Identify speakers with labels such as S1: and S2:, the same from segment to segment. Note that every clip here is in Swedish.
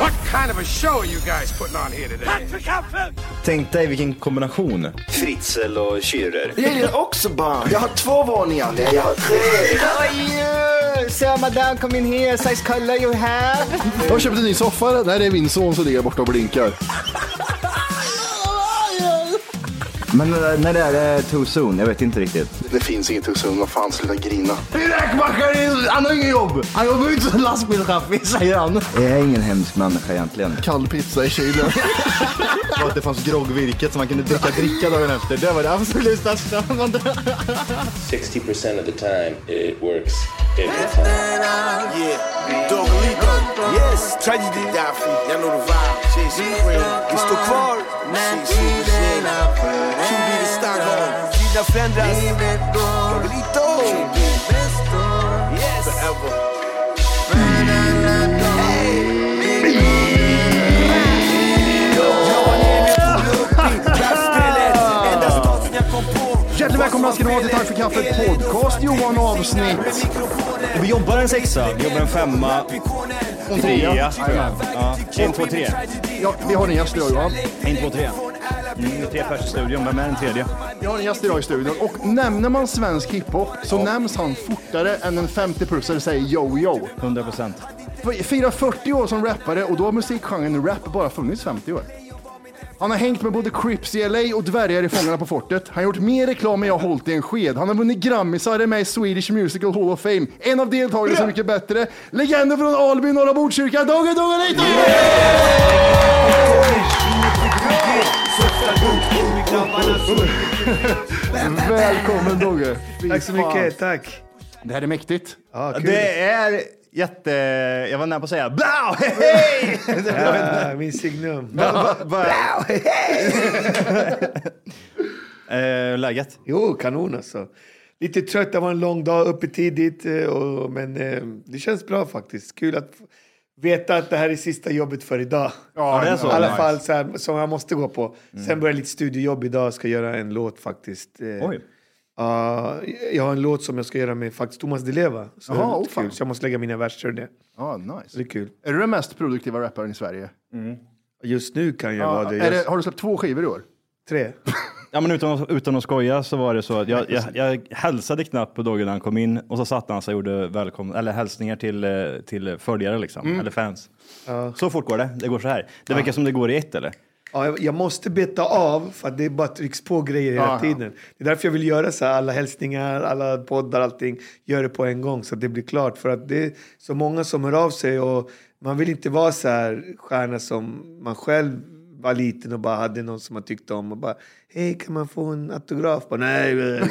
S1: What kind of a show are you guys putting on here today?
S2: Tänk dig vilken kombination.
S3: Fritzl och Schürrer.
S4: Jag är också barn. Jag har två våningar. Nej, jag har tre.
S5: How are you? So madame, come in here. Size color you have.
S6: Jag köpte en ny soffa. Där är min son som ligger borta och blinkar.
S2: Men eh, när det är det too soon? Jag vet inte riktigt.
S4: Det finns inget hos Vad fan, sluta grina.
S2: Räkmackare, han har inget jobb! Han jobbar inte som lastbilschaffis, säger han. Jag är ingen hemsk människa egentligen.
S6: Kall pizza i kylen.
S2: Och att det fanns groggvirket som man kunde dricka dricka dagen efter. Det var det absolut största.
S3: 60% of the time it works every time.
S7: Yeah, Dog Ligo. Yes, tragedy. Daffy, y'all know the vibe. Shit, she pray. Vi står kvar. Shit, shit, shit. QB i Stockholm. Gina Fendras. Gabrielito. Yes. Forever.
S6: Hjärtligt välkomna ska ni vara till Tack för kaffet podcast. Johan avsnitt.
S2: Vi jobbar en sexa, vi jobbar en femma,
S6: En trea.
S2: Ja. En, två, tre.
S6: Ja, vi har en gäst idag Johan.
S2: En, två, tre. Mm, tre pers i studion, vem är den tredje?
S6: Vi har en gäst idag i studion. Och nämner man svensk hiphop så nämns han fortare än en 50-plussare säger yo-yo.
S2: 100 procent.
S6: Firar 40 år som rappare och då har musikgenren rap bara funnits 50 år. Han har hängt med både Crips i LA och dvärgar i Fångarna på fortet. Han har gjort mer reklam än jag har hållit i en sked. Han har vunnit grammisar, är med i Swedish Musical Hall of Fame. En av deltagarna Så Mycket Bättre. Legenden från Alby, Norra Botkyrka, Dogge Dogge Leito! Välkommen Dogge! Fy
S8: Tack så
S6: fan.
S8: mycket, tack.
S6: Det här är mäktigt.
S8: Ja, kul.
S2: Det är jätte... Jag var nära på att säga blau, hej!
S8: Ja, min signum.
S2: Blau, hej! Eh, Läget?
S8: Jo, kanon alltså. Lite trött, det var en lång dag, uppe tidigt. eh, Och, men eh, det känns bra faktiskt. Kul att f- veta att det här är sista jobbet för idag.
S2: Ja, det är så.
S8: I alla
S2: Nice.
S8: fall så här, som jag måste gå på. Sen börjar lite studiojobb idag, ska göra en låt faktiskt. Eh,
S2: Oj.
S8: ja, jag har en låt som jag ska göra med faktiskt Thomas Di Leva. Så,
S6: Jaha,
S8: det är
S6: oh,
S8: lite
S6: fan.
S8: kul. så jag måste lägga mina verser där.
S6: Ah,
S8: Så det
S6: nice.
S8: är kul.
S6: Är du den mest produktiva rapparen i Sverige?
S8: Just nu kan jag
S6: Ja,
S8: vara det.
S6: är
S8: Jag,
S6: det, har du släppt två skivor i år?
S8: Tre.
S2: Ja, men utan, att- utan att skoja så var det så att jag, jag, jag hälsade knappt på Dogge när han kom in och så satt han sig och gjorde välkom, eller hälsningar till, eh, till följare liksom, eller fans. Så fort går det. Det går så här. Det verkar som det går i ett eller?
S8: Ja, jag- jag måste beta av för att det bara trycks på grejer hela
S6: Ja, ja.
S8: tiden. Det är därför jag vill göra så här, alla hälsningar, alla poddar, allting. Gör det på en gång så att det blir klart. För att det är så många som hör av sig och man vill inte vara så här stjärna som man själv var liten och bara hade någon som man tyckte om och bara Hej, kan man få en autograf? Bara, Nej, du vet.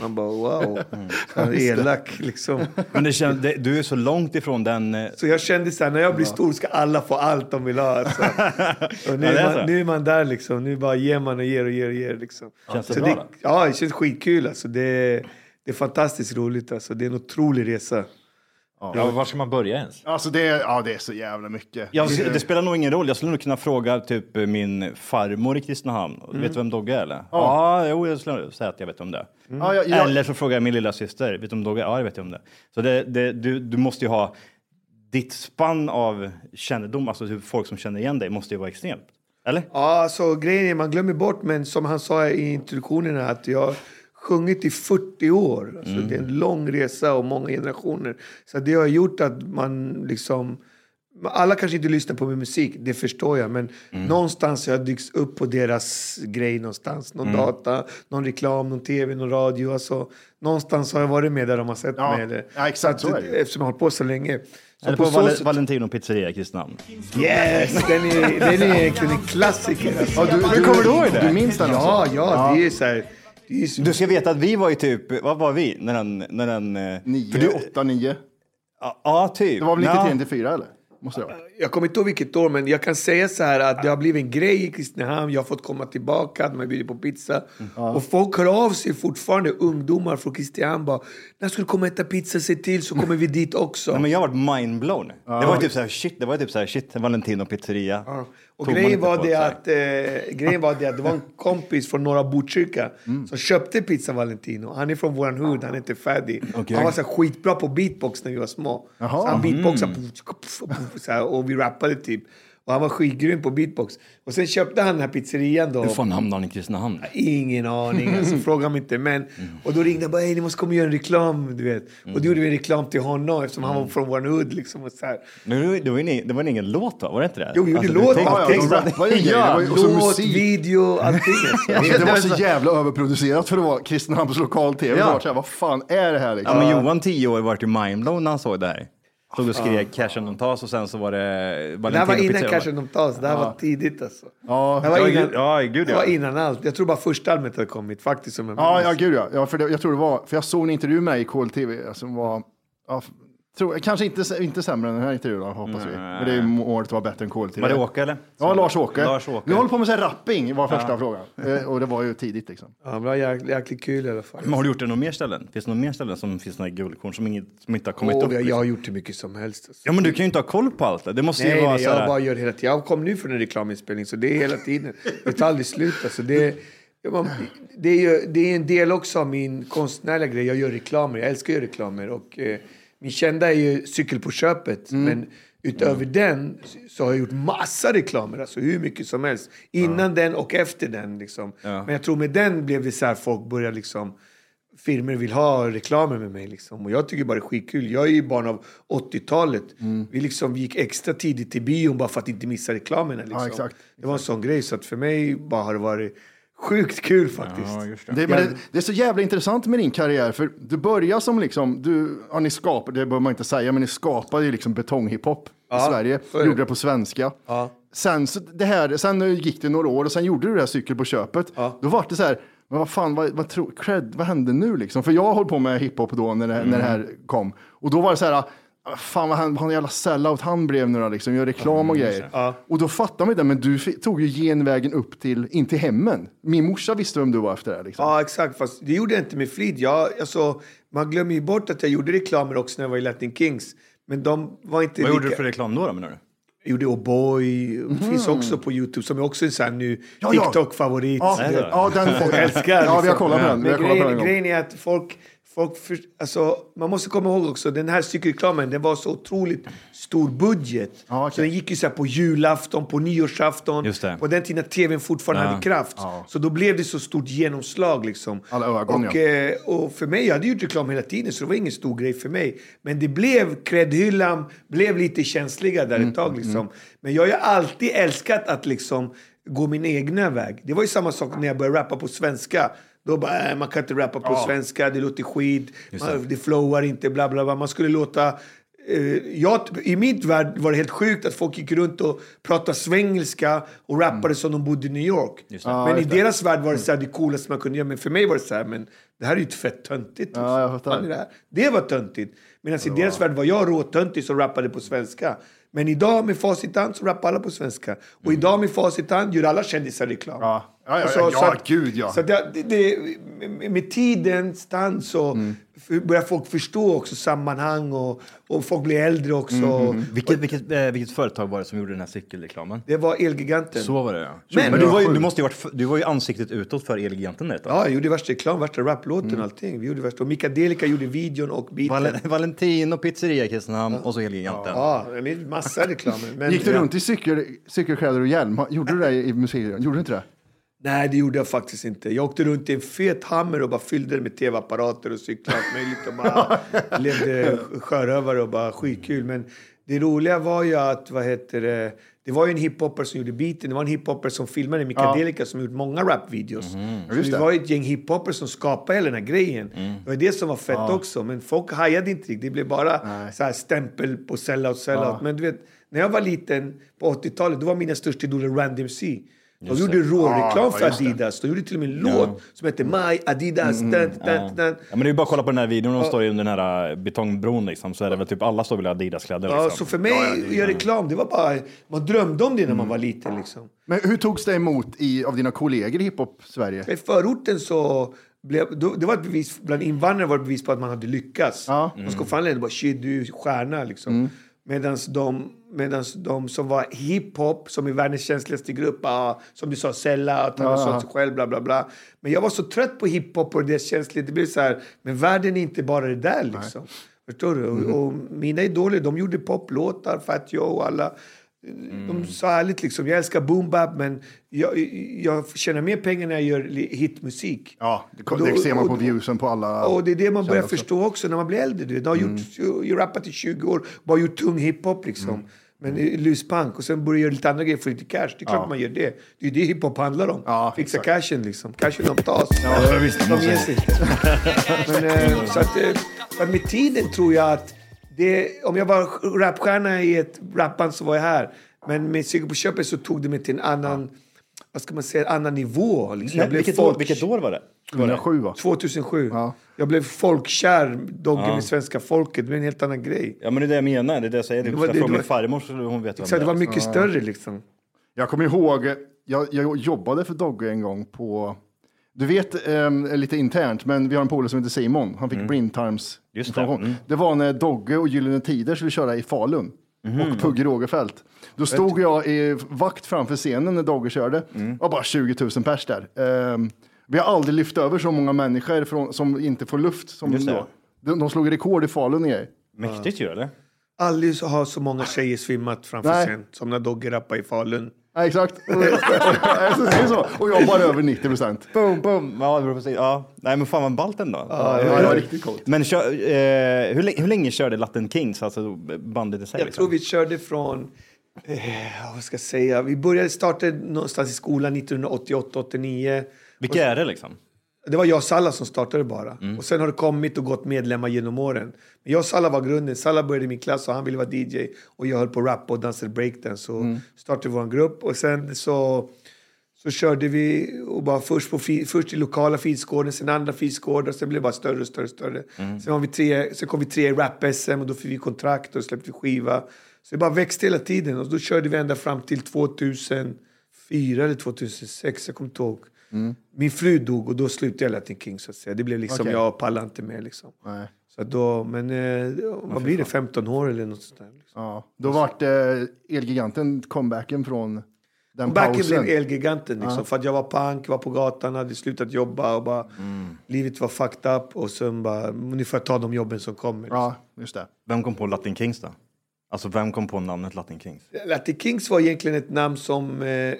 S8: Man bara wow. Så elak liksom.
S2: Men det känns, det, du är så långt ifrån den... eh,
S8: Så jag kände så här, när jag blir stor ska alla få allt de vill ha. Alltså. Och nu,
S2: Ja, det är
S8: är
S2: så.
S8: man, nu är man där liksom. Nu bara ger man och ger och ger och ger. Liksom.
S2: Känns det
S8: så
S2: bra
S8: det,
S2: då?
S8: Ja, det känns skitkul. Alltså. Det, det är fantastiskt roligt. Alltså. Det är en otrolig resa.
S9: Ja, var ska man börja ens?
S6: Alltså det, är- ja, det är så jävla mycket.
S2: Jag, det spelar nog ingen roll. Jag skulle nog kunna fråga typ min farmor i Kristinehamn.
S6: Mm.
S2: Vet du vem Dogge är eller? Ja, jo, jag skulle säga att jag vet om det.
S6: Mm. Ja, jag, jag,
S2: Eller så frågar jag min lilla syster. Vet du om Dogge? Ja, det vet jag om det. Så det, det, du, du måste ju ha ditt spann av kännedom, alltså typ folk som känner igen dig, måste ju vara extremt. Eller?
S8: Ja, så grejen är, man glömmer bort, men som han sa i introduktionen här, att jag har sjungit i 40 år. Alltså,
S6: Mm.
S8: Det är en lång resa och många generationer. Så det har gjort att man liksom... Alla kanske inte lyssnar på min musik, det förstår jag. Men
S6: Mm.
S8: någonstans har jag dykt upp på deras grej någonstans. Någon
S6: Mm.
S8: data, någon reklam, någon tv, någon radio. Alltså, någonstans har jag varit med där de har sett
S6: Ja,
S8: mig. Eller,
S6: ja, exakt,
S8: Så att-
S6: så är det ju.
S8: Eftersom jag har hållit på så länge. Så
S2: Eller på,
S8: på så
S2: Val-
S8: sätt-
S2: Valentino pizzeria i Kristinehamn.
S8: Yes! Den är, den är egentligen en klassiker. Alltså.
S6: ja, du, du,
S2: kommer du ihåg det?
S6: Du minns den alltså?
S8: Ja, ja, det är så här... Det är så,
S2: Du ska veta att vi var ju typ, vad var vi när den... När den eh, för
S6: Nio,
S2: du-
S6: åtta, nio.
S2: ja, Ja, typ.
S6: Det var väl
S2: Ja.
S6: 93 till fyra eller? Måste det ha varit.
S8: jag kommer inte ihåg vilket år, men jag kan säga så här att det har blivit en grej i Kristinehamn. Jag har fått komma tillbaka, de har bjudit på pizza. Och folk hör av sig fortfarande, ungdomar från Kristinehamn bara “När ska du komma och äta pizza? Se till så kommer vi dit också”.
S2: Ja, men jag har varit mindblown. Det var ju typ så här shit, det var ju typ så här shit, Valentino pizzeria.
S8: Ja. Och
S2: Tog man
S8: grejen
S2: inte
S8: var,
S2: på
S8: det
S2: så här.
S8: att, eh, grejen var det att det var en kompis från norra Botkyrka
S2: Mm.
S8: som köpte pizza Valentino. Han är från våran hood, han heter Faddy.
S2: Okej.
S8: Han var så här
S2: Mm.
S8: skitbra på beatbox när vi var små. Så han beatboxade puff, puff, puff, så här, och vi rappade typ. Och han var skitgrym på beatbox. Och sen köpte han den här pizzerian då.
S2: Hur fan hamnade han i Kristinehamn?
S8: Ingen aning, alltså, fråga mig inte. Men,
S2: Mm.
S8: och då ringde jag bara, "Ey, ni måste komma och göra en reklam. Du vet. Och då gjorde vi en reklam till honom eftersom
S2: Mm.
S8: han var från vår hood. Liksom, och så här.
S2: Men det var- det var, en, egen- det var en egen låt va? Var det inte det?
S8: Jo, vi gjorde
S2: Alltså, du
S8: låt,
S2: tänkte-
S8: allting.
S6: Ja, de rappade ju grejer. Det var ju- och så
S8: Låt,
S6: musik.
S8: video, allting. alltså.
S6: Det, det var så jävla överproducerat för att vara Kristinehamns lokal-tv.
S2: Ja.
S6: Det var så här, Vad fan är det här
S2: Ja,
S6: liksom?
S2: men Johan, tio år, vart ju mindblown när han såg det här. Stod och skrek cash and don't toss och sen så var det
S8: Det här var innan
S2: pizzeria.
S8: Cash and Tas. Det här var tidigt alltså.
S6: Ja.
S8: det här var
S2: Ja,
S8: innan,
S2: gud- ja, gud,
S8: det var
S2: ja.
S8: innan allt. Jag tror bara första albumet hade kommit faktiskt. Som jag
S6: Ja,
S8: minns.
S6: ja gud ja. ja för det, jag tror det var, för jag såg en intervju med dig i KLTV som var, ja, f- tror, kanske inte, s- inte sämre än den här intervjun då, hoppas vi. Men det är ju målet var bättre än KLTV.
S2: Var det Åke eller?
S6: Ja, Lars-Åke.
S2: Lars-Åke.
S6: Vi håller på med så här rapping var första frågan. Eh, Och det var ju tidigt liksom.
S8: Ja, men det var jäk- jäkligt kul i alla fall.
S2: Men har du gjort det några mer ställen? Finns det några mer ställen som finns några guldkorn som, inget, som inte har kommit
S8: Åh,
S2: upp?
S8: jag, jag
S2: liksom?
S8: har gjort hur mycket som helst. Alltså.
S2: Ja, men du kan ju inte ha koll på allt. det. Det måste ju
S8: Nej,
S2: vara
S8: nej,
S2: så här.
S8: jag bara gör hela tiden. Jag kom nu från en reklaminspelning, så det är hela tiden. Det tar aldrig slut. Alltså, det, jag bara- det, är ju, det är en del också av min konstnärliga grej. Jag gör reklamer. Jag älskar att göra reklamer. Och, eh, min kända är ju Cykel på köpet.
S2: Mm.
S8: Men utöver den så har jag gjort massa reklamer. Alltså hur mycket som helst. Innan den och efter den. Liksom. Men jag tror med den blev det så här folk började liksom firmor vill ha reklamer med mig. Liksom. Och jag tycker bara det är skitkul. Jag är ju barn av 80-talet.
S6: Mm.
S8: Vi liksom gick extra tidigt till bion bara för att inte missa reklamerna. Liksom.
S6: Ja, exakt.
S8: Det var en sån grej. Så att för mig bara har det varit sjukt kul faktiskt.
S6: Det, men det, det är så jävla intressant med din karriär, för du börjar som liksom, du, ja, ni skapar, det behöver man inte säga, men ni skapade ju liksom betonghiphop i Sverige,
S8: så är det.
S6: gjorde det på svenska.
S8: Ja.
S6: Sen, så det här, sen gick det några år och sen gjorde du det här cykel på köpet. Då var det så här, men vad fan, vad, vad, tro, cred, vad hände nu liksom? För jag höll på med hiphop då när det, när det
S8: Mm.
S6: här kom. Och då var det så här, ah, fan vad han, vad han jävla sellout han blev nu då liksom, gör reklam och grejer. Och då fattade man det, men du fi- tog ju genvägen upp till, in till hemmen. Min morsa visste vem du var efter det här, liksom.
S8: Ja, exakt. Fast det gjorde jag inte med flit. Jag, alltså, man glömmer ju bort att jag gjorde reklamer också när jag var i Latin Kings. Men de var inte
S2: Vad
S8: lika...
S2: gjorde du för reklam då, då menar du?
S8: Jag gjorde O'boy. Finns också på Youtube. Som är också en sån här nu
S6: Mm. ja.
S8: TikTok-favorit.
S6: Ja,
S2: Nej, då.
S6: ja den
S8: Folk älskar.
S6: Ja, vi har
S8: liksom.
S6: kollat på den. Vi har
S8: Men
S6: kollat på
S8: grejen,
S6: den en gång.
S8: grejen är att folk... folk för, alltså, man måste komma ihåg också, den här cykelreklamen den var så otroligt stor budget.
S6: Ja, okej.
S8: Så den gick ju så här på julafton, på nyårsafton.
S2: Just det.
S8: På den tiden när tvn fortfarande
S2: Ja.
S8: hade kraft. Så då blev det så stort genomslag. Liksom.
S6: Alla ögon,
S8: och,
S6: ja.
S8: eh, och för mig, jag hade gjort reklam hela tiden så det var ingen stor grej för mig. Men det blev, kredhyllan blev lite känsliga där
S6: Mm,
S8: ett tag. Liksom. Men jag har ju alltid älskat att liksom gå min egna väg. Det var ju samma sak när jag började rappa på svenska. Då bara, äh, man kan inte rappa på svenska, det låter skit, man, det flowar inte, bla bla bla. Man skulle låta Eh, jag, I mitt värld var det helt sjukt att folk gick runt och pratade svengelska och rappade som de bodde i New York. Men i deras värld var det så här, det coolaste man kunde göra. Men för mig var det så här, men det här är ju ett fett töntigt.
S6: Ja, jag fattar.
S8: Fan är det, här? det var töntigt. Medan i deras värld var jag råtöntig som rappade på svenska. Men idag med facit i hand så rappar alla på svenska. Och idag med facit i hand gör alla kändisar reklam.
S6: Ja. Ja, ja,
S8: Så-
S6: ja,
S8: så att-
S6: gud, ja.
S8: Så att det, det, med- med tiden, stans så
S6: Mm.
S8: för- börjar folk förstå också sammanhang och, och folk blir äldre också.
S6: Mm,
S2: Vilket, vilket, eh, vilket företag var det som gjorde den här cykelreklamen?
S8: Det var Elgiganten.
S2: Så var det ja.
S8: Men-
S2: Men, du, var ju, du, måste ju varit, f- du var ju ansiktet utåt för Elgiganten där ett tag.
S8: Ja, jag gjorde värsta reklam, värsta raplåten
S6: Mm.
S8: och allting. Vi gjorde värsta, och Mika Delica gjorde videon och beaten.
S2: Val- Valentino, pizzeria i Kristinehamn och så Elgiganten.
S8: Ja, det är massa reklamer. Men-
S6: Gick du runt i cykel, cykelkläder och hjälm? Gjorde du det i museet? Gjorde du inte det?
S8: Nej, det gjorde jag faktiskt inte. Jag åkte runt i en fet hammer och bara fyllde den med tv-apparater och cyklar och allt möjligt och bara levde sjörövare och bara skitkul. Men det roliga var ju att, vad heter det, det var ju en hiphopper som gjorde beaten. Det var en hiphopper som filmade, Mika Delica, som gjort många rapvideos. Så det var ju ett gäng hiphoppers som skapade hela den här grejen. Det var det som var fett också. Men folk hajade inte riktigt. Det blev bara så här stämpel på sellout, sellout. Men du vet, när jag var liten på 80-talet, då var mina största idoler Random MC. De gjorde råreklam för Adidas. De gjorde till och med en låt som hette My Adidas. Dun, dun, dun.
S2: Ja, men det är ju bara att kolla på den här videon, de står ju under den här eh, betongbron liksom, så är det väl typ alla står väl i Adidas-kläder
S8: Ja,
S2: liksom.
S8: så för mig, att göra reklam, det var bara... Man drömde om det när man var liten. Liksom.
S6: Men hur togs det emot i, av dina kollegor i hiphop-Sverige?
S8: I förorten så... Blev, då, det var ett bevis, bland invandrare var det ett bevis på att man hade lyckats.
S6: Ja.
S8: De skulle fan ändå bara shit, du är stjärna liksom. Medans, de, medans de som var hiphop, som är världens känsligaste grupp, ah, som du sa, sella, att han har sålt sig själv, bla bla bla. Men jag var så trött på hiphop och deras känslighet. Det blev så här, men världen är inte bara det där liksom. Förstår du? Och, och mina idoler, de gjorde poplåtar, Fat Joe och alla. De sa ärligt liksom, jag älskar boom bap men jag, jag tjänar mer pengar när jag gör li- hitmusik.
S6: Ja, det, det ser man på viewsen på alla.
S8: Och det är det man börjar
S6: Känner också.
S8: förstå också när man blir äldre. Du vet. Jag har gjort, jag rappat i 20 år, bara gjort tung hiphop liksom. Men eh, luspank och sen börjar jag göra lite andra grejer för lite cash. Det är klart man gör det. Det är det hiphop handlar om.
S6: Ja,
S8: Fixa
S6: exakt.
S8: cashen liksom. Cashen de tas.
S2: Ja, visst, man
S8: de
S2: måste-
S8: ges inte. Men, eh, så att, eh, så att med tiden tror jag att det, om jag var rapstjärna i ett rapband så var jag här. Men med Sigge på köpet så tog det mig till en annan, vad ska man säga, en annan nivå. Liksom.
S2: Nej,
S8: jag blev
S2: vilket, år,
S8: folk-
S2: vilket år var det?
S6: 107 va?
S8: 2007.
S6: Ja.
S8: Jag blev folkkär, doggen med svenska folket. Det blev en helt annan grej.
S2: Ja men det är det jag menar, det är det jag säger. Det
S8: var-
S2: var,
S8: det-
S2: från
S8: det
S2: min
S8: var-
S2: farmor så hon vet vem
S8: Så det var mycket större liksom.
S6: Jag kommer ihåg, jag, jag jobbade för Dogge en gång på, du vet, ehm, lite internt, men vi har en polare som heter Simon. Han fick blindtarms
S2: Mm. Just det,
S6: information.
S2: mm.
S6: det var när Dogge och Gyllene Tider skulle köra i Falun
S2: Mhm.
S6: och Pugh Rogefeldt. Då stod jag i vakt framför scenen när Dogge körde.
S2: Mm.
S6: Det var bara 20 000 pers där. Ehm, vi har aldrig lyft över så många människor från, som inte får luft som
S2: Just det.
S6: då. De, de slog rekord i Falun i grejer.
S2: Mäktigt ju eller?
S8: Aldrig så har så många tjejer svimmat framför
S6: Nej.
S8: scen som när Dogge rappade i Falun.
S6: Ja, exakt. det är så. Och jag bara över 90 procent.
S2: Boom, boom! Ja, det beror på sig. Ja. Nej men fan vad ballt ändå. Ja,
S6: Det var riktigt coolt.
S2: Men kör, eh, hur, länge, hur länge körde Latin Kings, alltså bandet i sig?
S8: Jag
S6: liksom.
S8: tror vi körde från... Eh, vad ska jag säga? Vi började starta någonstans i skolan 1988-89.
S2: Vilka är det liksom?
S8: Det var jag och Salla som startade bara. Och sen har det kommit och gått medlemmar genom åren. Men jag och Salla var grunden. Salla började i min klass och han ville vara DJ. Och jag höll på att rappa och dansade breakdance. Så startade vi vår grupp. Och sen så, så körde vi och bara först, på, fi- först i lokala fisgården, sen andra fisgårdar. Sen blev det bara större och större och större. Sen, var vi tre, sen kom vi tre i rap-SM och då fick vi kontrakt och släppte skiva. Så det bara växte hela tiden. Och då körde vi ända fram till 2004 eller 2006, jag kommer inte ihåg. Min fru dog och då slutade jag Latin King så att säga. Det blev liksom,
S6: Mm. Okej.
S8: jag pallade inte mer liksom.
S6: Nej.
S8: Så att då, men eh, vad blir det, 15 år eller något sånt där? Liksom.
S6: Ja, då vart eh, elgiganten comebacken från den
S8: Backen
S6: pausen.
S8: blev Elgiganten liksom, för att jag var punk, var på gatan, hade slutat jobba och bara...
S6: Mm.
S8: Livet var fucked up och sen bara, nu får jag ta de jobben som kommer. Liksom.
S6: Ja, just det.
S2: Vem kom på Latin Kings då? Alltså vem kom på namnet Latin Kings?
S8: liksom. Latin Kings var egentligen ett namn som eh,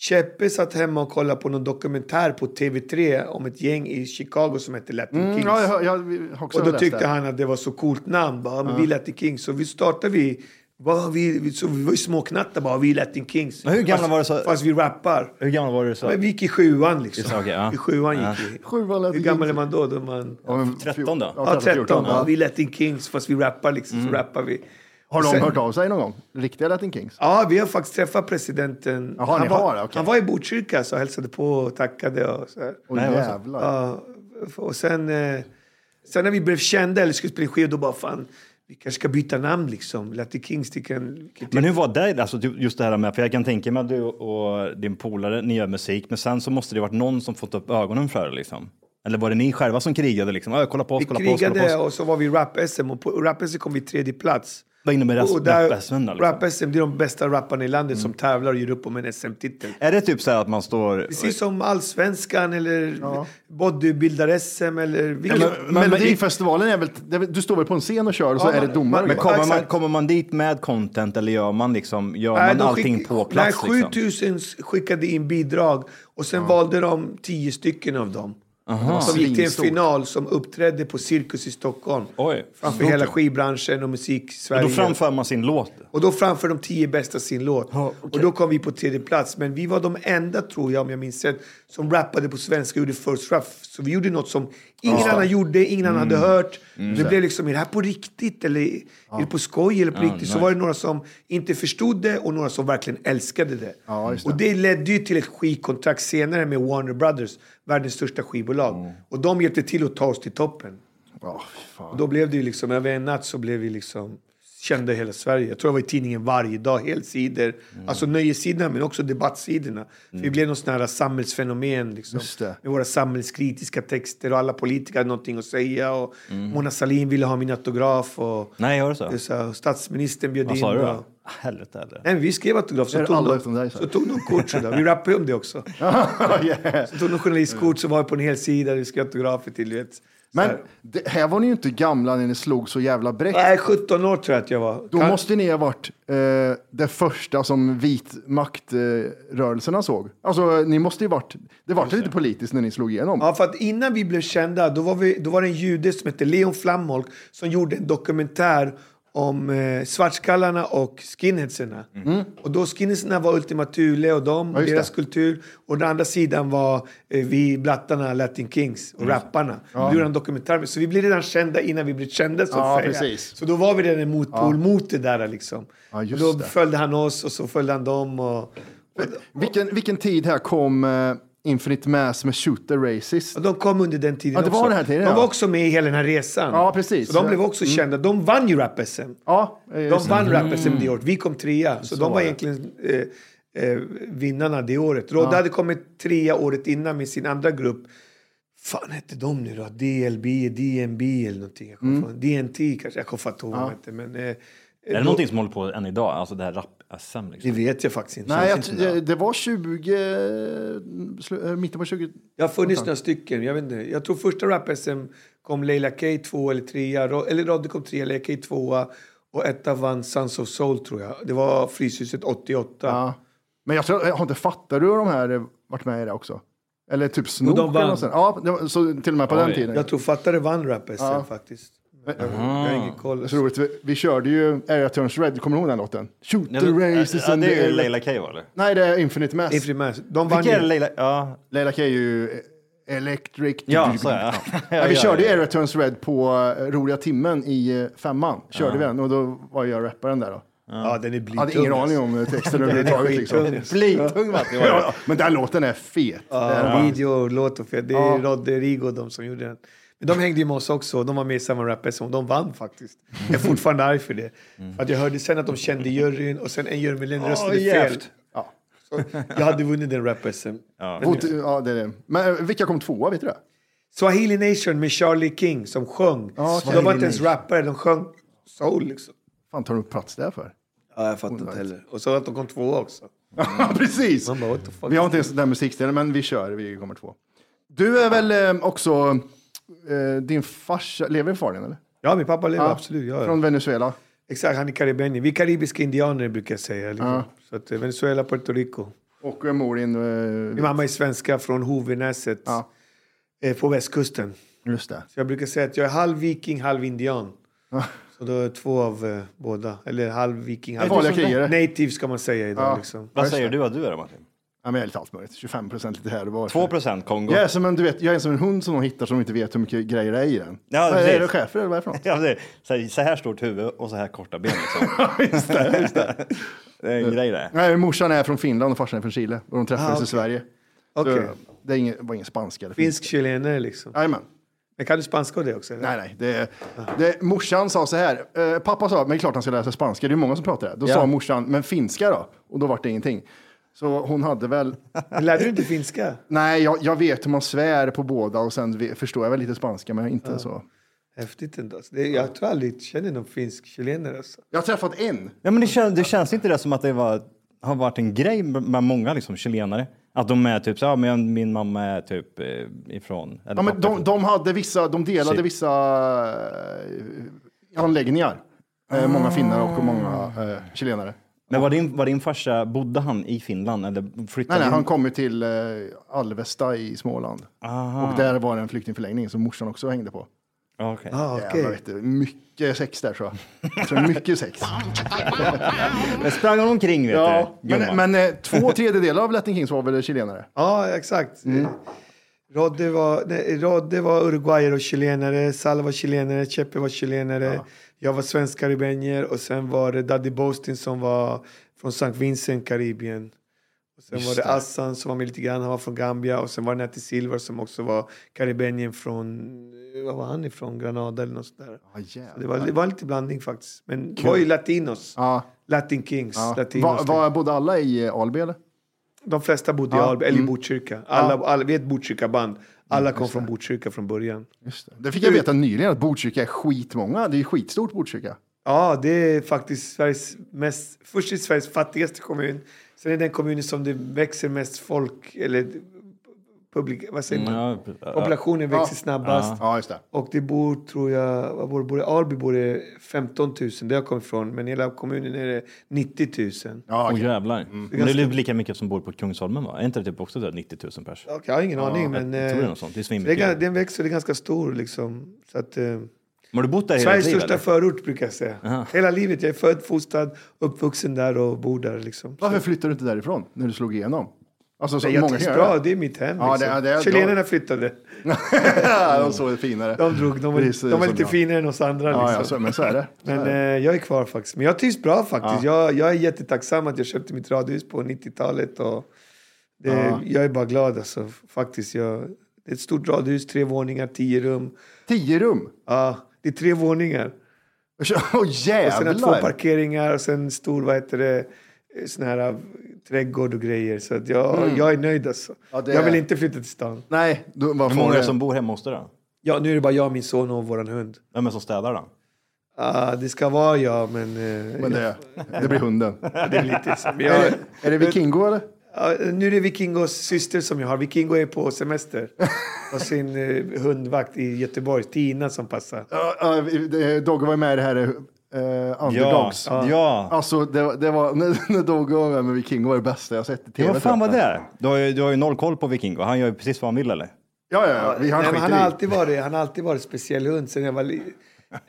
S8: Cheppe satt hemma och kollade på någon dokumentär på TV3 om ett gäng i Chicago som hette Latin
S6: Mm,
S8: Kings.
S6: ja, jag, jag har också
S8: Och då
S6: läst
S8: tyckte
S6: det.
S8: han att det var så coolt namn. Bara, ja. men vi är Latin Kings. Så vi startade vi... Bara, vi, vi, så vi var ju småknattar bara. Vi är Latin Kings.
S2: Men hur gamla
S8: fast,
S2: var du så-
S8: Fast vi rappar.
S2: Hur gammal var du? Så?
S8: Men vi gick i sjuan liksom.
S2: Just det, okej, ja.
S8: I sjuan gick vi.
S6: Sjuan Latin
S8: hur gammal är man då? då är man,
S6: Ja, men-
S2: 13 då?
S8: ja, 13.
S6: 14,
S8: ja. Vi är Latin Kings fast vi rappar liksom. Så rappar vi.
S6: Mm. Har de
S8: Sen-
S6: hört av sig någon gång? Riktiga Latin Kings?
S8: Ja, vi har faktiskt träffat presidenten.
S6: Jaha,
S8: han,
S6: ni
S8: var,
S6: har det, okej.
S8: han var i Botkyrka så hälsade på och tackade. Och så här.
S6: Åh
S2: Nej, vad så.
S6: jävlar.
S8: Ja, och sen, eh, sen när vi blev kända eller skulle spela in skiva, då bara fan, vi kanske ska byta namn liksom. Latin Kings till kan...
S2: Men hur var det, alltså ju- just det här med, för jag kan tänka mig att du och din polare, ni gör musik, men sen så måste det varit någon som fått upp ögonen för det liksom. Eller var det ni själva som krigade liksom? Ja, kolla på oss,
S8: Vi
S2: kolla på oss, kolla på
S8: krigade
S2: oss.
S8: och så var vi i rap-SM och på rap-SM kom vi tredje plats.
S2: Vad innebär det,
S8: Och där-
S2: rap-SM då, liksom? Mm.
S8: Rap-SM, det är de bästa rapparna i landet som tävlar och gör upp om en SM-titel.
S2: Är det typ så här att man står...
S8: Precis som Allsvenskan eller bodybuildar-SM eller... Vilket,
S6: Men,
S2: men- men-
S6: Melodifestivalen är väl, det är väl- du står väl på en scen och kör och så
S8: Ja,
S6: är det
S8: men-
S6: domare.
S2: Men
S8: Ja,
S2: kommer man,
S8: exakt.
S2: kommer man dit med content eller gör man, liksom, gör
S8: Nej,
S2: man
S8: de
S2: allting
S8: skick-
S2: på plats?
S8: Nej,
S2: liksom?
S8: 7000 skickade in bidrag och sen valde de 10 stycken av dem. Som gick till en
S6: Svinstort.
S8: final som uppträdde på Cirkus i Stockholm.
S2: Oj,
S8: framför
S2: stort
S8: hela
S2: ju.
S8: skivbranschen och musik-Sverige.
S2: Då framför man sin låt.
S8: Och då framför de tio bästa sin låt. Och då kom vi på tredje plats. Men vi var de enda, tror jag, om jag minns rätt, som rappade på svenska och gjorde first rap. Så vi gjorde något som ingen annan gjorde, ingen annan hade
S6: Mm.
S8: hört. Det blev liksom, är det här på riktigt? Eller är det på skoj? Eller på riktigt? Så var det några som inte förstod det och några som verkligen älskade det.
S6: Ja, just det.
S8: Och det ledde ju till ett skivkontrakt senare med Warner Brothers, världens största skivbolag.
S6: Mm.
S8: Och de hjälpte till att ta oss till toppen.
S6: Ja, fy fan.
S8: Och då blev det ju liksom, över en natt så blev vi liksom kända i hela Sverige. Jag tror jag var i tidningen varje dag, helsidor.
S6: Mm.
S8: Alltså nöjessidorna men också debattsidorna. För vi blev någon sån här samhällsfenomen liksom.
S6: Just det.
S8: Med våra samhällskritiska texter och alla politiker hade någonting att säga. Och
S6: Mm.
S8: Mona Sahlin ville ha min autograf. Och,
S2: Nej, gör det så?
S8: det är så här, och statsministern bjöd
S2: Vad
S8: in.
S2: sa du
S8: och-
S2: då? Helvete eller?
S8: Nej, men vi skrev autograf,
S6: Det
S8: så
S6: är
S8: tog,
S6: alla
S8: de,
S6: utom dig, så.
S8: så tog de kort. sådär. Vi rappade om det också.
S6: yeah.
S8: Så tog de journalistkort, så var jag på en hel sida, vi skrev autografer till, du vet.
S6: Men det, här var ni ju inte gamla när ni slog så jävla brett.
S8: Nej, 17 år tror jag att jag var.
S6: Då
S8: Kan-
S6: måste ni ha varit eh, det första som vit makt-rörelserna såg. Alltså, ni måste ju varit... Det vart lite politiskt när ni slog igenom.
S8: Ja, för att innan vi blev kända, då var, vi, då var det en jude som hette Leon Flamholk som gjorde en dokumentär om eh, svartskallarna och skinheadserna. Och då skinheadserna var Ultima Thule och dem,
S6: Mm. Ja, just
S8: deras
S6: det.
S8: kultur. Och den andra sidan var eh, vi blattarna, Latin Kings
S6: Mm.
S8: och rapparna. Då gjorde han en dokumentär. Så vi blev redan kända innan vi blev kända så att
S6: Ja,
S8: säga.
S6: precis.
S8: Så då var vi redan en motpol mot det där liksom.
S6: Ja, just
S8: och då
S6: det.
S8: följde han oss och så följde han dem. Och,
S6: Vilken, vilken tid här kom eh, Infinite Mass med Shooter Racist?
S8: Och de kom under den tiden
S6: Ja, det var
S8: också.
S6: den här tiden,
S8: de
S6: ja.
S8: var också med i hela den här resan.
S6: Ja, precis.
S8: Så de
S6: Ja.
S8: blev också kända. De vann ju rap-SM.
S6: Ja, eh,
S8: De
S6: just det.
S8: vann rap-SM det året. Vi kom trea. Så, de var egentligen eh, eh, vinnarna det året. Rodde hade kommit trea året innan med sin andra grupp. fan hette de nu då? DLB, DNB eller någonting. Jag
S6: Mm.
S8: kommer från, DNT kanske. Jag kommer fan inte ihåg vad de hette. Men, eh,
S9: Är det någonting som håller på än idag? Alltså det här rap-SM
S8: det
S9: liksom?
S8: vet jag faktiskt inte.
S6: Nej, jag,
S9: finns inte.
S6: det, det var 20... Slu, eh, mitten på 20...
S8: Jag har funnits några stycken. Jag, vet inte. jag tror första rap-SM kom Leila K två eller trea. Ro- Eller Roddy kom trea, Leila K tvåa. Och etta vann Sons of Soul tror jag. Det var Fryshuset 88.
S6: Ja. Men jag, tror, jag har inte fattat hur de här eh, varit med i det också. Eller typ
S8: Och
S6: Snook
S8: de
S6: eller
S8: vann.
S6: något sånt. Ja, det var, så till och med på den tiden. Eh,
S8: Jag tror Fattare vann rap-SM faktiskt. Jag, jag har ingen koll.
S6: Så roligt, vi, vi körde ju Area Turns Red, kommer du ihåg den låten? Shoot
S9: Ja,
S6: the
S9: det-
S6: races
S9: ja,
S6: and
S9: det är
S6: the-
S9: ju Leila K va, eller?
S6: Nej, det är Infinite Mass.
S8: Ifri Mass. De vann
S9: Vilka är
S8: ju.
S9: Leila? Ja,
S6: Leila K är ju eh, Electric...
S9: ja så är jag.
S6: Ja, vi
S9: Ja,
S6: körde ju
S9: ja,
S6: Area Turns Red på eh, Roliga Timmen i eh, femman. Körde vi den och då var jag rapparen där då.
S8: Ja, den är blytung.
S6: Jag hade ingen aning om eh, texten överhuvudtaget.
S8: skitung,
S6: Liksom.
S8: alltså.
S6: Flytung va? Ja, men den låten är fet.
S8: Ja, Ah, video och låt och fel. Det är Rodde, Rigo och de som gjorde den. Men de hängde ju med oss också. De var med i samma rap som de vann faktiskt. Jag är fortfarande arg för det. För att jag hörde sen att de kände juryn och sen en jurymedlem röstade fel.
S9: jävligt.
S6: Ja.
S8: Så jag hade vunnit den rap SM.
S6: Mot, ja, det är det. Men eh, vilka kom tvåa, vet du det?
S8: Swahili Nation med Charlie King som sjöng.
S6: Ja,
S8: De var
S6: Swahili
S8: inte ens
S6: Nation.
S8: rappare, de sjöng soul liksom.
S6: fan tar de upp plats där för?
S9: Mm.
S8: Ja, jag fattar inte heller. Och så att de kom tvåa också.
S6: Ja, precis!
S8: Man bara, what the fuck?
S6: Vi har inte ens den musikstilen, men vi kör. Vi kommer två. Du är väl eh, också... Eh, din farsa, lever far din eller?
S8: Ja, min pappa lever absolut. Ja, ja.
S6: Från Venezuela.
S8: Exakt, han är karibenier. Vi är karibiska indianer brukar jag säga. Liksom. Så att, eh, Venezuela, Puerto Rico.
S6: Och eh, mor din...
S8: Min
S6: Eh,
S8: mamma är svenska från Hovenäset
S6: Ja.
S8: eh, på västkusten.
S6: just det.
S8: Så jag brukar säga att jag är halv viking, halv indian. Så då är två av eh, båda. Eller halv viking, halv
S6: Farliga krigare.
S8: Native ska man säga idag. Liksom.
S9: Vad säger du att du är Martin?
S6: Ja, men jag är lite allt möjligt. 25 procent lite här och var.
S9: 2 procent Kongo?
S6: Jag är, som en, du vet, jag är som en hund som de hittar som inte vet hur mycket grejer det är i den.
S9: Ja,
S6: Vad är det
S9: precis.
S6: schäfer eller vad är det för något?
S9: Ja, det är så här- så här stort huvud och så här korta ben liksom.
S6: just det, just det.
S9: Det är en grej det.
S6: Nej, morsan är från Finland och farsan är från Chile. Och de
S9: Ah,
S6: träffades i Sverige. Så
S8: Okej.
S6: Det är ingen, var ingen spanska. eller
S8: Finsk chilenare liksom.
S6: Jajamän.
S8: Men kan du spanska och det också? eller?
S6: Nej, nej. Det, det, morsan sa så här. Eh, pappa sa, men det är klart han ska lära sig spanska. Det är många som pratar det. Då sa morsan, men finska då? Och då var det ingenting. Så hon hade väl,
S8: Men Lärde du inte finska?
S6: nej, jag, jag vet hur man svär på båda och sen ve- förstår jag väl lite spanska, men inte så.
S8: Häftigt ändå. Alltså. Det, jag tror aldrig jag känner någon finsk chilenare. Alltså.
S6: Jag har träffat en.
S9: Ja, men det, kän, det känns inte det som att det var, har varit en grej med många liksom, chilenare? Att de är typ så ja, men min mamma är typ eh, ifrån... Eller
S6: Ja, men
S9: pappa
S6: de,
S9: ifrån-
S6: de, hade vissa, de delade
S9: Shit.
S6: vissa eh, anläggningar. Eh, många finnar och många eh, chilenare.
S9: men var, din, var din farsa, bodde han i Finland eller
S6: Nej,
S9: flyttade
S6: nej,
S9: in?
S6: han kom ju till eh, Alvesta i Småland. Och där var det en flyktingförläggning som morsan också hängde på.
S9: Ja, okej.
S8: Ah, okej.
S6: Jävlar, vet du, mycket sex där tror jag. jag tror mycket sex.
S9: Men sprang han omkring vet
S6: ja,
S9: du?
S6: men, men eh, två tredjedelar av Latin Kings var väl chilenare?
S8: Ja, exakt. Rodde, var, nej, Rodde var uruguayer och chilenare, Sal var chilenare, Chepe var chilenare, jag var svensk karibenier och sen var det Daddy Bostin som var från St. Vincent, Karibien. Och sen var det, Assan som var med lite grann, han var från Gambia och sen var det Natty Silver som också var karibenier från, eh, vad var han ifrån, Granada eller något sådär.
S6: Ja,
S8: Det
S6: jävlar.
S8: var, det var lite blandning faktiskt, men det var ju latinos.
S6: Ja,
S8: Latin Kings,
S6: ja.
S8: latinos. typ.
S6: Var, var bodde alla i eh, Alby eller?
S8: De flesta bodde i Alby, eller
S6: Mm.
S8: i Botkyrka. Alla, alla, vi är ett Botkyrka-band. Alla kom från Botkyrka från början.
S6: Just det. det fick jag veta nyligen att Botkyrka är skitmånga. Det är ju skitstort Botkyrka.
S8: Ja, det är faktiskt Sveriges mest... Först är det Sveriges fattigaste kommun. Sen är det den kommunen som det växer mest folk, eller publik, vad säger man?
S2: Mm, Ja, pre- ja.
S8: Populationen växer snabbast.
S6: Ja, just det.
S8: Och det bor, tror jag, vad bor, det? bor det? Alby bor det 15 000 där jag kommer ifrån. Men i hela kommunen är det 90 000.
S6: Ja,
S2: Åh
S6: okej.
S2: jävlar. Men det är väl lika mycket som bor på Kungsholmen va? Är inte det typ också där 90 000 pers?
S8: Okej, jag har ingen aning. Men,
S2: jag tror det är
S8: eh,
S2: något sånt. Det är
S8: så det är
S2: svinmycket.
S8: gan- Den växer, det är ganska stor liksom. Så att, eh,
S2: Men har du bott där hela ditt
S8: Sveriges
S2: liv
S8: största
S2: eller?
S8: förort brukar jag säga. Hela livet. Jag är född, fostrad, uppvuxen där och bor där liksom.
S6: Varför flyttade du inte därifrån när du slog igenom? Alltså, så
S8: Nej, jag
S6: många
S8: trivs
S6: gör
S8: bra, det är mitt hem.
S6: Ja,
S8: liksom.
S6: det- det- det-
S8: Chilenarna flyttade.
S6: det. de såg det finare.
S8: De drog, de var,
S6: Precis
S8: de var
S6: som
S8: lite
S6: jag.
S8: finare än oss andra.
S6: Ja, ja,
S8: liksom.
S6: så, men så är det. Så
S8: Men
S6: är det.
S8: eh, jag är kvar faktiskt. Men jag trivs bra faktiskt. Jag, jag är jättetacksam att jag köpte mitt radhus på 90-talet. Och det, Jag är bara glad alltså, faktiskt. Jag, det är ett stort radhus, tre våningar, tio rum.
S6: Tio rum.
S8: Ja, det är tre
S6: Åh
S8: våningar. eh, Och sen har jag två
S6: jävlar!
S8: parkeringar och sen stor, vad heter det, eh, sån här eh, trädgård och grejer. Så att jag, jag är nöjd alltså.
S6: Mm. Ja, det
S8: Jag vill
S6: är-
S8: inte flytta till stan.
S6: Nej, du, vad
S2: Hur många är det som bor hemma hos dig då?
S8: Ja, nu är det bara jag, min son och våran hund.
S2: Vem är det som städar då?
S8: Ah, det ska vara jag, men... eh,
S6: Men det, det blir hunden.
S8: det är lite som
S6: Är
S8: jag,
S6: det, är det Vikingo eller?
S8: Ja, nu är det Vikingos syster som jag har. Vikingo är på semester och sin eh, hundvakt i Göteborg, Tina, som passar.
S6: Ja, ja, det- Dogge var ju med i det här eh, Underdogs.
S2: Ja. ja.
S6: Alltså, det, var- det var, när, när Dogge var med med Vikingo var det bästa jag sett i tv.
S2: Ja, vad fan
S6: tror
S2: var
S6: jag.
S2: det? Du har, ju, du har ju noll koll på Vikingo. Han gör ju precis vad han vill eller?
S6: Ja, ja, ja. Vi, han
S8: Nej, men han,
S6: skiter
S8: har
S6: i.
S8: alltid varit, han har alltid varit speciell hund sen jag var, li-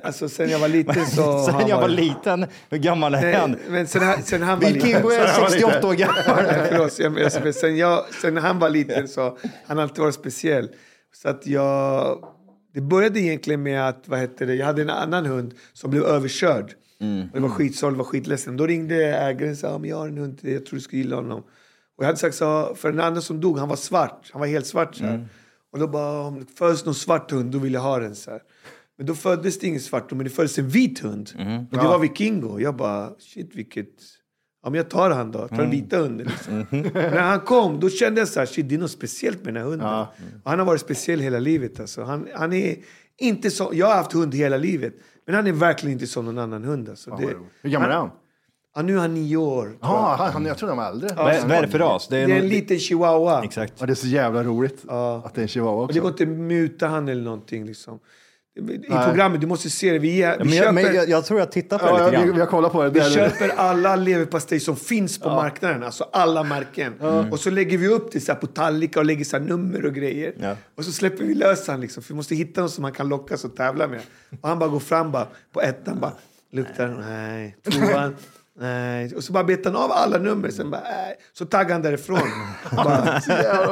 S8: alltså, sen jag var liten. Så har han
S2: Sen jag var
S8: varit-
S2: liten, hur gammal är
S8: Nej,
S2: han?
S8: men sen, han- sen han var liten.
S2: Vikingo är 68 år gammal.
S8: Nej, förlåt, jag, jag, jag, sen, jag, sen han var liten så han har alltid varit speciell. Så att jag... Det började egentligen med att vad hette det, jag hade en annan hund som blev överkörd. Och det var skitsorgligt, var skitledsen. Då ringde ägaren och sa ah, men jag har en hund, till dig, jag tror du skulle gilla honom. Och jag hade sagt så här, för den andra som dog, han var svart. Han var helt svart så här.
S6: Mm.
S8: Och då bara, om det föds någon svart hund, då vill jag ha den så här. Men då föddes det ingen svart hund, men det föddes en vit hund.
S6: Mm.
S8: Och det var Vikingo. Jag bara, shit vilket... Ja, men jag tar han då. Tar
S6: Mm.
S8: den vita hunden. Liksom. När han kom, då kände jag så här, shit, det är något speciellt med den här hunden. Och han har varit speciell hela livet. Alltså. Han, han är inte så, jag har haft hund hela livet, men han är verkligen inte som någon annan hund. Alltså. Det,
S6: Hur gammal är han?
S8: ja, nu är han nio år. tror jag.
S6: Ja, han, han, jag trodde han var äldre.
S2: Vad är vad är det för ras? Det är
S8: Det är en
S2: någon-
S8: liten chihuahua.
S2: Exakt.
S6: Ja, det är så jävla roligt att det är en chihuahua
S8: Och
S6: också.
S8: det går inte att muta han eller någonting. Liksom. I programmet, du måste se det. Vi, är- vi
S2: Men jag, men
S8: köper-
S2: jag, jag tror jag tittar på det
S6: Ja,
S2: lite
S6: ja, vi, vi
S2: grann.
S6: har kollat på det.
S8: Vi
S6: det är-
S8: köper alla leverpastej som finns på marknaden, alltså alla märken. Och så lägger vi upp det så här på tallrikar och lägger så här nummer och grejer.
S2: Ja.
S8: Och så släpper vi lös han liksom, för vi måste hitta någon som han kan lockas och tävla med. Och han bara går fram bara, på ettan bara, luktar den? nej, tvåan, nej. Och så bara betar han av alla nummer, sen bara, nej. Så taggar han därifrån. bara,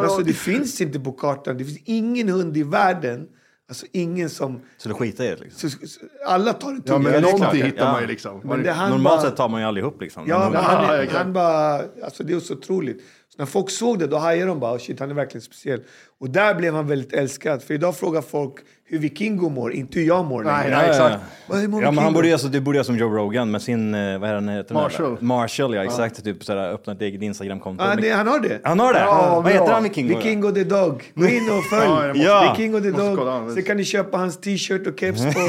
S8: alltså, det finns inte på kartan, det finns ingen hund i världen, alltså ingen som...
S2: Så du skiter i det liksom.
S8: Så, så, alla tar en
S6: Ja,
S8: tugga.
S6: men
S8: det är klart.
S6: någonting
S2: ja.
S6: hittar man ju liksom.
S8: Men det han
S2: Normalt
S8: bara-
S2: sett tar man ju allihop liksom.
S8: Ja,
S2: Men-
S8: men han,
S6: Ja,
S8: är,
S6: exakt.
S8: han bara... Alltså det är så otroligt. Så när folk såg det, då hajade de bara oh shit, han är verkligen speciell. Och där blev han väldigt älskad. För idag frågar folk hur Vikingo mår, inte hur jag mår
S6: Nej,
S8: längre.
S6: nej, exakt.
S8: Vad, hur mår
S2: Ja, men han
S8: Vikingo?
S2: borde göra, så, du borde göra som Joe Rogan med sin, eh, vad är han heter? den där?
S6: Marshall.
S2: Marshall, ja exakt. Typ sådär, öppna ett eget Instagramkonto.
S8: Ja, det, han har det.
S2: Han har det?
S6: Ja,
S2: vad heter
S6: bra.
S2: han Vikingo?
S8: Vikingo the Dog. Gå in och
S6: Ja,
S8: följ.
S6: det måste-
S2: Ja.
S8: Vikingo the
S6: Måste kolla
S8: Dog.
S6: han.
S8: Sen kan ni köpa hans t-shirt och keps på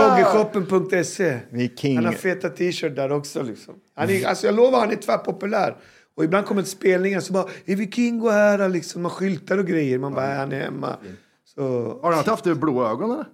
S8: doggyshoppen.se.
S2: Viking.
S8: Han har feta t-shirt där också. Liksom. Han är, alltså, jag lovar, han är tvärpopulär. Och ibland kommer det spelningar så bara “Är Vikingo här?” liksom, Man skyltar och grejer. Man bara "Äh, “Han är hemma”. Så,
S6: Har han inte haft blå ögon eller?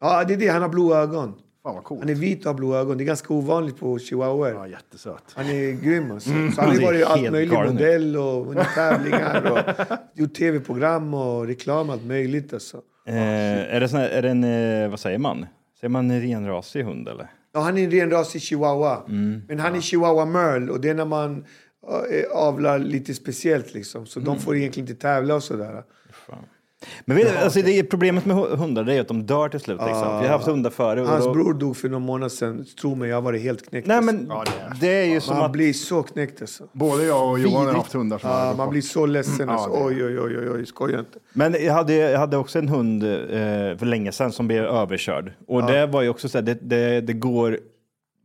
S8: ja, det är det. Han har blå ögon.
S6: Fan vad coolt.
S8: Han är vit och har blå ögon. Det är ganska ovanligt på
S6: Ja,
S8: chihuahuor.
S6: jättesöt.
S8: Han är grym alltså. Så han har
S2: Mm, Han
S8: ju
S2: är
S8: varit i allt
S2: helt
S8: möjligt.
S2: galen.
S8: Modell och vunnit tävlingar och gjort tv-program och reklam. Allt möjligt alltså.
S2: Eh, är, det sån här, är det en, eh, vad säger man? Säger man en renrasig hund eller?
S8: Ja, han är en renrasig chihuahua.
S2: Mm.
S8: Men han är chihuahua merl och det är när man eh, avlar lite speciellt liksom. Så
S2: Mm.
S8: de får egentligen inte tävla och sådär.
S2: Men vet, du, alltså, det är problemet med hu- hundar det är ju att de dör till slut. Liksom. Vi har haft hundar förut. och
S8: Hans
S2: då-
S8: bror dog för några månader sedan. Tro mig, jag har varit helt knäckt.
S2: Nej
S8: alltså.
S2: men det är ju som
S8: man
S2: att...
S8: blir så knäckt alltså.
S6: Både jag och Johan har
S8: Vidrigt.
S6: haft hundar som har
S8: Ja,
S6: gått
S8: man
S6: bort.
S8: blir så ledsen.
S2: Mm,
S6: ja,
S8: Alltså.
S6: det är-
S8: Oj, oj, oj, oj, oj, skoja inte.
S2: Men jag hade, jag hade också en hund eh, för länge sedan som blev överkörd. Och det var ju också så här, det, det, det går...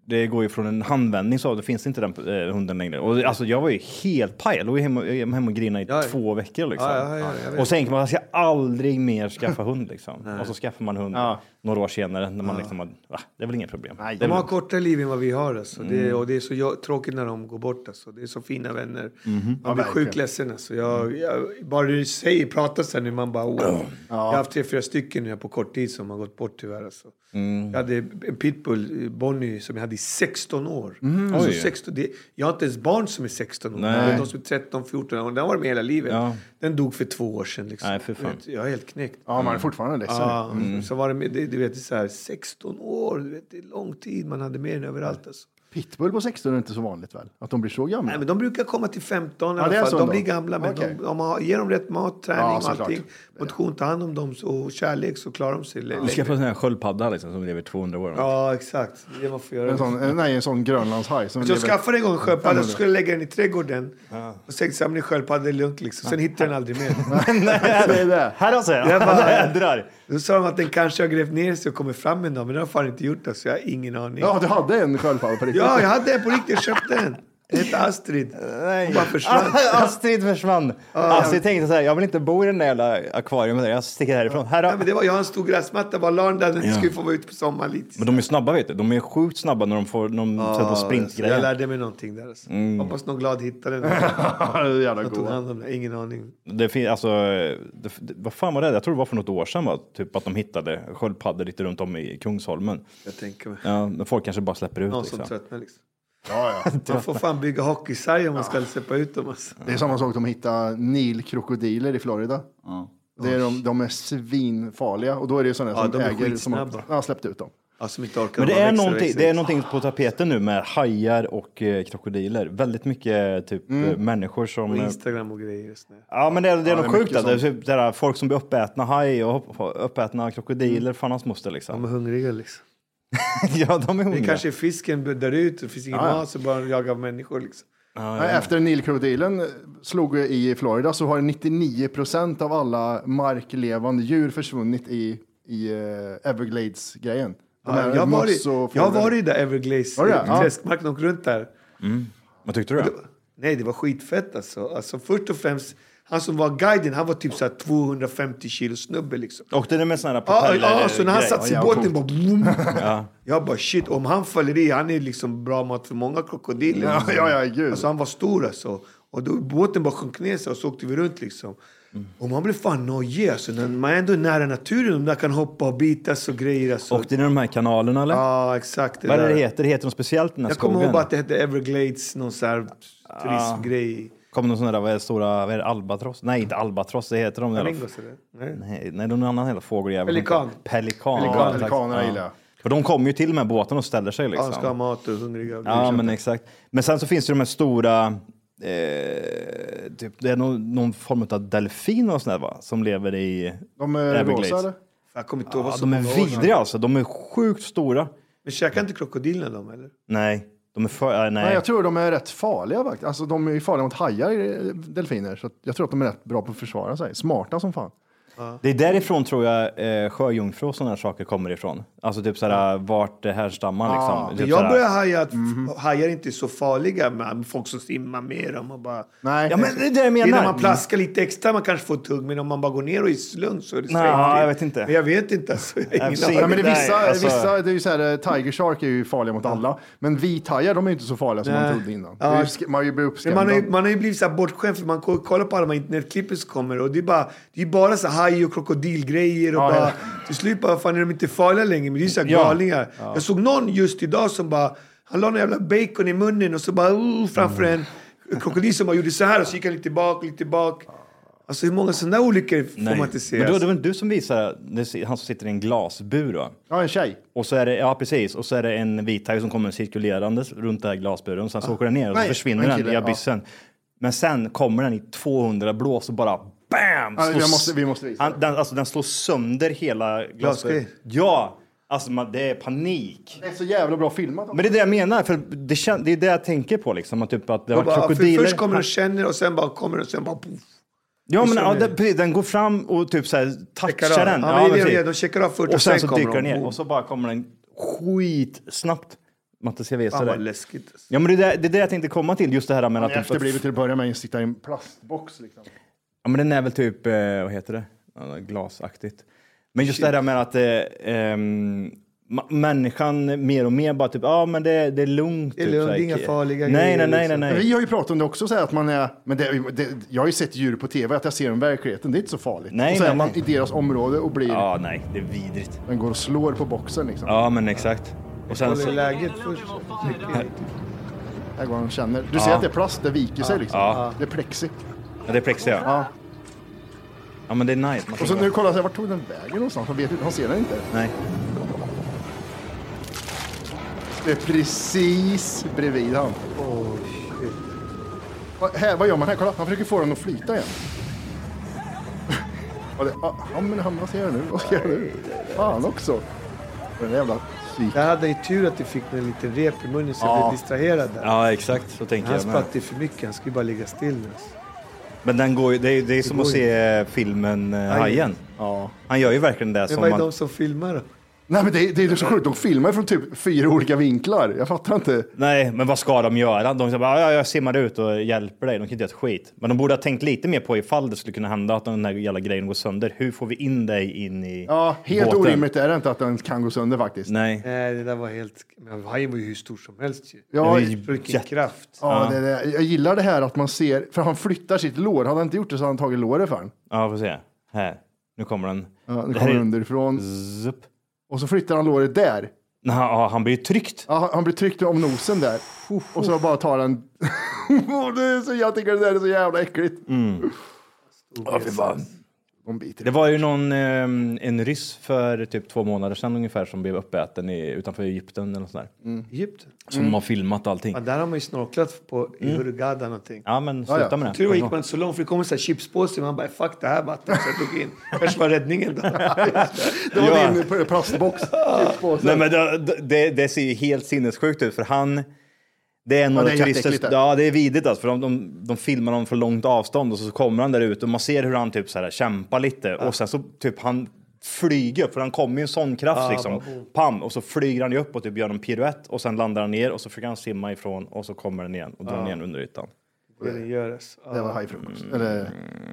S2: Det går ju från en handvändning så, det finns inte den eh, hunden längre. Och alltså jag var ju helt paj, jag låg ju hemma, hemma och grinade i
S8: Ja.
S2: två veckor liksom.
S8: Ja, ja, ja, jag vet.
S2: och så tänker man, jag ska aldrig mer skaffa hund liksom. och så skaffar man hund. några år senare när man liksom har, va, det är väl inget problem. Nej, det är Mm.
S8: De
S2: väl,
S8: har kortare liv än vad vi har. Alltså. Det, och det är så jag, tråkigt när de går bort. Alltså. Det är så fina vänner.
S2: Mm-hmm.
S8: Man blir sjukt ledsen. Alltså.
S2: Mm.
S8: Jag, jag, bara du säger, pratar så här nu, man bara wow. Jag har haft tre, fyra stycken nu på kort tid som har gått bort tyvärr. Alltså.
S2: Mm.
S8: Jag hade en pitbull, Bonnie, som jag hade i 16 år. Alltså, 16, det, jag har inte ens barn som är 16 år.
S2: Mm, Nej.
S8: De som är 13, 14 år. Den har varit med hela livet. Den dog för två år sedan. Liksom.
S2: Nej, för fan.
S8: Du vet, Jag är helt knäckt.
S6: Ja, man är fortfarande ledsen.
S8: Ja,
S6: Mm.
S8: så var det, med, det- du vet, det är så här, 16 år, du vet, det är lång tid. Man hade med den överallt. Alltså.
S6: Pitbull på 16 är inte så vanligt väl? Att de blir så gamla?
S8: Nej, men de brukar komma till 15 i
S6: Ja,
S8: alla
S6: det är
S8: fall.
S6: så
S8: De
S6: då.
S8: blir gamla, men
S6: Okej.
S8: de, om man ger dem rätt mat, träning
S6: Ja,
S8: och
S6: såklart.
S8: allting. Motion, ta hand om dem så, och kärlek så klarar de sig lä-
S2: du ska få
S8: längre.
S2: en sån här sköldpadda liksom, som lever 200 år.
S8: Ja, exakt. Det är det man får
S6: en
S8: göra.
S6: sån, eh, nej, en sån grönlandshaj. Som
S8: Jag
S6: lever-
S8: skaffade en gång en sköldpadda så skulle jag lägga den i trädgården. Och sen sa jag, "Men sköldpadda är lugnt liksom. Sen hittade jag den aldrig mer.
S6: det är det.
S2: Här alltså! Jag
S8: bara-
S2: ändrar!
S8: Då sa de att den kanske har grävt ner sig och kommit fram en dag. Men det har fan inte gjort det, så jag har ingen aning.
S6: Ja, du hade en sköldpadda på riktigt.
S8: Ja, jag hade en på riktigt. Jag köpte den. Den hette Astrid.
S2: Nej.
S8: Hon bara försvann.
S2: Astrid försvann. Astrid tänkte så här, jag vill inte bo i den där jävla akvariet. Jag sticker härifrån. Här
S8: Nej, men det var, jag har en stor gräsmatta, bara la den där. Den
S2: Ja.
S8: skulle få vara ute på sommaren lite.
S2: Men de är snabba vet du. De är sjukt snabba när de får, när de sätter på
S8: Jag
S2: sprintgrejer.
S8: lärde mig någonting där. Alltså. Hoppas någon glad hittade den.
S6: Ja, det är jävla
S8: Jag tog
S6: god.
S8: hand om den. Ingen aning.
S2: Det finns, alltså, det, det, vad fan var det? Jag tror det var för något år sedan va? Typ att de hittade sköldpaddor lite runt om i Kungsholmen.
S8: Jag tänker mig.
S2: Ja, men folk kanske bara släpper ut
S8: Någon
S2: liksom.
S8: som tröttnar liksom.
S6: Ja, ja.
S8: Man får fan bygga hockeysarg om man ska släppa ut dem. Alltså.
S6: Det är samma sak de hittar nilkrokodiler i Florida. Det är de, de är svinfarliga och då är det sådana
S8: Ja,
S6: som
S8: de är
S6: äger som har,
S8: skitsnabba.
S6: ja, släppt ut dem.
S8: Ja, som inte orkar
S2: Men det
S8: bara
S2: är,
S8: växa och
S2: någonting,
S8: växa.
S2: det är någonting på tapeten nu med hajar och eh, krokodiler. Väldigt mycket typ eh, människor som...
S8: Mm. Och
S2: eh,
S8: liksom. Instagram och grejer. och sånt där.
S2: Ja men det är, det är
S6: det är
S2: något sjukt
S6: mycket
S2: där. Det är typ det där, folk som blir uppätna haj och hopp- uppätna krokodiler.
S8: Mm.
S2: Fan hans moster liksom.
S8: De är hungriga liksom.
S2: ja de är
S8: Det
S2: hungriga.
S8: kanske är fisken där ute. Det finns ingen
S6: Ja, ja.
S8: mat så bara de jagar människor liksom.
S6: Nej, Efter nilkrokodilen slog i Florida så har 99 procent av alla marklevande djur försvunnit i, i eh, Everglades-grejen. De
S8: Ja,
S6: här
S8: jag har varit,
S6: möss och
S8: jag har
S6: fåglar.
S8: varit i där Everglades,
S6: Har du det?
S8: eh,
S6: Ja.
S8: träskmarken, och runt där.
S2: Vad tyckte du? Då?
S8: Nej, det var skitfett alltså. alltså. Först och främst, han som var guiden, han var typ så här 250 kilo snubbe liksom.
S2: Åkte ni med sån här
S8: Ja,
S2: propeller?
S8: ja, så när han
S2: grej?
S8: satt i
S2: Ja,
S8: båten bara... Boom. Jag bara shit, om han faller i, han är liksom bra mat för många krokodiler.
S6: Ja, ja, ja, gud.
S8: Alltså han var stor alltså. Och då, båten bara sjönk ner sig och så åkte vi runt liksom. Och man blev fan nojig alltså. När man är ändå nära naturen, de där kan hoppa och bitas och grejer alltså.
S2: Åkte ni de här kanalerna eller?
S8: Ja, exakt. Det
S2: Vad är det
S8: där.
S2: det heter? Det heter något speciellt den här
S8: Jag
S2: skogen?
S8: kommer ihåg bara att det hette Everglades, någon sån här turismgrej.
S2: Kommer någon sån där, vad är det, stora, vad är det, albatross? Nej, inte albatross, det heter de där.
S8: Flamingos eller? Nej.
S2: Nej, nej, det är någon annan jävla fågeljävel.
S8: Pelikan.
S2: Pelikan.
S6: Pelikan,
S2: ja,
S6: pelikanerna
S2: exakt.
S6: gillar jag.
S2: För de kommer ju till med båten och ställer sig
S8: Ja, de ska ha
S2: liksom.
S8: mat och är hungriga.
S2: Ja, men exakt. Men sen så finns det de här stora, eh, typ, det är någon, någon form av delfin och sån där, va? Som lever i
S6: De är
S2: Everglades.
S6: rosa eller?
S8: Jag kommer inte ihåg
S2: Ja,
S8: vad som
S2: de är
S8: var år sedan.
S2: vidriga alltså. De är sjukt stora.
S8: Men käkar inte krokodilerna dem eller?
S2: Nej, de är för, eh, nej.
S6: Nej, jag tror de är rätt farliga faktiskt. Alltså de är ju farliga mot hajar, eh, delfiner. Så att jag tror att de är rätt bra på att försvara sig. Smarta som fan.
S2: Det är därifrån tror jag eh, sjöjungfru och sådana här saker kommer ifrån. Alltså typ såhär vart det härstammar
S6: Ah,
S2: liksom. Typ
S8: Men jag
S2: såhär-
S8: börjar haja att f- hajar inte är så farliga med folk som simmar med dem och bara...
S6: Nej.
S2: Ja men det är det jag
S8: Det
S2: menar.
S8: är när man plaskar lite extra man kanske får ett tugg, men om man bara går ner och är slung så är det
S2: Nej,
S8: safety.
S2: jag vet inte.
S8: Men jag vet inte alltså. Jag har
S2: ser-
S8: ingen
S6: Ja,
S8: aning.
S6: men det är vissa,
S2: Nej, alltså-
S6: vissa, det är ju så här, eh, Tiger Shark är ju farliga mot alla, men vithajar de är ju inte så farliga som man trodde innan. Det är ju sk- Man har ju blivit
S8: Men
S6: uppskrämd.
S8: man, har ju, man har ju blivit så här bortskämd för man ko- kollar på alla de här internetklippen som kommer och det är bara, det är bara så här haj och krokodilgrejer och
S6: Ja,
S8: bara,
S6: ja.
S8: till slut bara, fan är de inte farliga längre? Men det är ju så här galningar. Jag såg någon just idag som bara, han la någon jävla bacon i munnen och så bara, uh, framför en krokodil som bara gjorde så här och så gick han lite bak, lite bak. Alltså hur många sådana olyckor får
S2: Nej.
S8: man inte se?
S2: Men då, det
S8: alltså?
S2: var du som visade, det är han som sitter i en glasbur va?
S6: Ja, en tjej.
S2: Och så är det, ja precis, och så är det en vithaj som kommer cirkulerandes runt den här glasburen. Sen så
S8: Ah.
S2: åker den ner och så
S6: Nej,
S2: försvinner
S6: en
S2: den
S6: kille,
S2: i
S6: ja.
S2: abyssen. Men sen kommer den i 200 blås och bara BAM!
S6: Ja,
S2: slår
S6: jag måste-
S2: s-
S6: vi måste visa
S2: Han, den, alltså, den slår sönder hela glasburen.
S8: Glasgrej.
S2: Ja! Alltså man, det är panik.
S6: Det är så jävla bra filmat.
S2: Men det är det jag menar, för det, kän, det är det jag tänker på liksom. Att typ att det
S8: Jag
S2: har
S8: bara, ja, för
S2: krokodiler...
S8: först kommer den och känner och sen bara kommer den och sen bara... Poff.
S2: Ja, men
S8: så
S2: ja,
S8: blir det.
S2: den, precis, den går fram och typ så här,
S8: Checkar av.
S2: touchar den.
S8: Ja, men det är det de
S2: precis.
S8: gör. De checkar av först
S2: och
S8: och
S2: sen
S8: sen
S2: så
S8: kommer
S2: dyker den
S8: de.
S2: ner
S8: Boom.
S2: och så bara kommer den skitsnabbt. Matte, ska jag visa
S8: Fan vad
S2: dig?
S8: läskigt. alltså.
S2: Ja, men det, är där- det är det jag tänkte komma till, just det här med att...
S6: Det är efterblivet till att börja med att sitta i en plastbox. Liksom.
S2: Ja, men den är väl typ, eh, vad heter det? Ja, Glasaktigt. Men just det där med att eh, ehm, ma- människan mer och mer bara typ, ja ah, men det, det är lugnt.
S8: Det är
S2: typ,
S8: lugnt,
S2: så här,
S8: inga
S2: ki-
S8: farliga
S2: nej, nej,
S8: grejer,
S2: nej, nej,
S8: liksom.
S2: nej.
S6: Men Vi har ju pratat om det också, så här att man är, men det, det, jag har ju sett djur på tv, att jag ser dem i verkligheten, det är inte så farligt.
S2: Nej,
S6: och så är
S2: nej,
S6: man
S2: nej.
S6: i deras område och blir,
S2: Ja, nej, det är vidrigt.
S6: den går och slår på boxen liksom.
S2: Ja, men exakt. Och sen
S8: Håller
S2: så,
S8: läget först.
S6: Där går de och känner. Du ser att det är plast, det viker sig liksom. Det är plexi.
S2: ja, det är plexi ja.
S6: Ja.
S2: Ja, men det är nice. Man
S6: Och
S2: kan
S6: så
S2: bara-
S6: nu kollar jag, vart tog den vägen någonstans? Han, vet, inte, han ser den inte.
S2: Nej.
S6: Det är precis bredvid han. Vad- här, vad gör man här? Kolla, han försöker få den att flyta igen. Och det, ah, ja, men han, vad ser jag nu? Vad ser jag nu? Fan också. Den där jävla psyk.
S8: Där hade jag ju tur att jag fick mig en liten rep i munnen så jag
S6: Ja.
S8: blev distraherad där.
S2: Ja, exakt. Så tänker
S8: Han
S2: jag med.
S8: spratt ju för mycket, han skulle bara ligga still. Alltså.
S2: Men den går ju, det är, det är som
S8: går
S2: att se eh, filmen eh, Hajen.
S6: Ja.
S2: Han gör ju verkligen det
S8: Men
S2: som
S8: vad är
S2: man...
S8: de som filmar då?
S6: Nej men det, är- det är så sjukt, de filmar från typ fyra olika vinklar. Jag fattar inte.
S2: Nej, men vad ska de göra? De säger bara, ja, jag simmar ut och hjälper dig. De kan inte göra ett skit. Men de borde ha tänkt lite mer på ifall det skulle kunna hända att den där jävla grejen går sönder. Hur får vi in dig in i
S6: Ja, helt
S2: båten?
S6: orimligt är det inte att den kan gå sönder faktiskt.
S2: Nej.
S8: Nej, det där var helt... Men hajen var ju hur stor som helst ju.
S6: Ja,
S2: Det är ju
S8: Vilken
S2: jätte-
S8: kraft.
S6: ja, det, det, jag gillar det här att man ser, för han flyttar sitt lår. Hade han inte gjort det så hade han tagit låret för han.
S2: Ja, får se. Här. Nu kommer den.
S6: Ja, nu
S2: Det här
S6: kommer
S2: är-
S6: underifrån.
S2: Zup.
S6: Och så flyttar han låret där.
S2: Nej, ja, han blir ju tryckt.
S6: Ja, han- han blir tryckt om nosen där. Och så bara tar han... Åh, det är så, jag tycker det där är så jävla äckligt. Ja, fy fan. De biter.
S2: Mm. Det var ju någon, eh, en ryss för typ två månader sedan ungefär som blev uppäten i, utanför Egypten eller något sånt där.
S8: Egypten.
S2: Som
S6: Mm.
S2: har filmat allting.
S8: Ja, där har man ju snorklat på i Hurghada någonting.
S2: Ja, men sluta
S6: Ja, ja.
S2: med det.
S8: Tur gick man inte så långt för det kom en sån här chipspåse. Man bara fuck det här vattnet. Så jag drog in. Kanske var räddningen då.
S6: Det var
S2: Ja.
S6: din pl- plastbox.
S2: Nej, men det, det, det ser ju helt sinnessjukt ut för han... Det är några
S6: det är
S2: turister...
S6: jätteäckligt där.
S2: Ja, det är vidrigt alltså, för de, de, de filmar honom från långt avstånd och så kommer han där ut och man ser hur han typ så här kämpar lite och sen så typ han flyger upp för han kommer ju en sån kraft liksom. Pam! Och så flyger han ju upp och typ gör en piruett och sen landar han ner och så försöker han simma ifrån och så kommer den igen och drar ner den under ytan.
S8: Det den görs.
S6: Det var hajfrukost. Eller
S2: Mm.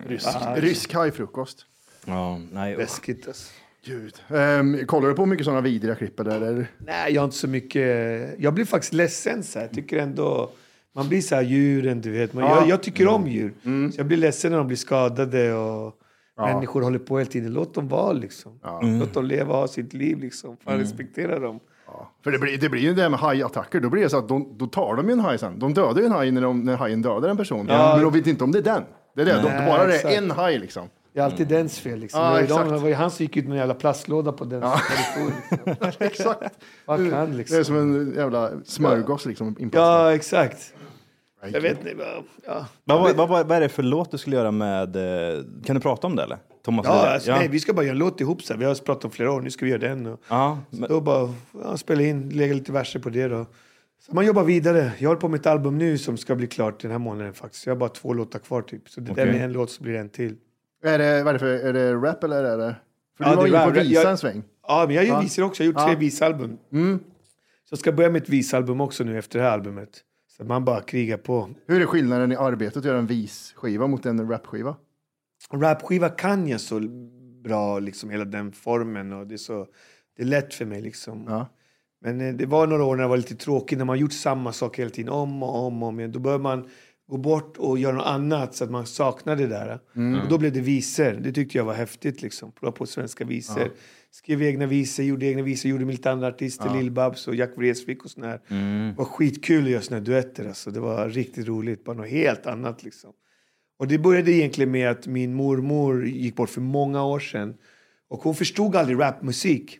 S6: rysk, rysk hajfrukost.
S2: Ja, nej. usch.
S8: Läskigt alltså.
S6: Gud. Ehm, kollar du på mycket sådana vidriga klipp eller? eller?
S8: Nej, jag har inte så mycket... Jag blir faktiskt ledsen så här. Jag tycker ändå... Man blir så här djuren, du vet. Men jag, jag tycker om djur. Så jag blir ledsen när de blir skadade och människor håller på hela tiden. Låt dem vara liksom. Låt dem leva och ha sitt liv liksom. Fan, respektera dem.
S6: För det blir, det blir ju det här med hajattacker. Då blir det så att de, då tar de ju en haj sen. De dödar ju en haj när, de, när hajen dödar en person. Men de vet inte om det är den. Det är det. De,
S8: Nej,
S6: bara det
S8: exakt.
S6: är en haj liksom.
S8: Det är alltid dens fel liksom.
S6: Ja,
S8: det, var ju de,
S6: exakt.
S8: det var ju han som gick ut med en jävla plastlåda på den. Liksom.
S6: Exakt.
S8: Fuck han
S6: Det är
S8: liksom.
S6: som en jävla smörgås liksom. inplastad.
S8: Ja, exakt. Jag vet inte. bara- Ja.
S2: Vad, vad, vad, vad är det för låt du skulle göra med... eh, Kan du prata om det eller? Thomas
S8: Ja,
S2: Ledin?
S8: alltså, Nej, vi ska bara göra en låt ihop. Så här. Vi har pratat om flera år. Nu ska vi göra den. Och
S2: ja, men,
S8: Då bara ja, spela in, lägga lite verser på det. Då. Så man jobbar vidare. Jag håller på med ett album nu som ska bli klart den här månaden. faktiskt. Jag har bara två låtar kvar. typ. Så det där
S2: Okej.
S8: är en låt så blir det en till.
S6: Är det, vad är det för, är det rap eller är det? För
S8: Ja,
S6: du var
S8: det
S6: inne
S8: är
S6: på
S8: rap.
S6: visa
S8: Jag-
S6: en sväng. Mm.
S8: Ja, men jag gör visor också. Jag har gjort tre visalbum. Så jag ska börja med ett visalbum också nu efter det här albumet. Så man bara krigar på.
S6: Hur är skillnaden i arbetet att göra en visskiva mot en rapskiva?
S8: Rapskiva kan jag så bra, liksom hela den formen. Och det, är så, det är lätt för mig. liksom.
S6: Ja.
S8: Men eh, det var några år när det var lite tråkigt, när man gjort samma sak hela tiden, om och om och om igen. Då började man gå bort och göra något annat så att man saknade det där. Och då blev det visor. Det tyckte jag var häftigt. Liksom. Prova på svenska visor. Skrev egna visor, gjorde egna visor, gjorde med lite andra artister, Lill-Babs och Jack Vreeswijk och sån här. Det var skitkul att göra såna här duetter. Alltså. Det var riktigt roligt. Bara något helt annat liksom. Och det började egentligen med att min mormor gick bort för många år sedan. Och hon förstod aldrig rapmusik.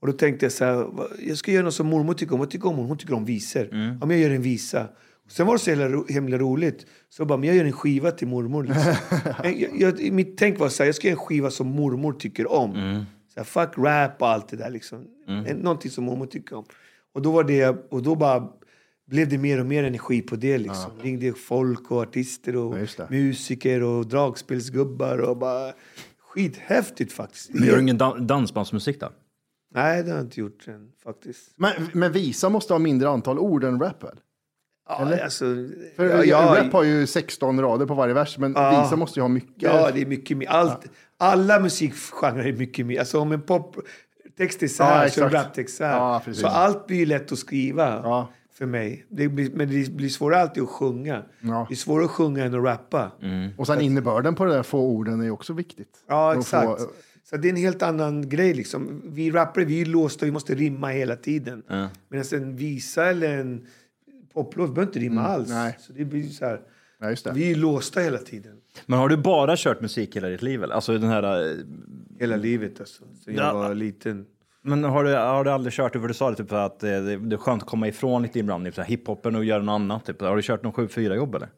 S8: Och då tänkte jag så här, "Va- jag ska göra något som mormor tycker om. Vad tycker om hon? Hon tycker om visor.
S6: Mm.
S8: Ja, men jag gör en visa. Sen var det så himla, ro, himla roligt. Så jag bara, men jag gör en skiva till mormor. Liksom. Men jag, jag, mitt tänk var så här, jag ska göra en skiva som mormor tycker om.
S6: Mm.
S8: Så här, fuck rap och allt det där liksom. Mm. Någonting som mormor tycker om. Och då var det, och då bara blev det mer och mer energi på det liksom. Ringde folk och artister och
S6: Ja, just det.
S8: musiker och dragspelsgubbar och bara skithäftigt faktiskt.
S2: men gör du ingen dan- dansbandsmusik då?
S8: Nej, det har jag inte gjort än faktiskt.
S6: Men, men visa måste ha mindre antal ord än rap väl?
S8: Ja, alltså,
S6: För
S8: ja, ja,
S6: rap har ju 16 rader på varje vers, men visa måste ju ha mycket.
S8: ja, det är mycket mer. Allt, alla musikgenrer är mycket mer. Alltså om en poptext är så här
S6: Ja,
S8: så är en
S6: exakt.
S8: raptext så här.
S6: Ja, precis.
S8: så allt blir ju lätt att skriva
S6: Ja.
S8: för mig. Det blir, men det blir svårare alltid att sjunga.
S6: Ja.
S8: Det är svårare att sjunga än att rappa.
S6: Och sen innebörden på det där få orden är ju också viktigt.
S8: Ja,
S6: För att
S8: exakt.
S6: Få,
S8: Så det är en helt annan grej. Liksom. Vi rappare vi är låsta, vi måste rimma hela tiden. Medan en visa eller en poplåt behöver inte rimma alls.
S6: Mm, nej.
S8: Så det blir så här,
S6: nej, just det.
S8: vi är låsta hela tiden.
S2: Men har du bara kört musik hela ditt liv? eller? Alltså den här... eh,
S8: Hela
S6: Mm.
S8: livet alltså, sen jag
S2: Ja.
S8: var liten.
S2: Men har du, har du aldrig kört, för du sa det, typ att eh, det, det är skönt att komma ifrån lite ibland, typ så här hiphopen och göra något annat. Typ. Har du kört någon 7-4-jobb eller?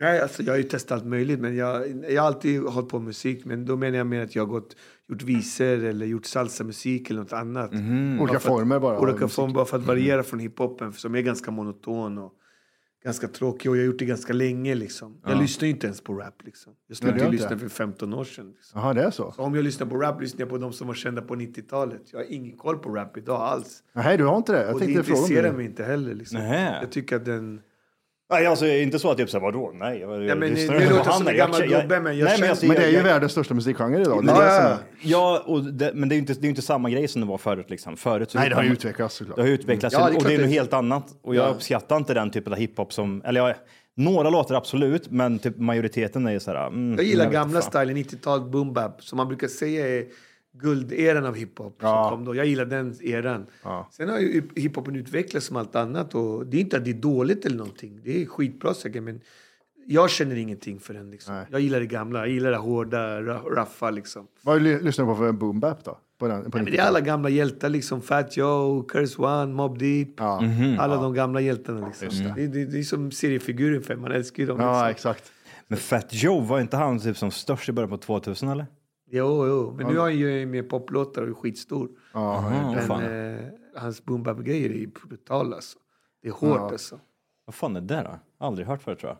S8: Nej, alltså jag har ju testat allt möjligt, men jag, jag har alltid hållit på med musik. Men då menar jag mer att jag har gått, gjort visor eller gjort salsamusik eller något annat.
S6: Olika former bara. av
S8: Olika
S6: musik. Mm.
S8: former bara för att variera från hiphopen som är ganska monoton och ganska tråkig. Och jag har gjort det ganska länge liksom. Jag lyssnar ju inte ens på rap liksom. Jag
S6: Nej, det
S8: slutade
S6: gör
S8: lyssna
S6: inte.
S8: för 15 år sedan. Liksom.
S6: Jaha, det är så?
S8: Så om jag lyssnar på rap lyssnar jag på de som var kända på 90-talet. Jag har ingen koll på rap idag alls.
S6: Nej, du har inte det? Jag
S8: och det
S6: tänkte fråga om
S8: intresserar
S6: det.
S8: mig inte heller liksom.
S2: Nähä.
S8: Jag tycker att den...
S2: Nej, alltså inte så att typ såhär, vadå, nej.
S8: Ja, men lyssnar det- du det på låter han? som en Jag- gammal jag- jag- gubbe, men jag nej, men jag- känner-
S6: Men det är ju världens största musikgenre idag. Det är
S8: Ja,
S6: det som
S8: ja,
S6: är-
S8: ja.
S2: Ja, och det, men det är ju inte, det är ju inte samma grej som det var förut. Liksom. förut så
S6: Nej, det har ju
S2: man-
S6: utvecklats såklart.
S2: Det har ju utvecklats
S8: Ja, det är
S2: och
S8: klart
S2: det är
S8: det-
S2: något helt annat. Och jag uppskattar inte den typen av hiphop som... Eller jag, några låtar absolut, men typ majoriteten är ju så här... Mm,
S8: Jag gillar
S2: vet
S8: gamla
S2: fan.
S8: stilen, 90-tal boom bap, som man brukar säga är gulderan av hiphop. Som kom då. Jag gillar den eran. Sen har ju hiphopen utvecklats som allt annat. Och det är inte att det är dåligt eller någonting. Det är skitbra säkert, men jag känner ingenting för den. Liksom. Jag gillar det gamla, jag gillar det hårda, ra- raffa liksom.
S6: Vad ly- lyssnar du på för boom bap då? På den, på
S8: Men det är
S6: 90-talet?
S8: alla gamla hjältar liksom. Fat Joe, Curse One, Mobb Deep.
S6: Ja.
S8: Alla de gamla hjältarna liksom. Det. Det, det, är som seriefigurer för man älskar ju dem.
S6: Ja,
S8: liksom.
S6: exakt.
S2: Men Fat Joe, var inte han typ som störst i början på 2000 eller?
S8: Jo, jo. Men nu har han ju med poplåtar och är skitstor.
S6: Ja,
S2: Vad
S8: Men
S2: fan,
S8: eh, hans boom bap grejer är ju brutala alltså. Det är hårt alltså.
S2: vad fan är det då? Aldrig hört förut tror jag.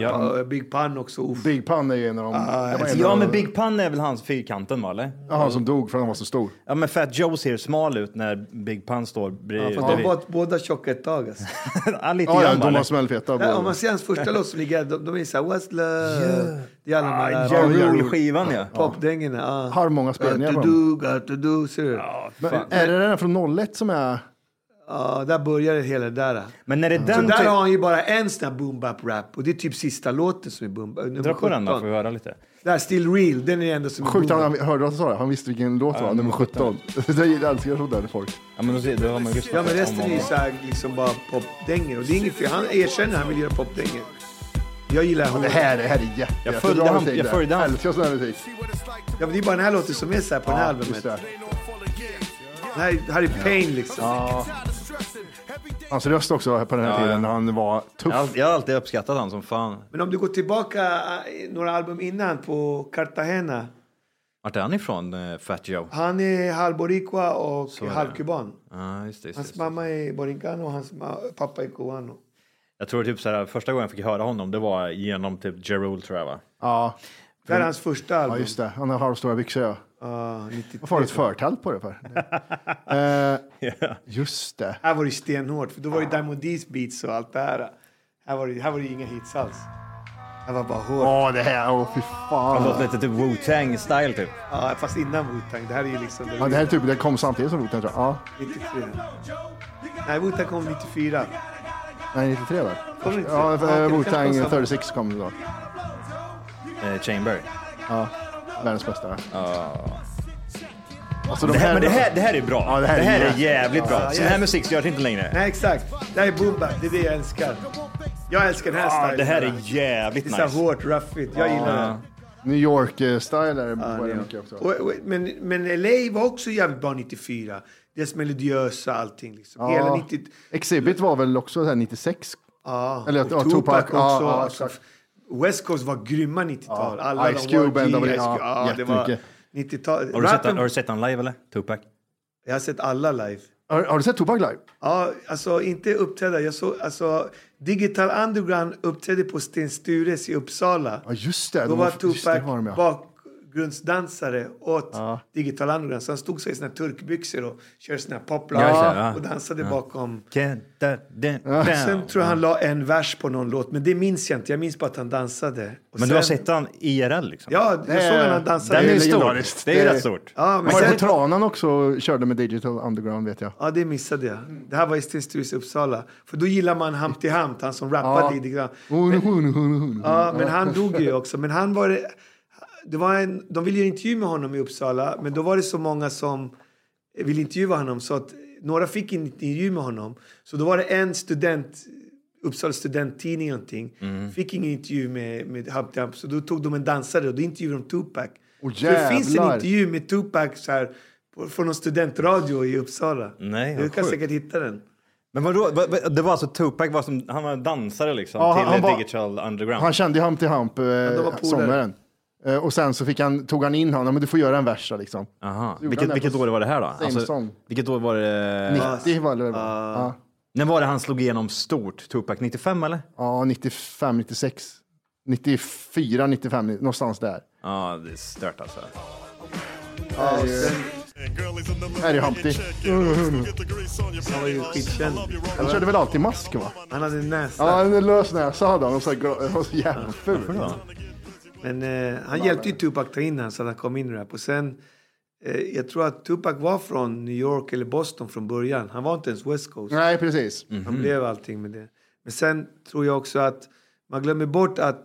S8: Ja. Big Pun också. Uff.
S6: Big Pun är ju en av
S8: Ah,
S6: de... det var en
S2: Alltså, Ja,
S6: av
S2: men
S6: de-
S2: Big Pun är väl hans fyrkanten va, eller?
S6: Ja, han som dog för han var så stor.
S2: Ja, men Fat Joe ser smal ut när Big Pun står bredvid.
S8: Fast de var båda tjocka ett tag alltså.
S2: Ja, lite
S6: Ja, ja,
S2: grann va,
S6: de var
S2: eller?
S6: smällfeta.
S8: Nej, Om man ser hans första låt som ligger de, de är såhär What's love? Det är alla de
S2: Ja,
S8: här
S2: Ja,
S8: ja,
S2: Rule-skivan ja.
S8: popdängorna. Ah.
S6: Har många spelningar på
S8: Got to
S6: dem.
S8: do, got to do. Ser du? Ja,
S6: Men är det den från 01 som är...
S8: där börjar det hela där. ah.
S2: Men när det är den...
S8: Där
S2: typ-
S8: har han ju bara en sån här boom bap rap och det är typ sista låten som är boom bap. nummer
S2: Dra på den då,
S8: 17.
S2: får vi höra lite.
S8: Där, Still Real, den är den enda som är
S6: Sjukt,
S8: boom
S6: han,
S8: bap.
S6: han hörde du vad han sa? det? Han visste vilken låt det var, nummer 17. Jag älskar sånt där folk.
S2: Ja, men då, ser- då har man ju
S8: Ja,
S2: lyssnat
S8: men resten
S2: om
S8: är ju
S2: honom.
S8: så här, liksom bara popdängor. Och det är inget fel. Han erkänner att han vill göra popdängor. Jag gillar honom.
S6: Det här, det här är jätte,
S2: Jag
S6: jättebra
S2: följde han-
S6: musik
S2: jag
S6: det.
S2: följde han.
S6: Älskar sån här musik.
S8: Ja, men det är bara den här låten som är så här på den här albumet.
S6: Just
S8: Det
S6: det.
S8: här, det här är pain liksom.
S6: Hans röst också här på den här
S2: Ja,
S6: tiden
S2: ja.
S6: när han var
S2: Jag
S6: tuff.
S2: har alltid- Jag har alltid uppskattat han som fan.
S8: Men om du går tillbaka eh, några album innan på Cartagena.
S2: Vart är han ifrån, eh, Fat Joe?
S8: Han är halvboricua och
S2: är det.
S8: halvkuban.
S2: Ja, just det, just det,
S8: Hans
S2: just det.
S8: mamma är borincano och hans ma- pappa är cubano.
S2: Jag tror typ så här, första gången jag fick höra honom, det var genom typ Jerul tror jag va?
S6: Ja,
S8: Det här är hans första
S6: ja,
S8: album.
S6: just det. Han har halvstora byxor ja.
S8: Ah, 93.
S6: Varför har du ett förtält på det för? Eh, Just det.
S8: Här var det stenhårt, för då var det Diamond D's beats och allt det här. Här var det, här var det inga hits alls. Här var bara hårt.
S6: Åh, det här, åh fy
S2: Han
S6: fan.
S2: låter lite typ Wu-Tang style typ.
S8: Ja, fast innan Wu-Tang. Det här är ju liksom...
S6: Ja, det här är typ, det kom samtidigt som roten tror jag. Ja,
S8: 93. Nej, Wu-Tang kom 94.
S6: nej, 93 väl?
S8: Kom inte-
S6: Ja,
S8: det kanske
S6: eh, Wu-Tang
S8: var samma.
S6: 36 kom då.
S2: Eh, Chamber.
S6: Ja, världens bästa. Alltså de
S2: Det här,
S6: här...
S2: men det här, det här är bra.
S6: Ja,
S2: det
S6: det här
S2: här,
S6: är
S2: är
S6: jävligt
S2: jävligt bra.
S8: Ja,
S2: Sån här musik så görs inte längre.
S8: Nej, exakt. Det här är Booba. Det är det jag älskar. Jag älskar den här
S2: Ah,
S8: stilen.
S2: det här är
S8: Det
S2: jävligt
S8: är så här
S2: nice.
S8: hårt, ruffigt. Jag gillar det.
S6: New York-style är det var det
S8: Ja.
S6: mycket också.
S8: Och, och, men, men LA var också jävligt bra 94. Deras melodiösa allting. Liksom. Hela 90...
S6: Exhibit var väl också så här 96?
S8: Ja,
S6: Eller
S8: och
S6: ja,
S8: Tupac,
S6: Tupac,
S8: också.
S6: ja, ja,
S8: Alltså,
S6: exakt.
S8: West Coast var grymma 90-tal.
S6: Ja,
S8: Alla
S6: Ice
S8: de var
S6: Cube,
S8: G,
S6: NWA,
S8: Ice Cube.
S6: ja,
S8: Ja, det var
S6: jättemycket.
S8: 90-tal.
S2: Har du, sett, han-
S8: Rappen,
S2: har du sett han live eller? Tupac?
S8: jag har sett alla live.
S6: Har, har du sett Tupac live?
S8: Ja, alltså inte uppträda. Jag såg, alltså, Digital Underground uppträdde på Sten Stures i Uppsala.
S6: Ja, just det.
S8: Då
S6: de
S8: var
S6: just det
S8: Tupac
S6: var de, ja.
S8: bak, undergrundsdansare åt digital underground. Så han stod så i sina turkbyxor och körde sina poplar
S2: Ja, just det, ja.
S8: och dansade bakom.
S2: Can't that dance
S8: Sen
S2: down.
S8: tror jag han la en vers på någon låt, men det minns jag inte. Jag minns bara att han dansade. Och
S2: Men
S8: sen,
S2: du har sett han IRL liksom?
S8: Ja, jag såg han dansa.
S2: Den
S6: Det
S2: är
S6: är
S2: ju stor.
S6: legendariskt.
S2: Det är ju
S6: Det-
S2: rätt stort.
S8: Ja, men
S6: Marko
S8: sen,
S6: Tranan också körde med Digital Underground vet jag.
S8: ja, det missade jag. Det här var i Sten Stures i Uppsala. För då gillar man Humpty Hump, han som rappade i det. Ja, men han dog ju också. Men han var det, det var en, de ville göra intervju med honom i Uppsala, men då var det så många som ville intervjua honom så att några fick inte intervju med honom. Så då var det en student, Uppsala studenttidning någonting,
S2: Mm.
S8: fick ingen intervju med, med Humpty Hump. Så då tog de en dansare och då intervjuade de Tupac.
S6: Åh,
S8: så det finns en
S6: jävlar.
S8: intervju med Tupac så här, på, från någon studentradio i Uppsala.
S2: Nej, vad
S8: du kan
S2: sjukt.
S8: säkert hitta den.
S2: Men vadå? Va- va- Det var alltså Tupac, var som, han var dansare liksom
S6: Ja, han-
S2: till
S6: han
S2: eh,
S6: var-
S2: Digital Underground?
S6: Han kände ju Humpty Hump, eh,
S8: de var polare.
S6: sångaren. Eh, och sen så fick han, tog han in honom, men du får göra en vers då, liksom.
S2: Aha.
S6: gjorde
S2: Vilket,
S6: han det
S2: vilket
S6: på
S2: år var det här då? Alltså,
S6: same song.
S2: vilket år var det?
S6: 90 var det väl? Ja,
S2: När var det han slog igenom stort? Tupac 95 eller?
S6: Ja, 95, 96. 94, 95, någonstans där.
S2: Ja, det är stört alltså.
S6: Här är Humpty.
S8: Mm. Han var ju skitkänd.
S6: Han körde väl alltid mask va?
S8: Han hade en näsa.
S6: Ja, en lös näsa hade han och så, här gla- han var så jävla ful.
S8: Men eh, han hjälpte ju Tupac ta in honom så att han kom in i rap. Och sen, eh, jag tror att Tupac var från New York eller Boston från början. Han var inte ens West Coast.
S6: Nej, precis.
S8: Han blev allting med det. Men sen tror jag också att man glömmer bort att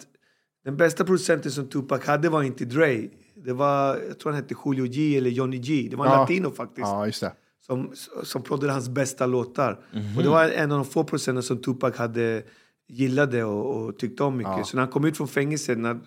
S8: den bästa producenten som Tupac hade var inte Dre. Det var, jag tror han hette Julio G eller Johnny G. Det var en
S6: Ja.
S8: latino faktiskt
S6: Ja, just det.
S8: som, som prodde hans bästa låtar.
S6: Mhm.
S8: Och det var en av de få procenten som Tupac hade gillade och, och tyckte om mycket. Så när han kom ut från fängelset, när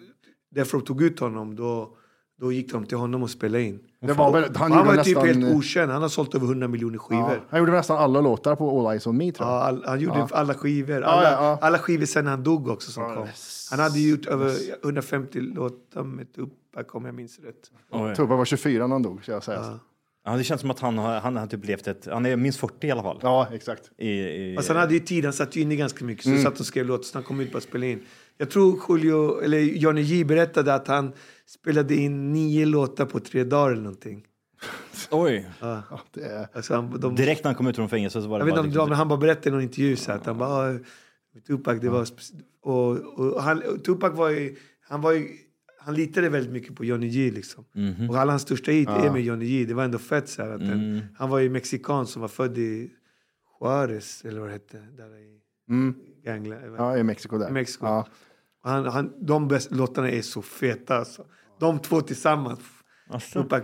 S8: därför tog ut honom, då, då gick de till honom och spelade in.
S6: det var, väl-
S8: Han,
S6: han, gjorde
S8: var
S6: nästan,
S8: typ helt okänd, han har sålt över 100 miljoner skivor.
S6: ja, han gjorde nästan alla låtar på All Eyes On Me tror jag.
S8: Ja, all, han gjorde alla skivor. Alla,
S6: ja, ja.
S8: alla skivor sen han dog också som kom. Han hade gjort över 150 låtar med Tupac om jag minns rätt.
S2: Oj.
S6: Tupac var 24 när han dog, ska jag säga. Ja,
S2: Ja, det känns som att han har, han har typ levt ett... Han är minst 40 i alla fall.
S6: exakt.
S2: I, i,
S8: Fast han
S6: Eh.
S8: hade ju tid, han satt ju inne ganska mycket.
S6: Mm.
S8: Så satt och skrev låtar, så han kom ut bara spelade in. Jag tror Julio, eller Johnny J berättade att han spelade in nio låtar på tre dagar eller någonting.
S2: Oj!
S6: Det liksom är...
S8: Alltså han, de,
S2: Direkt när han kom ut från fängelset så var det
S8: jag vet inte
S2: bara... liksom-
S8: om det var, men han bara berättade i någon intervju så att han bara... "Ah, med Tupac, det var... spe- Och, och han, och Tupac var ju... Han var ju... Han litade väldigt mycket på Johnny J liksom.
S6: Mhm.
S8: Och alla hans största hit är med Johnny J. Det var ändå fett så här att den,
S6: Mm.
S8: Han var ju mexikan som var född i Juarez eller vad det hette. Där i Gangla,
S6: Mm. ja, i Mexiko där.
S8: i Mexiko.
S6: Ja.
S8: Han, han, de bästa låtarna är så feta. Alltså. De två tillsammans.
S2: Alltså.
S8: Tupac,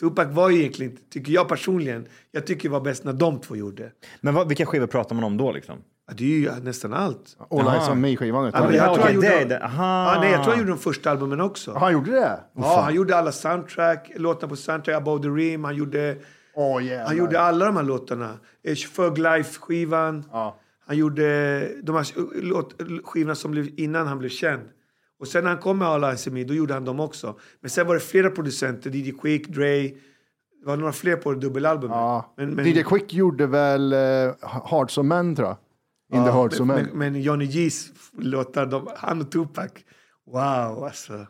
S8: Tupac var ju egentligen inte, tycker jag personligen, jag tycker var bäst när de två gjorde.
S2: Men vad, vilka skivor pratar man om då liksom?
S8: Ja, Det är ju nästan allt.
S6: All Eyes On Me-skivan. vet du.
S8: men jag tror han
S2: okej,
S8: gjorde-
S2: det är det. Aha.
S8: Ja, nej, jag tror han gjorde de första albumen också.
S6: Han gjorde det?
S8: Ja, han gjorde alla soundtrack, låtarna på soundtrack, Above the Rim, han gjorde,
S6: Åh, jävlar.
S8: han gjorde alla de här låtarna. Eh, Thug Life-skivan.
S6: Ja.
S8: Han gjorde de här låt, skivorna som blev innan han blev känd. Och sen när han kom med All Eyes On Me, då gjorde han dem också. Men sen var det flera producenter, DJ Quick, Dre. Det var några fler på dubbelalbumet.
S6: Ja.
S8: Men, men,
S6: DJ Quick gjorde väl uh, Hearts of Men, tror jag. In the Hearts of Men.
S8: men, men Johnny G's låtar, de, han och Tupac. Wow, alltså.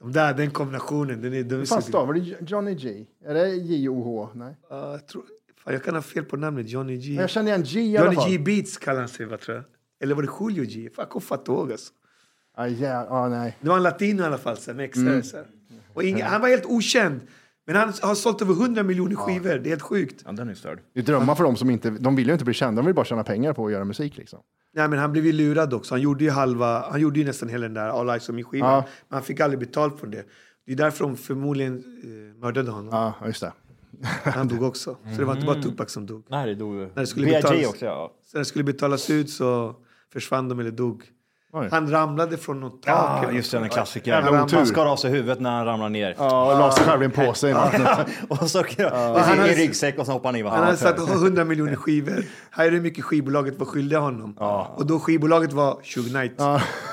S8: De där, den kombinationen. Den är, den är
S6: Fan
S8: så,
S6: stavar det J- Johnny G? Är det J-O-H? Nej.
S8: Ja, jag, tror, fan, jag kan ha fel på namnet, Johnny G.
S6: Men jag känner igen G i alla
S8: Johnny
S6: fall.
S8: G Beats kallar han sig, va, tror jag. Eller var det Julio G? Fan, jag kommer fan inte ihåg. Alltså.
S6: Ah, yeah. ah, nej.
S8: Det var en latino i alla fall, sen, extra,
S6: Mm.
S8: så här. Och ingen, Han var helt okänd. Men han har sålt över 100 miljoner skivor. Det är helt sjukt.
S2: Ja, den är störd.
S6: Det är drömmar för dem som inte... De vill ju inte bli kända, de vill bara tjäna pengar på att göra musik. Liksom.
S8: Nej, men han blev ju lurad också. Han gjorde ju, halva, han gjorde ju nästan hela den där All Eyes On Me-skivan.
S6: Ja.
S8: Men han fick aldrig betalt för det. Det är därför de förmodligen eh, mördade honom.
S6: Ja, ah, just det.
S8: Han dog också. Så det var inte
S6: Mm.
S8: bara Tupac som dog.
S2: Nej, det dog ju.
S8: det skulle
S2: B.I.G.
S8: betalas.
S2: också, ja.
S8: Så när det skulle betalas ut så försvann de eller dog.
S6: Oj.
S8: Han ramlade från något tak. eller
S2: Ja,
S8: något
S2: Ah, just det,
S8: sånt.
S2: den klassikern.
S6: Jävla
S2: Han
S6: otur.
S2: skar av sig huvudet när han ramlar ner.
S6: Ja, och la sig själv i en påse i
S2: äh.
S6: vattnet.
S2: Och så
S8: han
S2: i,
S8: hade-
S2: i ryggsäck och så hoppar han i. vad
S8: Han hade
S2: har
S8: satt 100 miljoner skivor. Här är hur mycket skivbolaget var skyldiga honom. Och då skivbolaget var Shug Knight.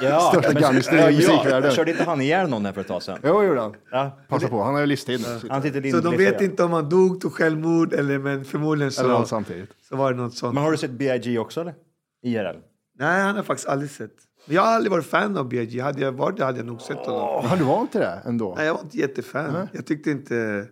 S2: Ja,
S6: Största
S2: men-
S6: gangster i
S2: ja, ja.
S6: musikvärlden.
S2: Körde inte han ihjäl någon här för ett tag sedan?
S6: Jo, gjorde han.
S2: Ja.
S6: Passa på, han har ju livstid nu.
S2: Han sitter
S8: Så de
S2: lindrigt
S8: vet
S2: i-
S8: inte om han dog, tog självmord eller men förmodligen
S6: Eller
S8: så,
S6: allt samtidigt.
S8: så var det något sånt.
S2: Men har du sett B.I.G. också eller? IRL?
S8: Nej, han har faktiskt aldrig sett. Men jag har aldrig varit fan av BG. Hade jag varit det hade jag nog sett honom.
S6: Har du valt till det ändå?
S8: Nej, jag var inte jättefan. Jag tyckte inte...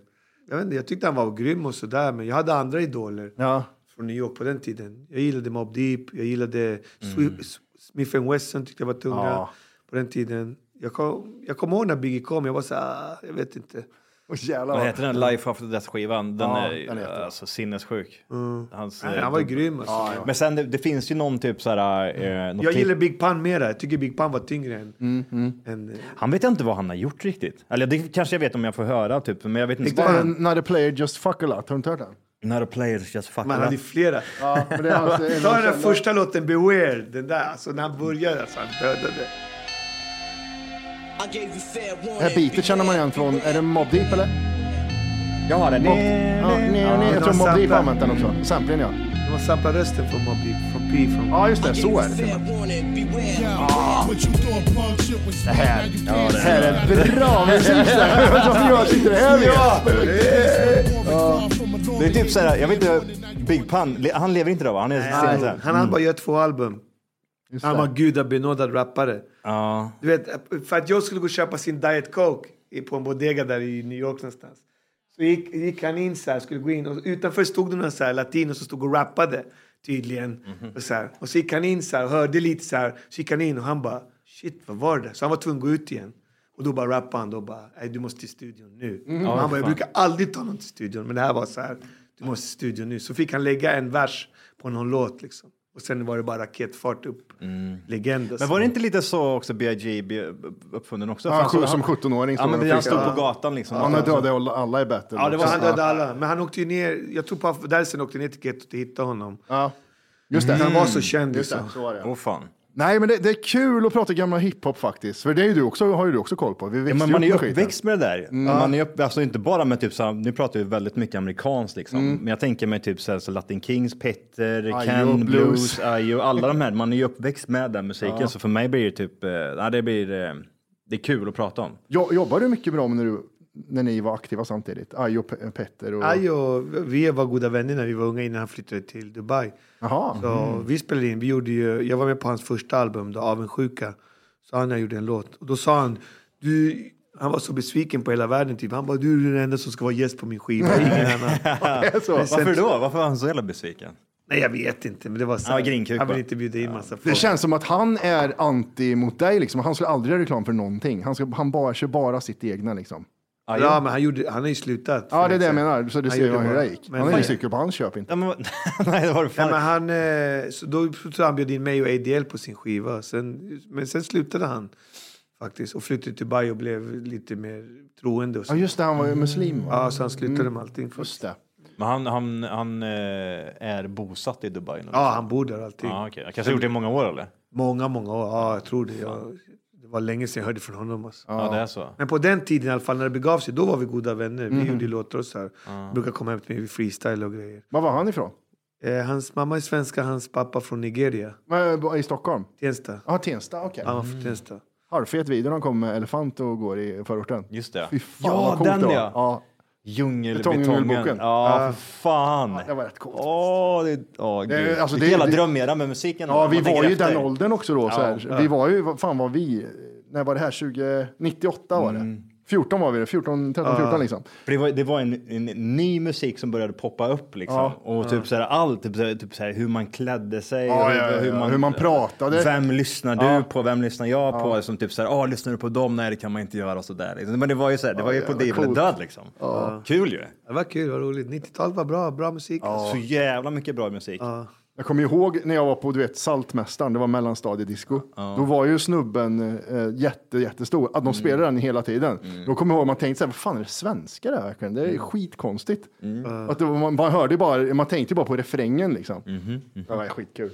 S8: Jag, vet inte, jag tyckte han var grym och sådär, men jag hade andra idoler
S6: Ja.
S8: från New York på den tiden. Jag gillade Mobb Deep, jag gillade Swi- S- Smith Wesson tyckte jag var tunga
S6: Mm. Ja.
S8: på den tiden. Jag kom, jag kommer ihåg när Biggie kom, jag var så här, ah, jag vet inte.
S6: Åh, jävlar.
S2: Vad heter den? Life After Death-skivan. Mm. Den
S6: Ja,
S2: är
S6: den heter det.
S2: alltså, sinnessjuk. Hans, eh,
S8: Han var ju grym alltså.
S2: Men sen det, det finns ju någon typ så här... Eh, något
S8: Jag
S2: tips-
S8: gillar Big Pun mera. Jag tycker Big Pun var tyngre än...
S6: Mm,
S8: än eh,
S2: Han vet inte vad han har gjort riktigt. Eller det kanske jag vet om jag får höra typ, men jag vet inte.
S6: Det är Not a player just fuck a lot. Har du inte hört den?
S2: Not a player just fuck
S8: man hade ju flera.
S6: Ja, men det är alltså en
S8: Ta
S6: av
S8: den där
S6: de-
S8: första låten, Beware. Den där, alltså när han började, alltså han dödade.
S6: Det här beatet känner man igen från, är det Mobb Deep eller?
S2: Ja, den
S6: Mobb,
S2: är...
S6: ja, nej, nej,
S8: det
S6: jag tror Mobb
S8: var
S6: Deep har
S8: samplar.
S6: använt den också. Samplingen ja.
S8: De har samplat rösten från Mobb Deep, från P, från...
S6: Ja just det, så är det. Ah. Det här, det här är bra musik det här. Som jag sitter här med.
S2: Det är typ så här, jag vet inte, Big Pun, le- han lever inte då va? Han är
S8: Nej,
S2: sen
S6: Mm.
S8: han hade bara gjort två album. Han var gudabenådad rappare.
S2: Ja.
S8: Du vet, för att jag skulle gå och köpa sin Diet Coke i- på en bodega där i New York någonstans. Så gick, gick han in så här, skulle gå in och utanför stod det några så här latino som stod och rappade tydligen.
S2: Mhm.
S8: och, så här. och så gick han in så här och hörde lite så här. Så gick han in och han bara shit vad var det? Så han var tvungen att gå ut igen. Och då bara rappade han då bara nej du måste till studion nu.
S2: Mhm.
S8: Och han bara jag brukar aldrig ta någon till studion men det här var så här du måste till studion nu. Så fick han lägga en vers på någon låt liksom. Och sen var det bara raketfart upp. Mm. Legend.
S2: Men var det inte lite så också B.I.G. be- uppfunnen också? För
S6: Ja,
S2: han stod-
S6: som 17-åring.
S2: Ja, men det- han
S6: fick-
S2: stod på gatan liksom.
S6: Han har dödat alla i battle.
S2: Ja, det var
S8: Så han dödade alla. Men han åkte ju ner. Jag tror Puff Daddysen åkte ner till gettot och hittade honom.
S6: Ja. Just det.
S8: Han var så känd.
S6: Mm. Just
S8: Liksom.
S6: det, så var det.
S2: Åh fan.
S6: Nej, men det, det är kul att prata gamla hiphop faktiskt. För det är ju du också, har ju du också koll på. Vi
S2: Ja,
S6: växte
S2: men man är ju
S6: upp med skiten.
S2: uppväxt med det där. Man är upp, alltså inte bara med typ så här, nu pratar vi väldigt mycket amerikanskt liksom. Men jag tänker mig typ så här, så Latin Kings, Petter,
S6: Ayo,
S2: Ken,
S6: Blues.
S2: Blues, Ayo, alla de här. Man är ju uppväxt med den musiken. Så för mig blir det typ, eh, nej det blir, eh, det är kul att prata om.
S6: Jo, jobbar du mycket med dem när, du, när ni var aktiva samtidigt? Ajo, Pe- Petter och...
S8: Aj och vi var goda vänner när vi var unga innan han flyttade till Dubai.
S6: Jaha.
S8: Så vi spelade in. Vi gjorde ju, jag var med på hans första album, då, Avundsjuka. Så han och jag gjorde en låt. Och då sa han, du, han var så besviken på hela världen. Typ. Han bara, du är den enda som ska vara gäst på min skiva. Ingen annan.
S2: Varför då? Varför var han så jävla besviken?
S8: Nej, jag vet inte. Men det var så.
S2: Han var grinkuk,
S8: han ville
S2: va?
S8: inte bjuda in massa folk.
S6: Det känns som att han är anti mot dig liksom. Han skulle aldrig göra reklam för någonting. Han, ska, han bara, kör bara sitt egna liksom.
S8: ja, men han, gjorde, han har ju slutat.
S6: Ja, det är det jag menar. Så det
S8: Han
S6: ser
S8: gjorde
S6: jag hur
S8: bara-
S6: det gick.
S8: men-
S6: Han är ju cykel på hans köp inte.
S2: Ja, men, vad- nej, det var det fan.
S8: Nej, men han, eh, så då så han bjöd in mig och ADL på sin skiva. Sen, men sen slutade han faktiskt och flyttade till Dubai och blev lite mer troende. Och
S6: Ja,
S8: så.
S6: just det. Han var ju muslim. Va?
S8: Ja, så han slutade med allting. Först.
S6: Just det.
S2: Men han, han, han eh, är bosatt i Dubai nu?
S8: Ja, han bor där alltid.
S2: Ja, okej. Han kanske har gjort det i många år eller?
S8: Många, många år. Ja, jag tror det. Jag, det var länge sedan jag hörde från honom. Alltså.
S2: Ja, det är så.
S8: Men på den tiden i alla fall, när det begav sig, då var vi goda vänner.
S6: Mhm.
S8: Vi gjorde låtar och så här. Brukar komma hem till mig, vi freestyle och grejer.
S6: Var var han ifrån?
S8: Eh, hans mamma är svenska, hans pappa från Nigeria.
S6: Var- I Stockholm?
S8: Tensta.
S6: Ja, Tensta. Okej.
S8: Han var från Tensta.
S6: Harfet video när han kom med elefant och går i förorten.
S2: Just det.
S6: Fy fan,
S2: Ja,
S6: vad coolt
S2: den
S6: det var.
S2: ja.
S6: ja. Betongjungelboken.
S2: Djungelbetongen. Ja, för fan.
S6: det var rätt coolt.
S2: Åh, det, åh, gud.
S6: Det är-
S2: det,
S6: alltså,
S2: är
S6: det-
S2: hela
S6: det-
S2: drömera med musiken.
S6: Ja,
S2: om
S6: vi
S2: man tänker
S6: var ju
S2: efter.
S6: den åldern också då. Så här. Vi var ju, vad fan var vi? När var det här? 20, 98 var det.
S2: Mm.
S6: 14 var vi det. 14, 13, 14 liksom.
S2: För det var, det var en, en ny musik som började poppa upp liksom.
S6: Ja.
S2: Och typ så här, allt, typ, så här, typ så här, hur man klädde sig,
S6: Ja,
S2: hur,
S6: ja, ja, ja. Hur man pratade.
S2: Vem lyssnar du på, vem lyssnar jag på? Som typ så här, ah, lyssnar du på dem? Nej, det kan man inte göra och så där. Liksom. Men det var ju så här, det var ju på liv eller död liksom. Kul ju.
S8: Det var kul, det var roligt. 90-talet var bra, bra musik. alltså.
S2: Så jävla mycket bra musik.
S6: Jag kommer ihåg när jag var på du vet, Saltmästaren, det var mellanstadiedisco. Då var ju snubben eh, jätte, jättestor, att de spelade den hela tiden. Då kommer jag ihåg att man tänkte så här, vad fan är det svenska det här verkligen? Det är skitkonstigt. Att det, var- man, man, hörde ju bara, man tänkte ju bara på refrängen liksom. Det var skitkul.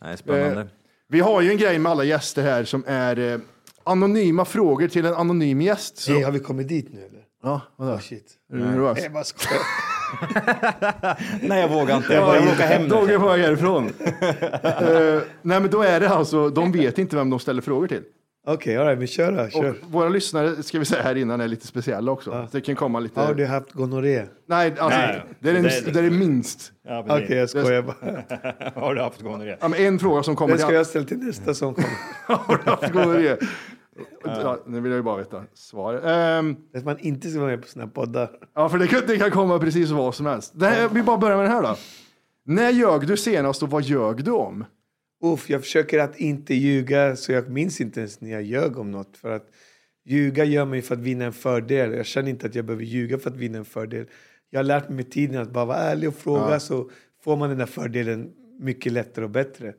S2: Nej, spännande.
S6: Eh, vi har ju en grej med alla gäster här som är eh, anonyma frågor till en anonym gäst. Så,
S8: Hej, har vi kommit dit nu eller?
S6: ja, vadå?
S8: Shit.
S6: Är du nervös?
S8: Jag bara skojar.
S2: Nej, jag vågar inte. Jag bara jag vill åka hem nu.
S6: Dogge på väg härifrån. Eh, nej, men då är det alltså, de vet inte vem de ställer frågor till.
S8: Okej, alright, men kör då. Kör.
S6: Och våra lyssnare, ska vi säga här innan, är lite speciella också. Så det kan komma lite...
S8: Har du haft gonorré?
S6: Nej, alltså,
S2: Nej.
S6: det är den,
S2: Det-
S6: det är den minst.
S2: Ja, precis.
S8: Okej, jag skojar bara.
S2: Har du haft gonorré?
S6: Ja, men en fråga som kommer...
S8: Den ska jag ställa till nästa som kommer.
S6: Har du haft gonorré? Ja, nu vill jag ju bara veta svaret. Ehm,
S8: Att man inte ska vara med på såna här poddar.
S6: Ja, för det kan, det kan komma precis vad som helst. Det här, vi bara börjar med det här då. När ljög du senast och vad ljög du om?
S8: Uff, jag försöker att inte ljuga så jag minns inte ens när jag ljög om något. För att ljuga gör mig för att vinna en fördel. Jag känner inte att jag behöver ljuga för att vinna en fördel. Jag har lärt mig med tiden att bara vara ärlig och fråga så får man den där fördelen mycket lättare och bättre.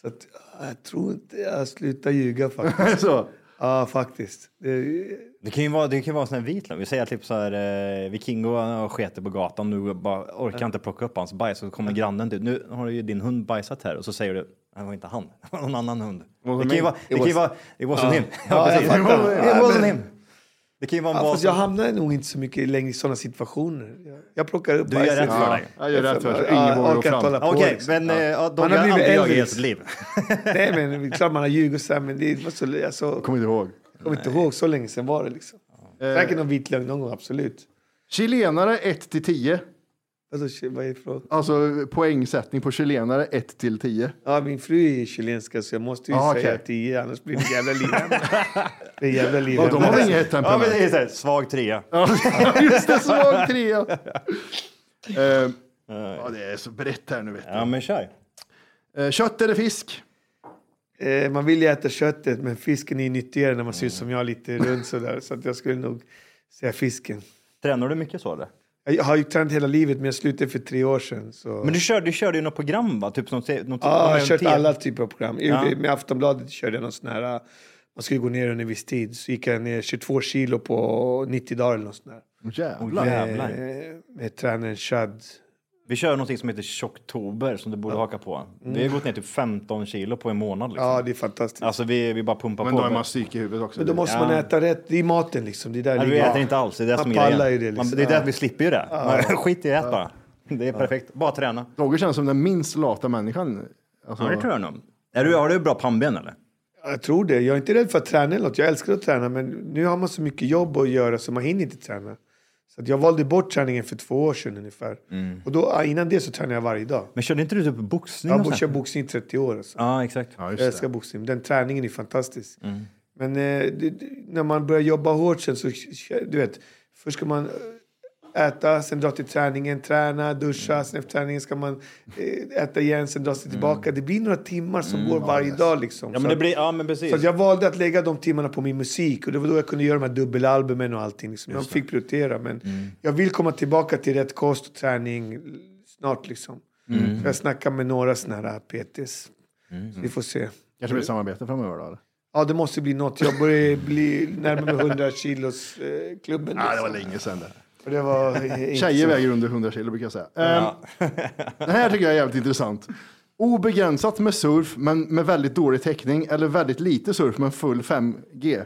S8: Så att, ah, jag tror inte jag slutar ljuga faktiskt.
S6: Så,
S8: ja, faktiskt. Det,
S2: Det kan ju vara, det kan ju vara en sån här vit lögn. Vi säger typ så här, eh, Vikingo har sketit på gatan, nu bara orkar inte plocka upp hans bajs. Och så
S8: Mm.
S2: kommer grannen till, nu har ju din hund bajsat här. Och så säger du, det var inte han, det var någon annan hund. Det kan ju vara, det kan ju vara, it wasn't him. Ja,
S8: jag
S2: precis.
S8: fattar.
S2: It
S8: Ja,
S2: wasn't
S8: men-
S2: him. Det kan ju vara en
S8: ja,
S2: vad
S8: fast jag
S2: som,
S8: hamnar nog inte så mycket längre i sådana situationer. Jag, jag plockar upp
S2: du gör
S8: bajset.
S2: rätt för dig.
S6: jag gör rätt för att
S8: Ja,
S6: ingen vågar gå
S8: orkar inte
S6: fram.
S8: hålla på.
S2: Okej,
S8: liksom.
S2: men eh, ja. de
S8: Man har
S2: har aldrig jag
S8: blivit
S2: i
S8: äldre.
S2: hela sitt liv.
S8: Nej, men det är klart man har ljugit och så här, men det var så... Alltså,
S6: Kommer inte ihåg.
S8: kommer inte ihåg, så länge sedan var det liksom.
S2: Eh.
S8: Säkert någon vit lögn någon gång, absolut.
S6: Chilenare 1 till 10.
S8: Alltså, ch- vad är det för...
S6: Alltså poängsättning på chilenare 1 till 10.
S8: Ja, min fru är chilenska så jag måste ju
S6: Ah,
S8: säga
S6: okej.
S8: tio, annars blir det jävla liv. det är jävla liv.
S6: Och de har väl inget
S2: Ja, men
S6: temperament?
S2: det är så här, svag trea.
S6: Just det, svag trea. Ehm, ja, det är så brett här nu vet
S2: Ja, men kör.
S6: du. Eh, Kött eller fisk?
S8: Eh, man vill ju äta köttet, men fisken är ju nyttigare när man ser ut som jag, lite runt sådär. Så att jag skulle nog säga fisken.
S2: Tränar du mycket så eller?
S8: Jag har ju tränat hela livet, men jag slutade för tre år sedan. Så...
S2: Men du körde, du körde ju något program va? Typ som, te- något,
S8: Ja, jag
S2: någon
S8: har kört
S2: te-
S8: alla typer av program. I- Med Aftonbladet körde jag någon sån här... äh, Man skulle gå ner under en viss tid. Så gick jag ner 22 kilo på 90 dagar eller något sånt där.
S6: Jävlar.
S2: Jävlar.
S8: Eh, Med, med tränaren Shad.
S2: Vi kör någonting som heter tjocktober som du borde haka på. Vi har gått ner typ 15 kilo på en månad. Liksom.
S8: Mm. Ja, det är fantastiskt.
S2: Alltså vi, vi bara pumpar
S6: Men
S2: på.
S6: då är man psyk i huvudet också.
S8: Men då måste man äta rätt. Det är maten liksom. Det är där
S2: Nej, vi
S8: ligger.
S2: äter inte alls, det är det
S8: Man
S2: som är
S8: pallar ju
S2: grejen.
S8: det liksom.
S2: Man, det är det att vi slipper ju det. Man, skit i att äta bara. Det är perfekt. Bara träna.
S6: Roger känns som den minst lata människan. Alltså,
S2: Ja, det tror jag nog. Är du, har du bra pannben eller?
S8: Ja, Jag tror det. Jag är inte rädd för att träna eller något. Jag älskar att träna, men nu har man så mycket jobb att göra så man hinner inte träna. Så att jag valde bort träningen för två år sedan ungefär.
S2: Mm.
S8: Och då, ja, innan det så tränade jag varje dag.
S2: Men körde inte du typ boxning?
S8: Jag
S2: och
S8: har
S2: sånt?
S8: kört boxning i 30 år. Alltså.
S2: Ja, Mm. exakt.
S6: just
S8: Jag älskar boxning. Den träningen är fantastisk. Men eh, det, det- när man börjar jobba hårt sen så... Du vet, först ska man eh, äta, sen dra till träningen, träna, duscha.
S2: Mm.
S8: Sen efter träningen ska man eh, äta igen, sen dra sig tillbaka. Det blir några timmar som går varje dag. Liksom.
S2: Mm, Ja,
S8: Så
S2: men det
S8: att-
S2: blir, ja, men precis.
S8: så att jag valde att lägga de timmarna på min musik och det var då jag kunde göra de här dubbelalbumen och allting. Liksom. Jag fick prioritera men
S6: Mm.
S8: jag vill komma tillbaka till rätt kost och träning l- snart liksom.
S6: Mm.
S8: Så jag snackar med några sådana här PTs. Så vi får se.
S6: Kanske blir ett samarbete framöver då? Eller?
S8: Ja, det måste bli något. Jag börjar bli närmare 100 kilos eh, klubben.
S6: Ja, det var
S8: liksom.
S6: länge sedan det.
S8: Och det var, eh, inte
S6: Tjejer
S8: så-
S6: väger under 100 kilo brukar jag säga. Ehm, det här tycker jag är jävligt intressant. Obegränsat med surf, men med väldigt dålig täckning. Eller väldigt lite surf, men full 5G.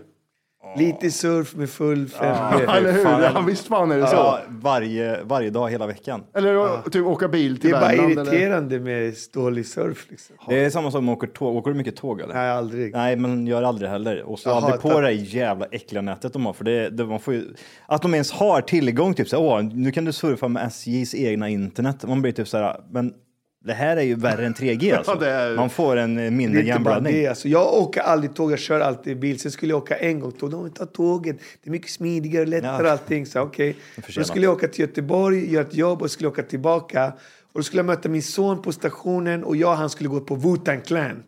S8: Lite surf med full 5G.
S6: Eller hur?
S2: fan.
S6: Ja, visst fan är det så.
S2: ja, varje, varje dag hela veckan.
S6: Eller typ åka bil
S8: Det
S6: till
S8: är bara
S6: Värmland. eller?
S8: irriterande med dålig surf. Liksom.
S2: Det är samma sak med åker tåg. Åker du mycket tåg eller?
S8: Nej, aldrig.
S2: Nej, men gör aldrig heller. Och så
S8: Jag
S2: aldrig
S8: hatar-
S2: på det här jävla äckliga nätet de har. För det, det, man får ju, att de ens har tillgång, typ så här, åh, nu kan du surfa med SJs egna internet. Man blir typ så här, men det här är ju värre än 3G alltså.
S6: Ja, det är-
S2: Man får en eh,
S8: Det
S2: mindre
S8: är inte bara
S2: hjärnblödning.
S8: det. Alltså, jag åker aldrig tåg, jag kör alltid bil. Sen skulle jag åka en gång tåg. De vill ta tåget. Det är mycket smidigare, lättare
S2: Ja.
S8: allting. Så, okay. Då
S2: förtjänar.
S8: skulle jag åka till Göteborg, göra ett jobb och skulle åka tillbaka. Och då skulle jag möta min son på stationen och jag och han skulle gå på Wu-Tang Clan.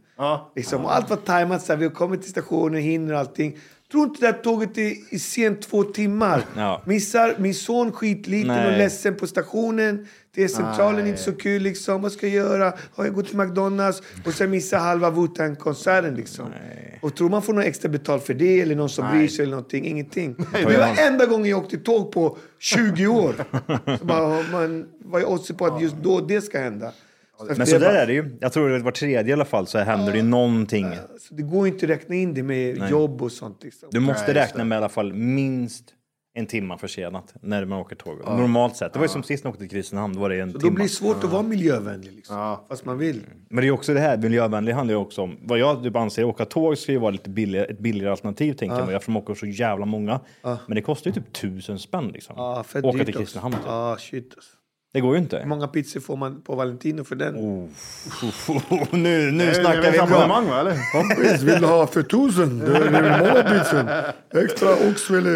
S8: Liksom. Och allt var tajmat. Så här, vi kommer till stationen, hinner och allting. Tror inte det här tåget är i sent två timmar.
S2: Ja.
S8: Missar min son skitliten och
S2: Nej.
S8: ledsen på stationen. T-centralen är inte så kul liksom. Vad ska jag göra? Har jag gått till McDonalds? Och sen missar halva Wu-Tang-konserten liksom. Och tror man får någon extra betalt för det eller någon som bryr sig eller någonting. Ingenting. det var enda gången jag åkte tåg på 20 år. så bara, har man, vad är oddsen på att just då det ska hända? Så
S2: Men
S8: det
S2: så
S8: bara-
S2: där är det ju. Jag tror att var tredje i alla fall så händer det ju någonting.
S8: så det går inte att räkna in det med jobb och sånt. Liksom.
S2: Du måste räkna med i alla fall minst en timma försenat när man åker tåg. Normalt sett. Det var ju som sist när jag åkte till Kristinehamn, då var det en
S8: Då
S2: timma. Mm.
S8: blir det svårt att vara miljövänlig. Liksom. Fast man vill.
S2: Men det är också det här, miljövänlig handlar ju också om, vad jag typ anser, åka tåg ska ju vara lite billigare, ett billigare alternativ tänker man ju eftersom man åker så jävla många. Men det kostar ju typ tusen spänn liksom.
S8: Ja, fett
S2: åka
S8: dyrt
S2: till
S8: också.
S2: Kristinehamn typ.
S8: Ja, shit. alltså.
S2: Det går ju
S8: Hur
S2: inte.
S8: många pizzor får man på Valentino för den?
S2: nu, nu
S6: Det är
S2: snackar
S6: väl
S2: vi bra.
S6: abonnemang va eller?
S8: Kompis, vill du ha för tusen? Det är många pizzor. Extra oxfilé.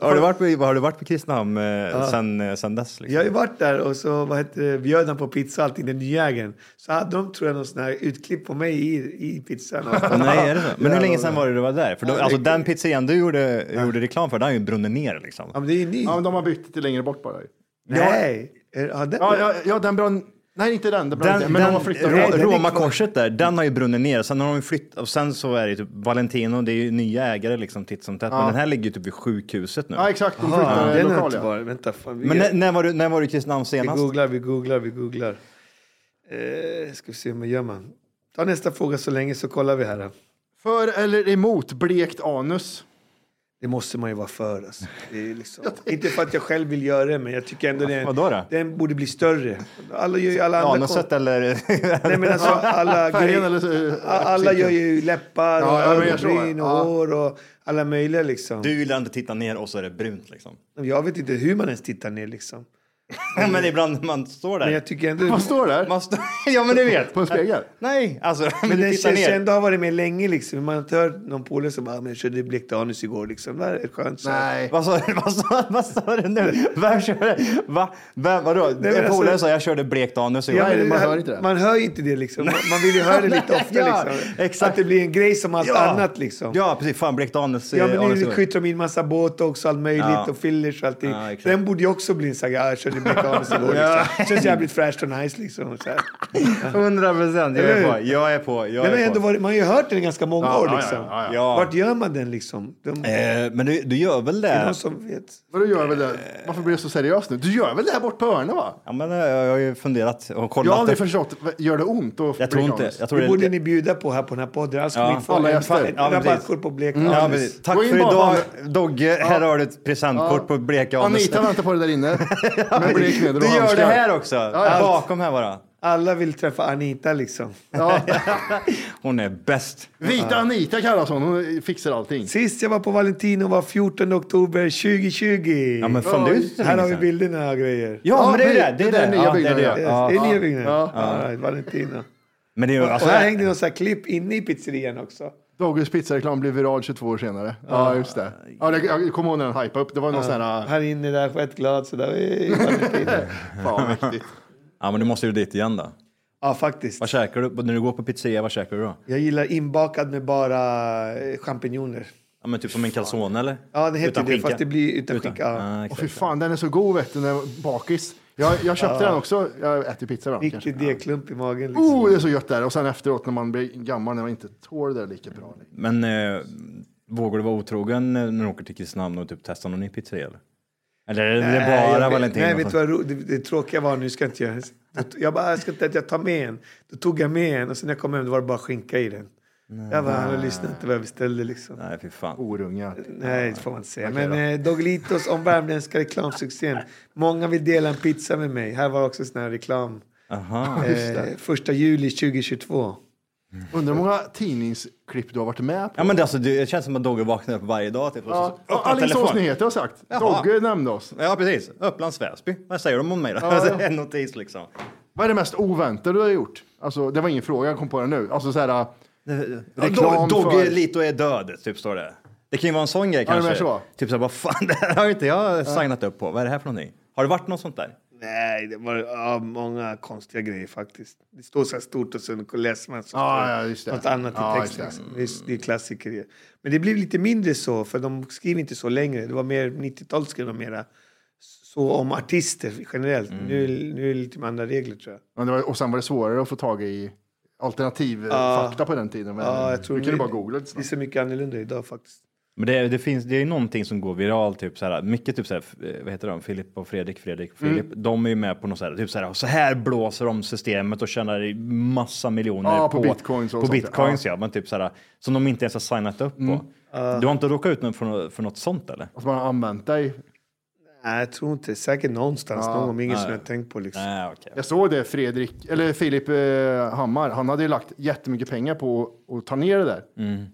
S2: Har du varit på, har du varit på Kristinehamn eh, sen, eh, sen dess? Liksom?
S8: Jag har ju varit där och så vad heter det, bjöd han på pizza alltid, den nya ägaren. Så hade de tror jag någon sån här utklipp på mig i, i pizzan.
S2: Nej, är det så? Men hur
S8: Jävlar.
S2: länge sedan var det du var där? För då, alltså, den pizzerian du gjorde, gjorde reklam för, den har ju brunnit ner liksom.
S8: Ja, men det är ju ny.
S6: Ja, men de har bytt till längre bort bara.
S8: Nej! Är, ja, den,
S6: Ja, ja, ja den brann... Nej, inte den. Den brann inte.
S2: Den,
S6: Men
S2: den,
S6: de har flyttat.
S2: Ro-
S8: den är
S2: Romakorset där, den har ju brunnit ner. Sen har de ju flytt, och sen så är det ju typ Valentino, det är ju nya ägare liksom titt som tätt. Men den här ligger ju typ vid sjukhuset nu.
S6: Ja, exakt. De
S8: Aha,
S6: flyttade
S8: den har
S6: lokal,
S8: inte
S6: ja.
S8: varit. Vänta, fan. Vi,
S2: Men när, när, var du, när var du i Kristinehamn
S8: vi
S2: senast?
S8: googlar, vi googlar, vi googlar. Eh, ska vi se, hur gör man? Ta nästa fråga så länge så kollar vi här.
S6: För eller emot blekt anus?
S8: Det måste man ju vara för. Alltså. Det är liksom, inte för att jag själv vill göra det, men jag tycker ändå det,
S2: Vadå då?
S8: den borde bli större. Alla gör ju alla andra kon-
S2: Anuset eller?
S8: Nej, men alltså, alla,
S6: Färgen
S8: grejer,
S6: eller, eh,
S8: alla gör ju läppar och
S6: Ja, ja, men jag tror det.
S8: ögonbryn och
S6: Ja.
S8: hår och alla möjliga. Liksom.
S2: du gillar inte att titta ner och så är det brunt liksom.
S8: Jag vet inte hur man ens tittar ner. Liksom.
S2: men ibland när man står
S8: Men
S2: där.
S8: jag tycker ändå...
S6: Vad står där?
S2: Man står, ja men du vet.
S6: På en spegel?
S2: Nej, alltså.
S8: Men
S2: du
S8: den
S2: tittar
S8: känns
S2: ner.
S8: ändå har varit med länge. Liksom. Man har inte hört någon polare som bara, "Ah, men jag körde blekt anus igår. Liksom. Det här är skönt. så här."
S6: Nej.
S2: Vad sa, du- vad, sa, vad sa du nu? Vem körde? Va? Vem, vadå?
S8: men
S2: en polare
S8: alltså-
S2: sa jag körde blekt anus igår.
S8: Ja, men
S6: Nej, man
S8: det-
S6: hör inte det.
S8: Man hör ju inte det liksom. Man vill ju höra det lite ofta.
S2: Ja,
S8: liksom.
S2: exakt.
S8: Att det blir en grej som allt
S2: Ja.
S8: annat liksom.
S2: Ja, precis. Fan, blekt anus.
S8: Ja,
S2: eh,
S8: men
S2: anus
S8: nu
S2: igår.
S8: skjuter de in massa båt också, allt möjligt
S2: Ja.
S8: och fillers och allting.
S2: Ja, exakt.
S8: Den borde ju också bli en sån här, "Ah, jag körde blekt anus igår.
S2: Ja.
S8: Liksom. Känns jävligt fräscht och nice liksom. Så här.
S2: 100 procent. Jag
S8: Eller
S2: är
S8: hur?
S2: på. Jag är på. Jag
S8: Den har
S2: är
S8: ändå
S2: på.
S8: varit, man har ju hört den i ganska många år
S6: ja,
S8: liksom.
S6: ja,
S2: ja, ja.
S8: Vart gör man den liksom? De, är
S2: Eh, men du, du gör väl
S8: det någon
S2: det?
S8: som vet?
S6: Vadå gör väl det? Varför blir du så seriös nu? Du gör väl det här bort på Örne va?
S2: Ja, men, eh, jag har ju funderat och kollat.
S6: Jag har aldrig
S2: det.
S6: förstått. Gör det ont? att
S2: jag tror
S6: bleka
S2: inte...
S6: anus?
S2: Jag tror
S8: Det
S2: det,
S8: borde ni bjuda på här på den här podden. Alltså
S2: Ja.
S8: ni får
S6: Alla
S8: en-
S6: gäster.
S8: ett
S2: Ja, men precis.
S8: rabattkort på blek
S2: Ja,
S8: anus.
S2: precis. Tack
S6: Gå in
S2: för
S6: bara
S2: idag,
S6: på
S2: Dogge. Här har du ett presentkort på bleka anus.
S6: Anita väntar på dig där inne. Med blek nedre och
S2: Du gör det
S6: handskar.
S2: här också.
S6: ja.
S2: Bakom här bara.
S8: Alla vill träffa Anita liksom.
S2: Hon är bäst.
S6: Vita Anita kallas hon. Hon fixar allting.
S8: Sist jag var på Valentino var 14 oktober 2020.
S2: Ja, men fan, det är ju så
S8: här
S2: länge
S8: har vi
S2: sedan.
S8: bilderna och grejer.
S2: Ja, men det är ju
S6: men
S2: det. Det är
S6: det
S2: det.
S6: är nya
S2: Ja, det är
S6: byggnader,
S2: det.
S6: ja.
S2: Ja.
S8: det är nya byggnader.
S6: Ja.
S8: All right, Valentino.
S2: Men det är ju... Alltså,
S8: och här hängde någon sån här klipp inne i pizzerian också.
S6: Dogges pizzareklam blev viral 22 år senare. Ja, just det. Ja, det jag kommer ihåg när den hypade upp. Det var någon sån här... ah,
S8: Här inne där, skitglad sådär. "Ey, Valentino."
S6: Fan, mäktigt.
S2: ja, men du måste ju dit igen då.
S8: ja, faktiskt.
S2: Vad käkar du? När du går på pizzeria, vad käkar du då?
S8: Jag gillar inbakad med bara eh, champinjoner.
S2: Ja, men typ som en calzone eller?
S8: Ja, det heter
S2: Utan
S8: det,
S2: skinka.
S8: fast det blir utan skinka, ja.
S2: Ah,
S6: Åh
S2: exakt.
S6: fy fan, den är så god vet du, den är bakis. Jag, jag köpte den också. Jag äter pizza ibland kanske.
S8: Riktig degklump i magen. Liksom.
S6: Oh, det är så gött där. Och sen efteråt när man blir gammal, när man inte tål det lika bra. längre.
S2: Men eh, vågar du vara otrogen eh, när du åker till Kristinehamn och typ testa någon ny pizzeria? Eller, eller är det
S8: Nej, jag
S2: bara
S8: vet-
S2: Valentino?
S8: Nej, vet du vad ro- det, det tråkiga var, nu ska jag inte göra det. Jag bara, jag ska inte att jag tar med en. Då tog jag med en och sen när jag kom hem då var det bara skinka i den. Jag bara, han lyssnade inte vad jag beställde liksom.
S2: Nej, fy fan.
S6: Orungar.
S8: Nej, det får man inte säga. Men eh, Doglitos om värmländska reklamsuccén. Många vill dela en pizza med mig. Här var också sån här reklam.
S2: Aha.
S8: Eh, första juli 2022.
S6: Undrar hur många tidningsklipp du har varit med på?
S2: Ja, men det, alltså, det det känns som att Dogge vaknar upp varje dag typ, och så
S6: Ja,
S2: öppnar
S6: Alingsås
S2: telefonen.
S6: Nyheter har sagt. Dogge nämnde oss.
S2: Ja, precis. Upplands Väsby. Vad säger de om mig då? en notis liksom.
S6: Vad är det mest oväntade du har gjort? Alltså, det var ingen fråga, jag kom på det nu. Alltså så här, äh,
S2: Reklam
S6: Reklam
S2: Dogge
S6: för-
S2: Lito är död, typ står det. Det kan ju vara en sån grej
S6: Ja, det
S2: kanske.
S6: menar så.
S2: Typ så här, vad fan, det här har ju inte jag signat upp på. Vad är det här för någonting? Har det varit något sånt där?
S8: Nej, det var ja, många konstiga grejer faktiskt. Det står så här stort och sen läser man så
S6: Ja,
S8: står
S6: ja, just det.
S8: något annat i
S6: Ja, just
S8: texten.
S6: det.
S8: liksom. Det, är, det är klassiker. det. Men det blev lite mindre så, för de skriver inte så längre. Det var mer 90-talet skrev de mera så om artister generellt.
S6: Mm.
S8: Nu, är- nu är det lite med andra regler tror jag.
S6: men det var, och sen var det svårare att få tag i alternativ eh, fakta på den tiden. Men
S8: Ja, jag tror
S6: du kunde
S8: det-
S6: bara googla lite
S8: Det är
S6: snabbt.
S8: så mycket annorlunda idag faktiskt.
S2: Men det, det finns, det är ju någonting som går viral, typ så här, mycket typ så här, eh, vad heter de, Filip och Fredrik, Fredrik och Filip,
S6: Mm.
S2: de är ju med på något så här, typ så här, så här blåser de systemet och tjänar massa miljoner
S6: Ja, på bitcoins och
S2: på
S6: sånt, ja.
S2: bitcoins ja. men typ så här,
S6: Mm.
S2: som de inte ens har signat upp på. Du har inte råkat ut någon för, nå- för något sånt eller?
S6: Att man har använt dig
S8: Nej, jag tror inte. Säkert någonstans någon gång, men inget som jag tänkt på. Liksom.
S2: Nej, okej.
S6: Jag såg det, Fredrik, eller Filip eh, Hammar, han hade ju lagt jättemycket pengar på att ta ner det där.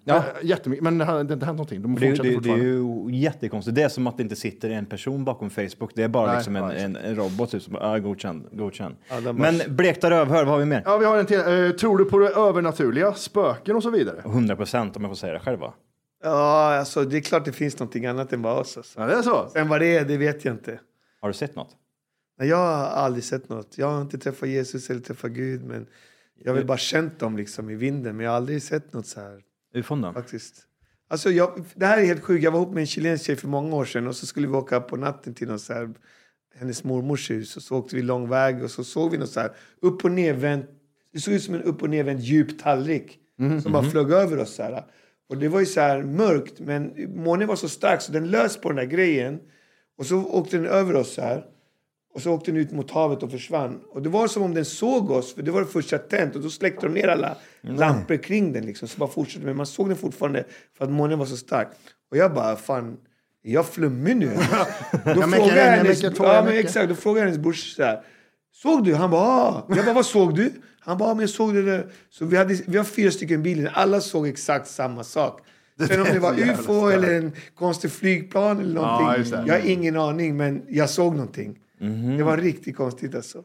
S6: Ja. Jättemycket, men det har det har inte hänt någonting. De
S2: Mm. Det, är ju-
S6: fortsätter
S2: det, det är
S6: fortfarande.
S2: ju jättekonstigt. Det är som att det inte sitter en person bakom Facebook. Det är bara
S6: Nej,
S2: liksom en,
S6: ja, exakt.
S2: en, en robot typ, som bara, ah, godkänd, godkänd.
S8: den bara-
S2: Men blekta rövhör, vad har vi mer?
S6: Ja, vi har en till. Eh, tror du på det övernaturliga, spöken och så vidare?
S2: 100 procent om jag får säga det själv va?
S8: Ja, alltså, det är klart det finns någonting annat än bara oss. Alltså.
S6: Ja, det är så.
S8: Sen vad det är, det vet jag inte.
S2: Har du sett något?
S8: Nej, jag har aldrig sett något. Jag har inte träffat Jesus eller träffat Gud, men jag har väl bara känt dem liksom i vinden. Men jag har aldrig sett något så här.
S2: Ufon då?
S8: faktiskt. Alltså jag, det här är helt sjukt. Jag var ihop med en chilensk tjej för många år sedan och så skulle vi åka på natten till någon så här, hennes mormors hus och så åkte vi lång väg och så såg vi något så här upp och nervänt. Det såg ut som en upp och nervänd djup tallrik som bara flög över oss. Så här. Och det var ju så här mörkt men månen var så stark så den lös på den där grejen och så åkte den över oss så här. Och så åkte den ut mot havet och försvann. Och det var som om den såg oss, för det var det första tänt. Och då släckte de ner alla lampor kring den. Liksom, så bara fortsatte. Men man såg den fortfarande för att månen var så stark. Och jag bara, fan, är jag flummig nu? då frågade
S6: mycket,
S8: jag
S6: jag
S8: hennes,
S6: mycket, två,
S8: ja,
S6: jag
S8: men
S6: mycket.
S8: exakt, då frågade jag hennes brorsa så här. Såg du? Han bara, ah. Jag bara, vad såg du? Han bara, ah, men jag såg det där. Så vi, hade, vi har fyra stycken i bilen. Alla såg exakt samma sak. Sen om det var ufo eller en konstig flygplan eller
S6: just
S8: någonting.
S6: det.
S8: jag har ingen aning, men jag såg någonting. Det var riktigt konstigt alltså.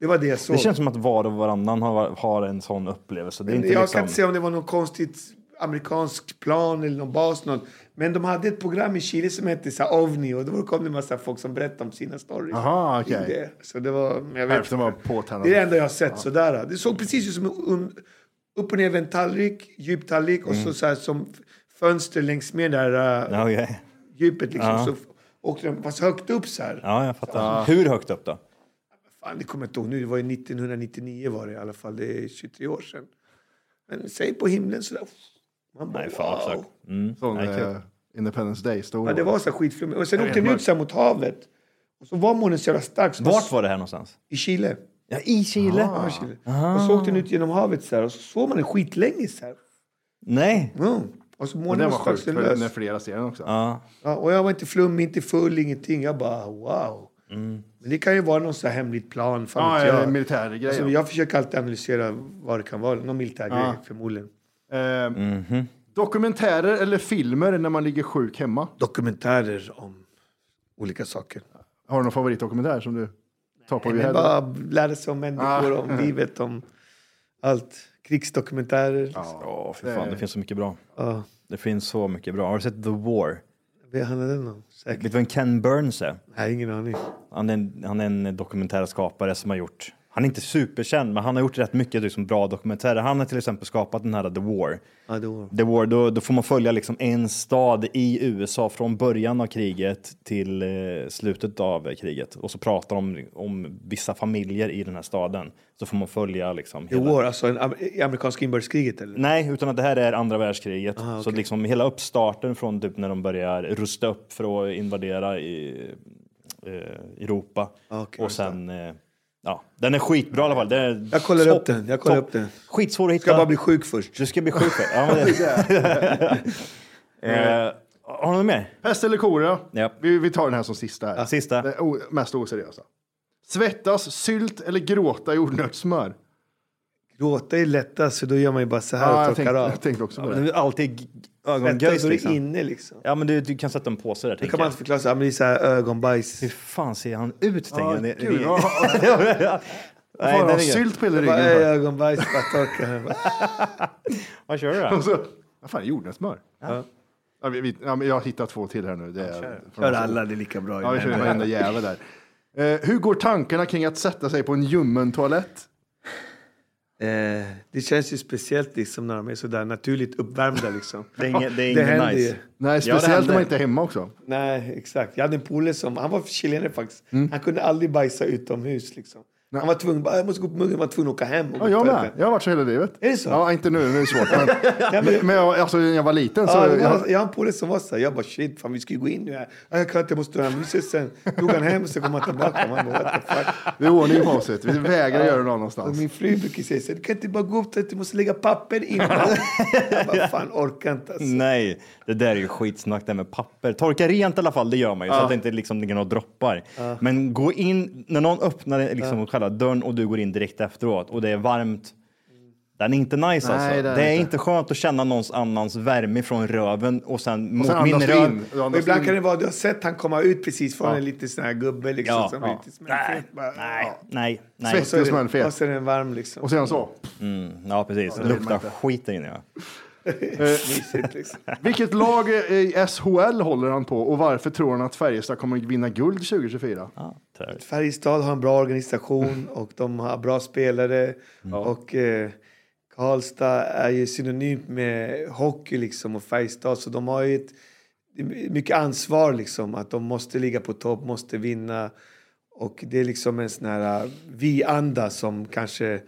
S8: Det var det jag såg.
S2: Det känns som att var och varannan har, har en sån upplevelse. Det är inte
S8: jag
S2: liksom...
S8: kan inte säga om det var något konstigt amerikansk plan eller någon bas. Något. Men de hade ett program i Chile som hette så här, OVNI och då kom det en massa folk som berättade om sina stories.
S6: Aha, okej.
S8: I det. Så det var... men Jag vet
S6: Hälften var
S8: inte.
S6: påtända.
S8: Det är det enda jag har sett. Sådär. Det såg precis ut som en un- upp och ner en tallrik, djup tallrik och så, så här, som f- fönster längs med där äh,
S2: Ja, okej.
S8: djupet. Liksom. Så f- åkte den fast högt upp så här.
S2: ja, jag fattar. Hur högt upp då?
S8: Fan, det kommer jag inte ihåg nu. Det var ju 1999 var det i alla fall. Det är 23 år sedan. Men säg på himlen sådär. Man bara,
S2: Nej, fan
S8: wow.
S2: också. Mm.
S6: Sån
S2: Nej, kul.
S6: eh, Independence Day-story.
S8: Ja, det var så här skitflummigt. Och sen åkte
S6: vet,
S8: den ut
S6: mörkt.
S8: så här mot havet. Och så var månen så jävla stark. Så
S2: Vart var det här någonstans?
S8: I Chile.
S2: Ja, i Chile.
S8: Ja, Chile.
S6: Ah.
S8: Och så åkte den ut genom havet så här. Och så såg man den skitlänge så här.
S2: Nej.
S8: Mm. Och så
S6: Och
S8: månen
S6: det
S8: var,
S6: var sjukt,
S8: strax
S6: för den är
S8: lös.
S6: flera serien också.
S2: Ja.
S8: Ja, och jag var inte flummig, inte full, ingenting. Jag bara wow. Men det kan ju vara någon så här hemligt plan. Fan
S6: Mm. Ja,
S8: vet
S6: ja,
S8: jag.
S6: militärgrejer.
S8: Alltså, jag försöker alltid analysera vad det kan vara. Någon militär grej förmodligen.
S6: Eh,
S8: Mhm.
S6: Dokumentärer eller filmer när man ligger sjuk hemma?
S8: Dokumentärer om olika saker.
S6: Har du någon favoritdokumentär som du tar på vid
S8: Men
S6: helgen?
S8: bara lära sig om människor, om livet, om allt. Krigsdokumentärer.
S2: Ja, för fan. Det finns så mycket bra.
S8: Ja.
S2: Det finns så mycket bra. Har du sett The War?
S8: Vad handlar den om? Säkert.
S2: Vet du vem Ken Burns är?
S8: Nej, ingen aning.
S2: Han är, en, han är en dokumentärskapare som har gjort, han är inte superkänd, men han har gjort rätt mycket liksom, bra dokumentärer. Han har till exempel skapat den här The War.
S8: Ja, det var...
S2: The War, då, då får man följa liksom en stad i USA från början av kriget till eh, slutet av kriget. Och så pratar de om, om vissa familjer i den här staden. Så får man följa liksom
S8: The War, alltså en am- i amerikanska inbördeskriget eller?
S2: Nej, utan att det här är andra
S8: Ah,
S2: världskriget. Så liksom hela uppstarten från typ när de börjar rusta upp för att invadera i, eh, Europa.
S8: Ah, okej,
S2: och sen, eh, ja, den är skitbra i alla fall. Den är
S8: Jag kollar upp den, jag kollar upp den.
S2: Skitsvår att hitta.
S8: Ska bara bli sjuk först.
S2: Du ska bli sjuk. ja, men det... eh, har du något mer?
S6: Pest eller kolera?
S2: Ja.
S6: Vi, vi tar den här som sista. Här.
S2: sista.
S6: Det o- mest oseriösa. Svettas, sylt eller gråta i jordnötssmör?
S8: Gråta är lättast, för då gör man ju bara så här
S6: Ja,
S8: och
S6: jag,
S8: torkar
S6: tänkte,
S8: av.
S6: jag tänkte också på
S2: Det
S6: det.
S2: är alltid g-
S8: Lättast
S2: ögongöjs
S8: då är det
S2: liksom.
S8: inne liksom.
S2: Ja, men du, du kan sätta en påse där.
S8: Det kan
S2: tänker
S8: man
S2: jag.
S8: inte förklara, så här, men det är så här ögonbajs.
S2: Hur fan ser han ut? tänker jag. Det- det-
S6: Gud, vad- vad
S2: Nej,
S6: fan
S2: den
S6: har
S2: är grej.
S6: sylt på hela
S8: Bara,
S6: ryggen?
S8: "Ey,
S6: för?
S8: ögonbajs, bara torka. den."
S2: Vad kör du då?
S6: Och så- Alltså, Vad fan, jordnötssmör? Ja. Ja, vi, vi, ja, men jag har hittat två till här nu. Det är, från-
S8: Kör alla, det är lika bra.
S6: Ja, vi kör varenda jävel där. Eh, hur går tankarna kring att sätta sig på en ljummen toalett?
S8: Eh, det känns ju speciellt liksom när de är sådär naturligt uppvärmda. Liksom.
S2: Det är inget- det är
S8: det
S2: inget
S8: händer
S2: nice.
S8: ju.
S6: Nej, speciellt
S8: händer.
S6: när man inte är hemma också.
S2: Mm.
S8: Nej, exakt. Jag hade en polare som, han var chilenare faktiskt. Han kunde aldrig bajsa utomhus liksom. Han var tvungen, bara, jag måste gå på muggen, han var tvungen att åka hem. Och
S6: Ja, jag
S8: gå på
S6: med.
S8: FN.
S6: Jag har varit så hela livet.
S8: Är det så?
S6: Ja, inte nu, nu är det svårt. Men, men, men jag, alltså, när jag var liten så...
S8: Ja, det
S6: jag,
S8: var, jag har en polare som var så här, jag bara shit, fan vi ska ju gå in nu här. Ja, Jag kan inte, jag måste dra hem. Vi ses sen. Drog han hem och sen kom han tillbaka. Man bara, what the fuck?
S6: det är ordning på oss. vet du. Vi vägrar göra det någon
S8: Och
S6: annanstans.
S8: min fru brukar säga så här, du kan inte bara gå upp dit, du måste lägga papper innan. jag bara, fan orkar inte alltså.
S2: Nej, det där är ju skitsnack det här med papper. Torka rent i alla fall, det gör man ju så att det inte liksom ligger några droppar. Men gå in, när någon öppnar liksom själva dörren och du går in direkt efteråt och det är varmt. Den är inte nice
S6: Nej,
S2: alltså.
S6: det
S2: Det
S6: är
S2: är,
S6: inte.
S2: inte. skönt att känna någons annans värme från röven och sen mot
S6: Sen
S2: min
S6: andas du
S2: röv.
S6: in. Du
S8: Och
S6: andas
S8: ibland
S6: in.
S8: kan det vara, du har sett han komma ut precis från en liten sån här gubbe liksom.
S2: Ja,
S8: som
S2: ja.
S8: Lite smäller, bara,
S2: Nej,
S8: ja.
S2: nej, nej.
S6: Svett.
S8: Så är
S6: Just man,
S8: det,
S6: fet.
S8: och sen är den varm liksom.
S6: Och sen så.
S2: Ja, precis.
S6: vill man
S2: Luktar
S6: inte.
S2: skit där inne. Ja. eh,
S8: Mysigt, liksom.
S6: Vilket lag eh, i SHL håller han på och varför tror han att Färjestad kommer vinna guld 2024?
S2: Ja, trevligt.
S8: Färjestad har en bra
S6: Mm.
S8: organisation och de har bra spelare. Och eh, Karlstad är ju synonymt med hockey liksom och Färjestad. Så de har ju ett, mycket ansvar liksom. Att de måste ligga på topp, måste vinna. Och det är liksom en sån här eh, vi-anda som kanske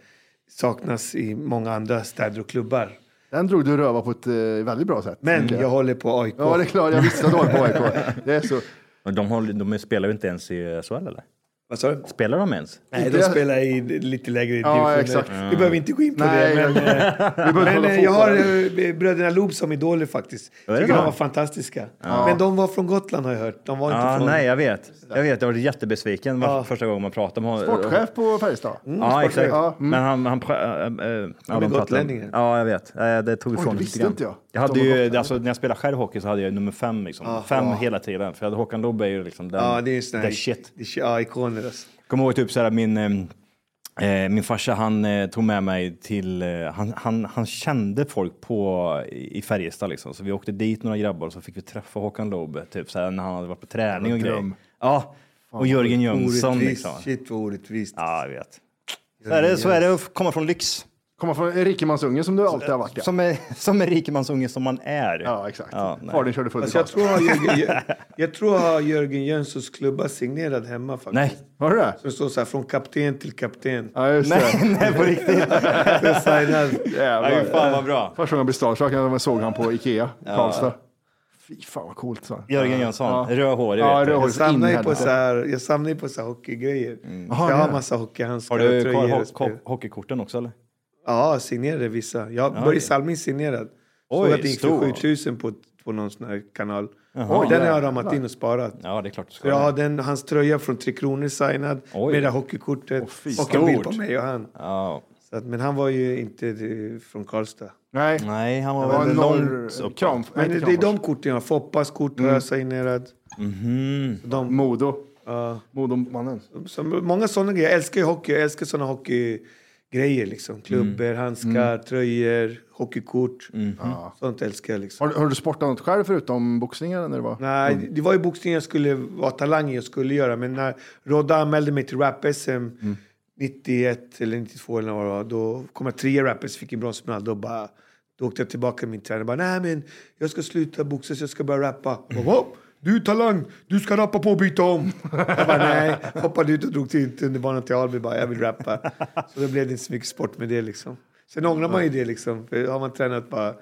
S8: saknas i många andra städer och klubbar.
S6: Den drog du röva på ett eh, väldigt bra sätt.
S8: Men
S6: tycker
S8: jag håller på AIK.
S6: Mm. Ja, det är klart. Jag visste att du var på AIK. Det är så.
S2: Men de, håller, de spelar ju inte ens i SHL eller?
S8: Vad sa du?
S2: Spelar de ens?
S8: Nej, de spelar i lite lägre
S6: Ja,
S8: divisioner.
S6: exakt.
S8: Vi behöver inte gå in på
S6: Nej,
S8: det.
S6: jag-
S8: Men, eh,
S6: Vi behöver
S8: Men
S6: inte
S8: eh, jag har
S6: hålla på.
S8: eh, bröderna Loob som idoler faktiskt.
S2: är
S8: Tycker
S2: det
S8: de
S2: så?
S8: var fantastiska. Men de var från Gotland har jag hört. De var inte
S2: Ah,
S8: från...
S2: nej, jag vet. Jag vet, jag var jättebesviken var första gången man pratade om honom.
S6: Sportchef på Färjestad.
S2: Ja, exakt.
S6: Ja, mm.
S2: Men han... han, pra- äh, äh, ja, de pratade-
S8: gotlänningen.
S2: Ja, jag vet. Eh, Det tog ifrån
S6: det visste
S2: lite grann.
S6: inte jag.
S2: Jag
S6: De
S2: hade
S6: var
S2: ju,
S6: gotlänningar.
S2: alltså, när jag spelade själv hockey så hade jag nummer fem. Liksom. Fem hela tiden. För jag hade Håkan Lobbe är ju liksom den,
S8: Ja, det är ju såna här...
S2: the shit.
S8: Det är, ja, ikoner alltså.
S2: Kommer ihåg typ så här, min, eh, eh, min farsa han eh, tog med mig till, eh, han, han, han kände folk på i i Färjestad liksom. Så vi åkte dit några grabbar och så fick vi träffa Håkan Loob typ så här, när han hade varit på träning och grejer. Ja, och Jörgen Jönsson
S8: Orättvist.
S2: liksom.
S8: Shit vad orättvist.
S2: Ja, jag vet. Så är det, så är det att komma från lyx.
S6: Kommer från en rikemansunge som du alltid har varit. Ja,
S2: Som är, som är rikemansunge som man är.
S6: ja exakt.
S2: Ja, nej.
S6: Far din körde full i
S8: Alltså, jag,
S6: fast.
S8: tror jag, har Jörgen, jag, jag tror jag har Jörgen Jönssons klubba signerad hemma faktiskt.
S2: Nej,
S6: Har du det?
S8: Så det står så här, från kapten till kapten.
S6: Ja, just det.
S2: nej, nej på riktigt.
S8: Designad.
S2: Nej,
S6: Jävlar.
S2: fan vad bra.
S6: Första gången jag blev starstruck när jag såg han på Ikea, Karlstad. Fy fan vad coolt. Så.
S2: Jörgen Jönsson, rödhårig.
S6: Ja,
S2: vet du.
S6: rödhårig.
S8: Jag samlar ju på,
S6: Inhärdat.
S8: så här, jag samlar ju på så här hockeygrejer.
S6: Aha,
S8: jag har
S6: ja.
S8: massa hockeyhandskar
S2: Mm. Har
S8: och
S2: du kvar
S8: tröjor
S2: ho-
S8: och spel.
S2: ho- hockeykorten också eller?
S8: Ja, signerade vissa. Jag har
S2: Ja,
S8: Börje
S2: det.
S8: Salming signerad. Såg
S2: Oj,
S8: att det gick
S2: stor.
S8: för 7000 på, på någon sån här kanal. Och den har jag ramat in och sparat.
S2: Ja, det är klart du
S8: Så
S2: ska.
S8: jag har den, hans tröja från Tre Kronor signad
S2: Oj.
S8: med det här hockeykortet och en
S2: stort.
S8: bild på mig och han.
S2: Ja.
S8: Så att, men han var ju inte eh, från Karlstad.
S6: Nej.
S2: Nej, han var
S6: Det var
S2: väl
S6: en
S2: Mm. långt
S6: norr...
S2: upp.
S6: Kram, nej,
S8: Men
S6: inte
S8: det, det är
S6: Kramfors.
S8: de korten jag har. Foppas kort har
S2: Mm.
S8: jag signerat.
S2: Mhm.
S8: Så De,
S6: Modo. Modomannen.
S8: så många sådana grejer. Jag älskar ju hockey. Jag älskar sådana hockeygrejer. Liksom. Klubbor,
S2: Mm.
S8: handskar, tröjor, hockeykort.
S2: Mhm.
S8: Sånt älskar jag. Liksom.
S6: Har, har du sportat något själv förutom boxning? Eller när det var?
S8: Nej,
S2: Mm.
S8: det var ju boxning jag skulle vara talang i och skulle göra. Men när Rodda anmälde mig till rap-SM
S2: Mm.
S8: 91 eller 92 eller vad det var, då kom jag trea i rap-SM, fick en bronsmedalj. Då bara, då åkte jag tillbaka till min tränare och bara, nej men jag ska sluta boxas, jag ska börja rappa. Och bara, "Hopp, du är talang, du ska rappa på och byta om. Jag bara, nej, hoppade ut och drog till tunnelbanan till Alby bara, jag vill rappa. Så då blev det inte så mycket sport med det liksom. Sen ångrar man ju det liksom, för har man tränat bara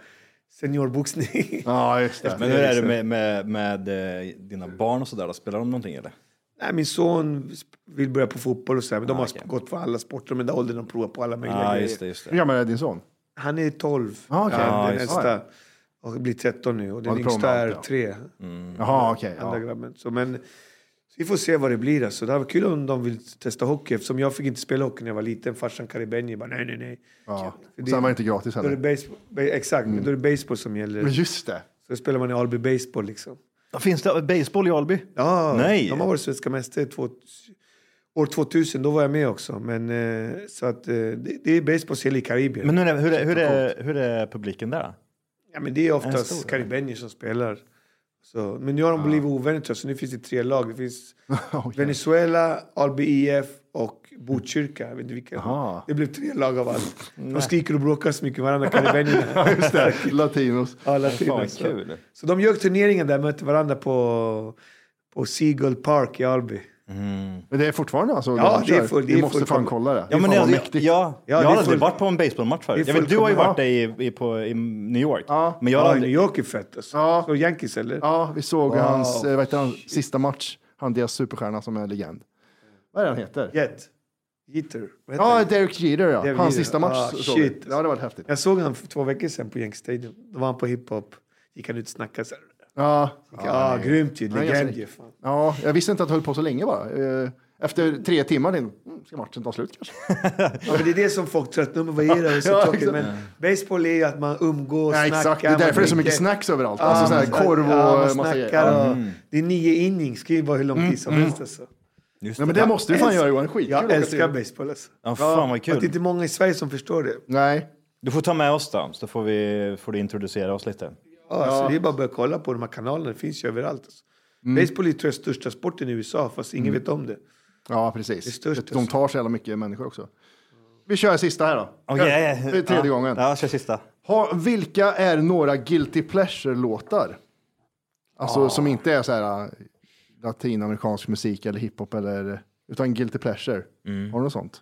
S8: seniorboxning.
S6: Ja, just det.
S2: Men hur är det med, med, med eh, dina barn och sådär? då? Spelar de någonting eller?
S8: Nej, min son sp- vill börja på fotboll och så
S6: Ah,
S8: här, men de har
S2: okej.
S8: sp- gått för alla sporter. De är där åldern de provar på alla möjliga
S2: Ja,
S8: grejer.
S2: just det, just
S6: Hur
S2: det.
S6: gammal är din son?
S8: Han är 12,
S6: Ah, okej.
S8: han,
S6: Ja,
S8: den
S6: just det.
S8: äldsta. Och blir 13 nu och
S6: Ja,
S8: den
S6: det
S8: yngsta
S6: provar man
S8: är
S6: alltid,
S8: 3.
S6: Jaha, okej.
S8: Andra
S6: Mm. ja.
S8: grabben. Så, men, så vi får se vad det blir. Alltså. Det här var kul om de vill testa hockey eftersom jag fick inte spela hockey när jag var liten. Farsan Karibenji bara nej, nej, nej.
S6: ja.
S8: För det-
S6: Sen var det inte gratis
S8: Då är det
S6: heller. Mm.
S8: baseball, ba- exakt, men då är det baseball som
S6: Men
S8: gäller.
S6: Just det.
S8: Så spelar man i Alby Baseball liksom.
S2: Finns det baseball i Alby?
S8: Ja,
S2: Nej.
S8: de har varit svenska mästare två, år 2000. Då var jag med också. Men, eh, så att, eh, det, det är baseball ser i Karibien.
S2: Men hur är, hur, är, hur, är, hur är publiken där? då?
S8: ja, men det är
S2: En stor,
S8: oftast
S2: eller?
S8: karibenier som spelar. Så, men nu har de blivit ovänner tror jag, så nu finns det tre lag. Det finns Venezuela, Alby IF och Botkyrka. Jag vet inte vilka.
S6: Aha.
S8: Det blev tre lag av allt. De skriker och bråkar så mycket med varandra, karibenierna.
S6: Just det. Latinos.
S8: Ja, latinos.
S2: vad kul.
S8: Så de gör turneringen där, möter varandra på, på Seagull Park i Alby.
S6: Men det är fortfarande alltså?
S8: Ja, det är
S6: kör.
S8: full- det
S6: Vi
S8: är
S6: måste fan
S8: fullkomligt.
S6: kolla det.
S2: Ja, men det,
S6: det, är fan vad
S2: jag,
S6: mäktigt.
S2: ja, jag
S8: det är
S2: har aldrig
S8: fullt-
S2: varit på en baseballmatch
S8: det
S2: förut.
S8: är
S2: Jag vet, du har ju
S8: fullkomligt-
S2: varit där i, i, på, i New York.
S6: Ja.
S2: Men jag har
S8: Ja, New
S2: aldrig...
S8: York är fett alltså.
S6: Ja.
S8: Så Yankees eller?
S6: Ja, vi såg hans, eh, vad heter han, sista match. Han deras superstjärna som är en legend. Vad är det han heter?
S8: Jet. Jeter. Vad heter
S6: Ja,
S8: han?
S6: Derek Jeter ja.
S8: Derek
S6: Hans
S8: Jeter.
S6: sista match.
S8: Ah,
S6: såg vi.
S8: shit.
S6: Ja, det var häftigt.
S8: Jag såg han för två veckor sedan på Yankee Stadium. Då var han på hiphop. Gick han ut och snackade så här.
S6: Ja.
S8: Ja, grymt ju.
S6: är ganska
S8: Legend
S6: lik.
S8: ju. fan.
S6: ja, jag visste inte att det höll på så länge bara. Eh, Efter tre timmar, in, mm, ska matchen ta slut kanske?
S8: Ja, men det är det som folk tröttnar på. Vad är det? Det är så
S6: Ja,
S8: tråkigt.
S6: exakt.
S8: Men baseball är ju att man umgås,
S6: Nej,
S8: snackar.
S6: exakt. Det är
S8: man
S6: därför det är så mycket
S8: dricker.
S6: snacks överallt.
S8: Ja,
S6: alltså så här,
S8: man-
S6: korv och
S8: ja, man
S6: massa grejer. Mm.
S8: snackar och, Det är nio innings. Det kan ju vara hur lång tid som helst. Alltså.
S6: Nej, men det måste vi fan
S8: Älsk-
S6: göra Johan. Skitkul att
S8: Jag
S6: åka
S8: älskar
S6: till-
S8: baseball alltså.
S2: Ja, fan vad
S8: Att det
S2: kul.
S8: inte är många i Sverige som förstår det.
S6: Nej.
S2: Du får ta med oss då, så får, vi, får du introducera oss lite.
S8: Ja, Alltså, det är bara att börja kolla på de här kanalerna. Det finns ju överallt. Alltså. Baseball är tror jag största sporten i USA, fast ingen vet om det.
S6: Ja,
S8: Det är
S6: precis.
S8: störst,
S6: De tar så jävla mycket människor också. Vi kör sista här då.
S2: Okej.
S6: Det är tredje
S2: ja.
S6: gången.
S2: Ja, kör sista.
S6: Ha, vilka är några guilty pleasure-låtar? Alltså
S8: Ah.
S6: som inte är så här äh, latinamerikansk musik eller hiphop eller utan guilty pleasure.
S8: Mm.
S6: Har du något sånt?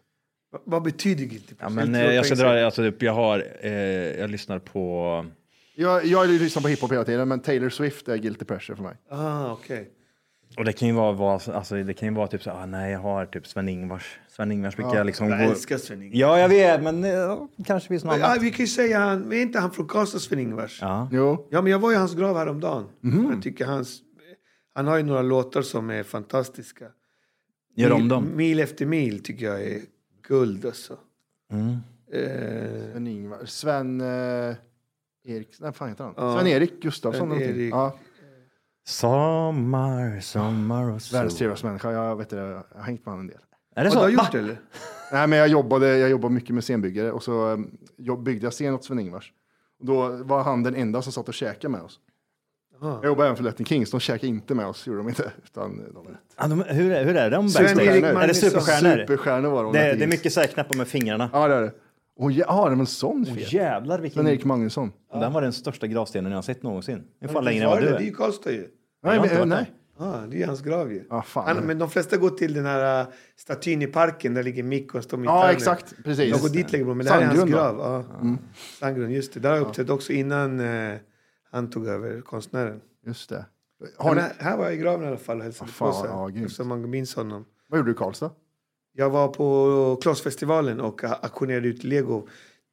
S8: Va- vad betyder guilty
S9: Ja,
S8: pleasure?
S9: men, eh, jag ska dra, alltså, typ, jag har, eh, jag lyssnar på...
S6: Jag, jag lyssnar på hiphop hela tiden, men Taylor Swift är guilty pleasure för mig.
S8: Ah, okej.
S9: Och det kan ju vara, vad- alltså, det kan ju vara typ så, ah, nej jag har typ Sven-Ingvars. Sven-Ingvars brukar jag liksom
S8: Jag
S9: gå...
S8: älskar Sven-Ingvars.
S2: Ja, jag vet, men eh, kanske finns något annat.
S8: Ja, ah, vi kan ju säga, han, är inte han från Karlstad, Sven-Ingvars? Ja.
S6: Jo.
S8: men jag var i hans grav häromdagen. Jag tycker hans, han har ju några låtar som är fantastiska.
S2: Gör om
S8: Mil-
S2: dem.
S8: Mil efter mil tycker jag är guld alltså. Eh,
S6: Sven, Ingvar, Sven eh, Erik, nej, fan heter han?
S8: Ja.
S6: Sven-Erik Gustafsson.
S8: Sven-Erik.
S6: någonting. Ja,
S2: Sommar, sommar och sol.
S6: världens trevligaste människa. Jag, vet det, jag har hängt med honom en del.
S2: Är det
S8: har
S2: så?
S8: du
S2: Va?
S8: gjort det eller?
S6: Nej, men jag jobbade, jag jobbade mycket med scenbyggare och så um, jag byggde jag scen åt Sven-Ingvars. Och Då var han den enda som satt och käkade med oss. Jag jobbade även för Latin Kings, de käkade inte med oss, gjorde de inte. Utan de var
S2: Ja, de, hur, är- hur är de
S8: Erik
S2: backstage? Är det
S8: Magnusson.
S2: superstjärnor?
S6: superstjärnor var de.
S2: Det,
S6: Latin
S2: det är
S6: Kings.
S2: mycket så här knappar med fingrarna.
S6: Ja, det är det. Och ja, ah, det var en sån fet.
S2: Jävlar vilken...
S6: Sven-Erik Magnusson.
S2: Den var den största gravstenen jag har sett någonsin. Det är fan längre än
S8: Var
S2: vad
S8: det?
S2: du
S8: Det är ju
S2: är.
S8: Karlstad ju.
S6: Nej,
S2: har
S6: men,
S2: inte varit
S6: eh, nej.
S8: Ja, det är ju hans grav ju.
S6: Ah, fan.
S8: Han, men de flesta går till den här äh, statyn i parken, där ligger Mikko och står med
S6: Ja,
S8: gitarren.
S6: exakt.
S8: De
S6: Precis.
S8: går dit längre bort, men det här är hans
S6: Sandgrund, Mm.
S8: grav. Ja. Sandgrund, just det. Där har jag uppträtt också innan eh, han tog över, konstnären.
S6: Just det.
S8: Ja,
S6: Har
S8: men
S6: ni,
S8: här- här var jag i graven i alla fall och hälsade
S6: Ah, fan,
S8: på sig,
S6: ja, grymt.
S8: eftersom man minns honom.
S6: vad gjorde du i Karlstad?
S8: Jag var på Klossfestivalen och a- auktionerade ut lego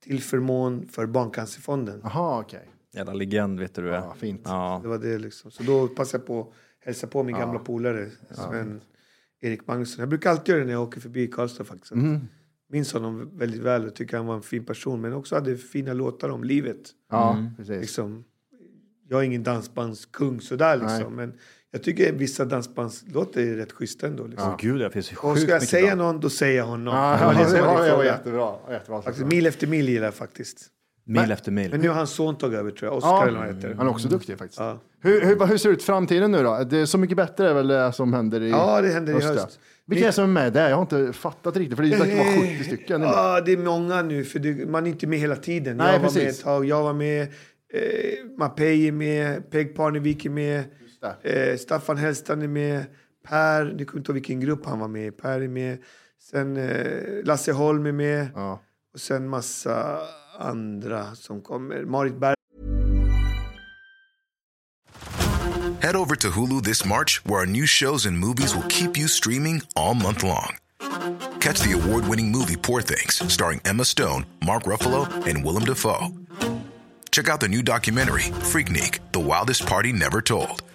S8: till förmån för Barncancerfonden.
S6: Jaha, okej.
S2: Jävla legend vet du du är.
S6: Ja, fint.
S2: Ja.
S8: Det var det liksom. Så då passade jag på att hälsa på min gamla polare Sven Erik Magnusson. Jag brukar alltid göra det när jag åker förbi Karlstad faktiskt.
S6: Mm.
S8: Minns honom väldigt väl och tycker han var en fin person. Men också hade fina låtar om livet.
S6: Ja,
S2: Mm.
S6: precis.
S8: Liksom, jag är ingen dansbandskung sådär liksom. Men jag tycker vissa dansbandslåtar är rätt schyssta ändå. Liksom.
S2: Åh gud, det finns ju
S8: Och
S2: sjukt
S8: ska jag
S2: mycket
S8: säga
S2: bra.
S8: någon, då säger jag honom.
S6: Ja,
S8: Det var det som var din
S6: det var
S8: fråga.
S6: jättebra. jättebra.
S8: Faktiskt, mil efter mil gillar jag faktiskt.
S2: Mil efter mil.
S8: Men nu har hans son tagit över tror jag. Oscar
S6: Ja, Mm.
S8: eller vad han heter.
S6: han är också duktig faktiskt.
S8: Ja.
S6: Hur, hur, hur ser det ut framtiden nu då? Det är så mycket bättre är väl det som händer i
S8: Ja, det händer i
S6: höst,
S8: höst.
S6: ja. Vilka är det som är med där? Jag har inte fattat riktigt, för det verkar vara 70 stycken. Det är med.
S8: Ja, det är många nu, för det, man är inte med hela tiden.
S6: Nej,
S8: jag var med
S6: precis.
S8: ett tag, jag var med, eh, Mapei är med, Peg Parnevik är med, eh, Staffan Hellstrand är med, Per, det kommer inte ihåg vilken grupp han var med i, Per är med, sen eh, Lasse Holm är med
S6: Ja.
S8: och sen massa andra som kommer. Marit Berg
S10: Head over to Hulu this March, where our new shows and movies will keep you streaming all month long. Catch the award winning movie Poor Things, starring Emma Stone, Mark Ruffalo, and Willem Dafoe. Check out the new documentary, Freaknik The Wildest Party Never Told,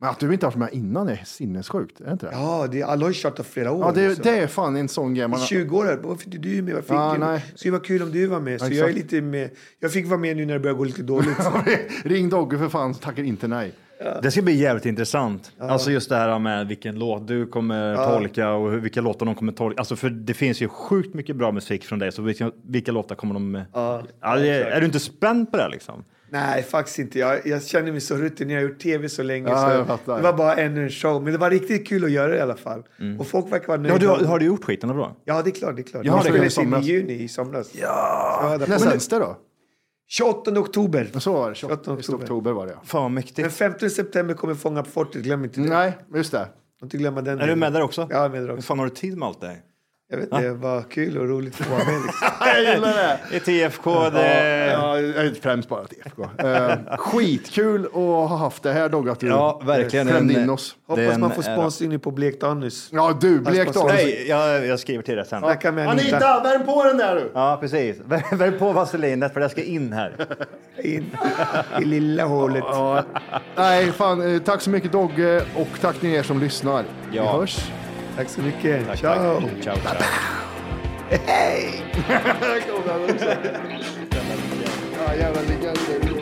S6: Men att du inte har varit med innan är sinnessjukt, är det inte det?
S8: Ja, det, alla har ju tjatat flera år.
S6: Ja, det,
S8: liksom.
S6: det är fan en sån grej. Man,
S8: I 20 år. här, Varför inte du med? Varför
S6: Ja,
S8: inte du? med?
S6: nej.
S8: Så det var kul om du var med. Så jag, är
S6: exakt.
S8: lite med. jag fick vara med nu när det börjar gå lite dåligt.
S6: Ring Dogge för fan, så tackar inte nej.
S2: Det ska bli jävligt intressant. Alltså just det här med vilken låt du kommer tolka och hur, vilka låtar de kommer tolka. Alltså för det finns ju sjukt mycket bra musik från dig, så vilka, vilka låtar kommer de... Ja, det, är du inte spänd på det här, liksom?
S8: Nej, faktiskt inte. Jag, jag känner mig så rutinerad. Jag har gjort tv så länge.
S6: Ja, jag
S8: så
S6: fattar.
S8: det var bara ännu en show. Men det var riktigt kul att göra det i alla fall. Och folk verkar vara nöjda.
S2: Ja, du, har har du gjort skiten eller bra?
S8: Ja, det är klart. Det är klart.
S6: Ja, det är
S8: Jag
S6: klart.
S8: spelades
S6: I
S8: in i
S6: somras.
S8: juni i somras. Ja.
S6: När
S8: Men,
S6: sänds det då?
S8: 28 oktober.
S6: Men så var det.
S8: 28
S6: 28 oktober. var det ja.
S2: Fan vad
S8: Den
S2: mäktigt.
S8: 15 september kommer Fånga på fortet. Glöm inte det.
S6: Nej, just det.
S8: Inte glömma den.
S2: Är du med där också?
S8: Ja, jag är med där
S2: Hur
S8: också.
S2: fan har du tid med allt det här?
S8: Jag vet, det var kul och roligt att vara med. Liksom.
S6: Jag gillar det.
S2: I TFK, det...
S6: Ja, jag är främst bara till FK. Eh, skitkul att ha haft det här Dogge, att du
S2: Ja, verkligen.
S6: klämde
S2: En- eh,
S6: in oss.
S8: Hoppas
S2: Den
S8: man får
S2: är-
S8: sponsring på Blekt Anus.
S6: Ja, du,
S2: Alltså,
S6: blekt av.
S2: Nej, jag, jag skriver till dig sen.
S8: Snacka med Anita.
S6: Anita, värm på den där du!
S2: Ja, precis. Värm på vaselinet för det ska in här.
S8: In, I lilla hålet.
S6: Nej, fan, eh, tack så mycket Dogge och tack till er som lyssnar. Vi
S2: Ja.
S6: hörs.
S8: Tack så mycket.
S2: Tack,
S8: Ciao.
S2: tack. Ciao, ciao.
S6: Ja, jävla ligga.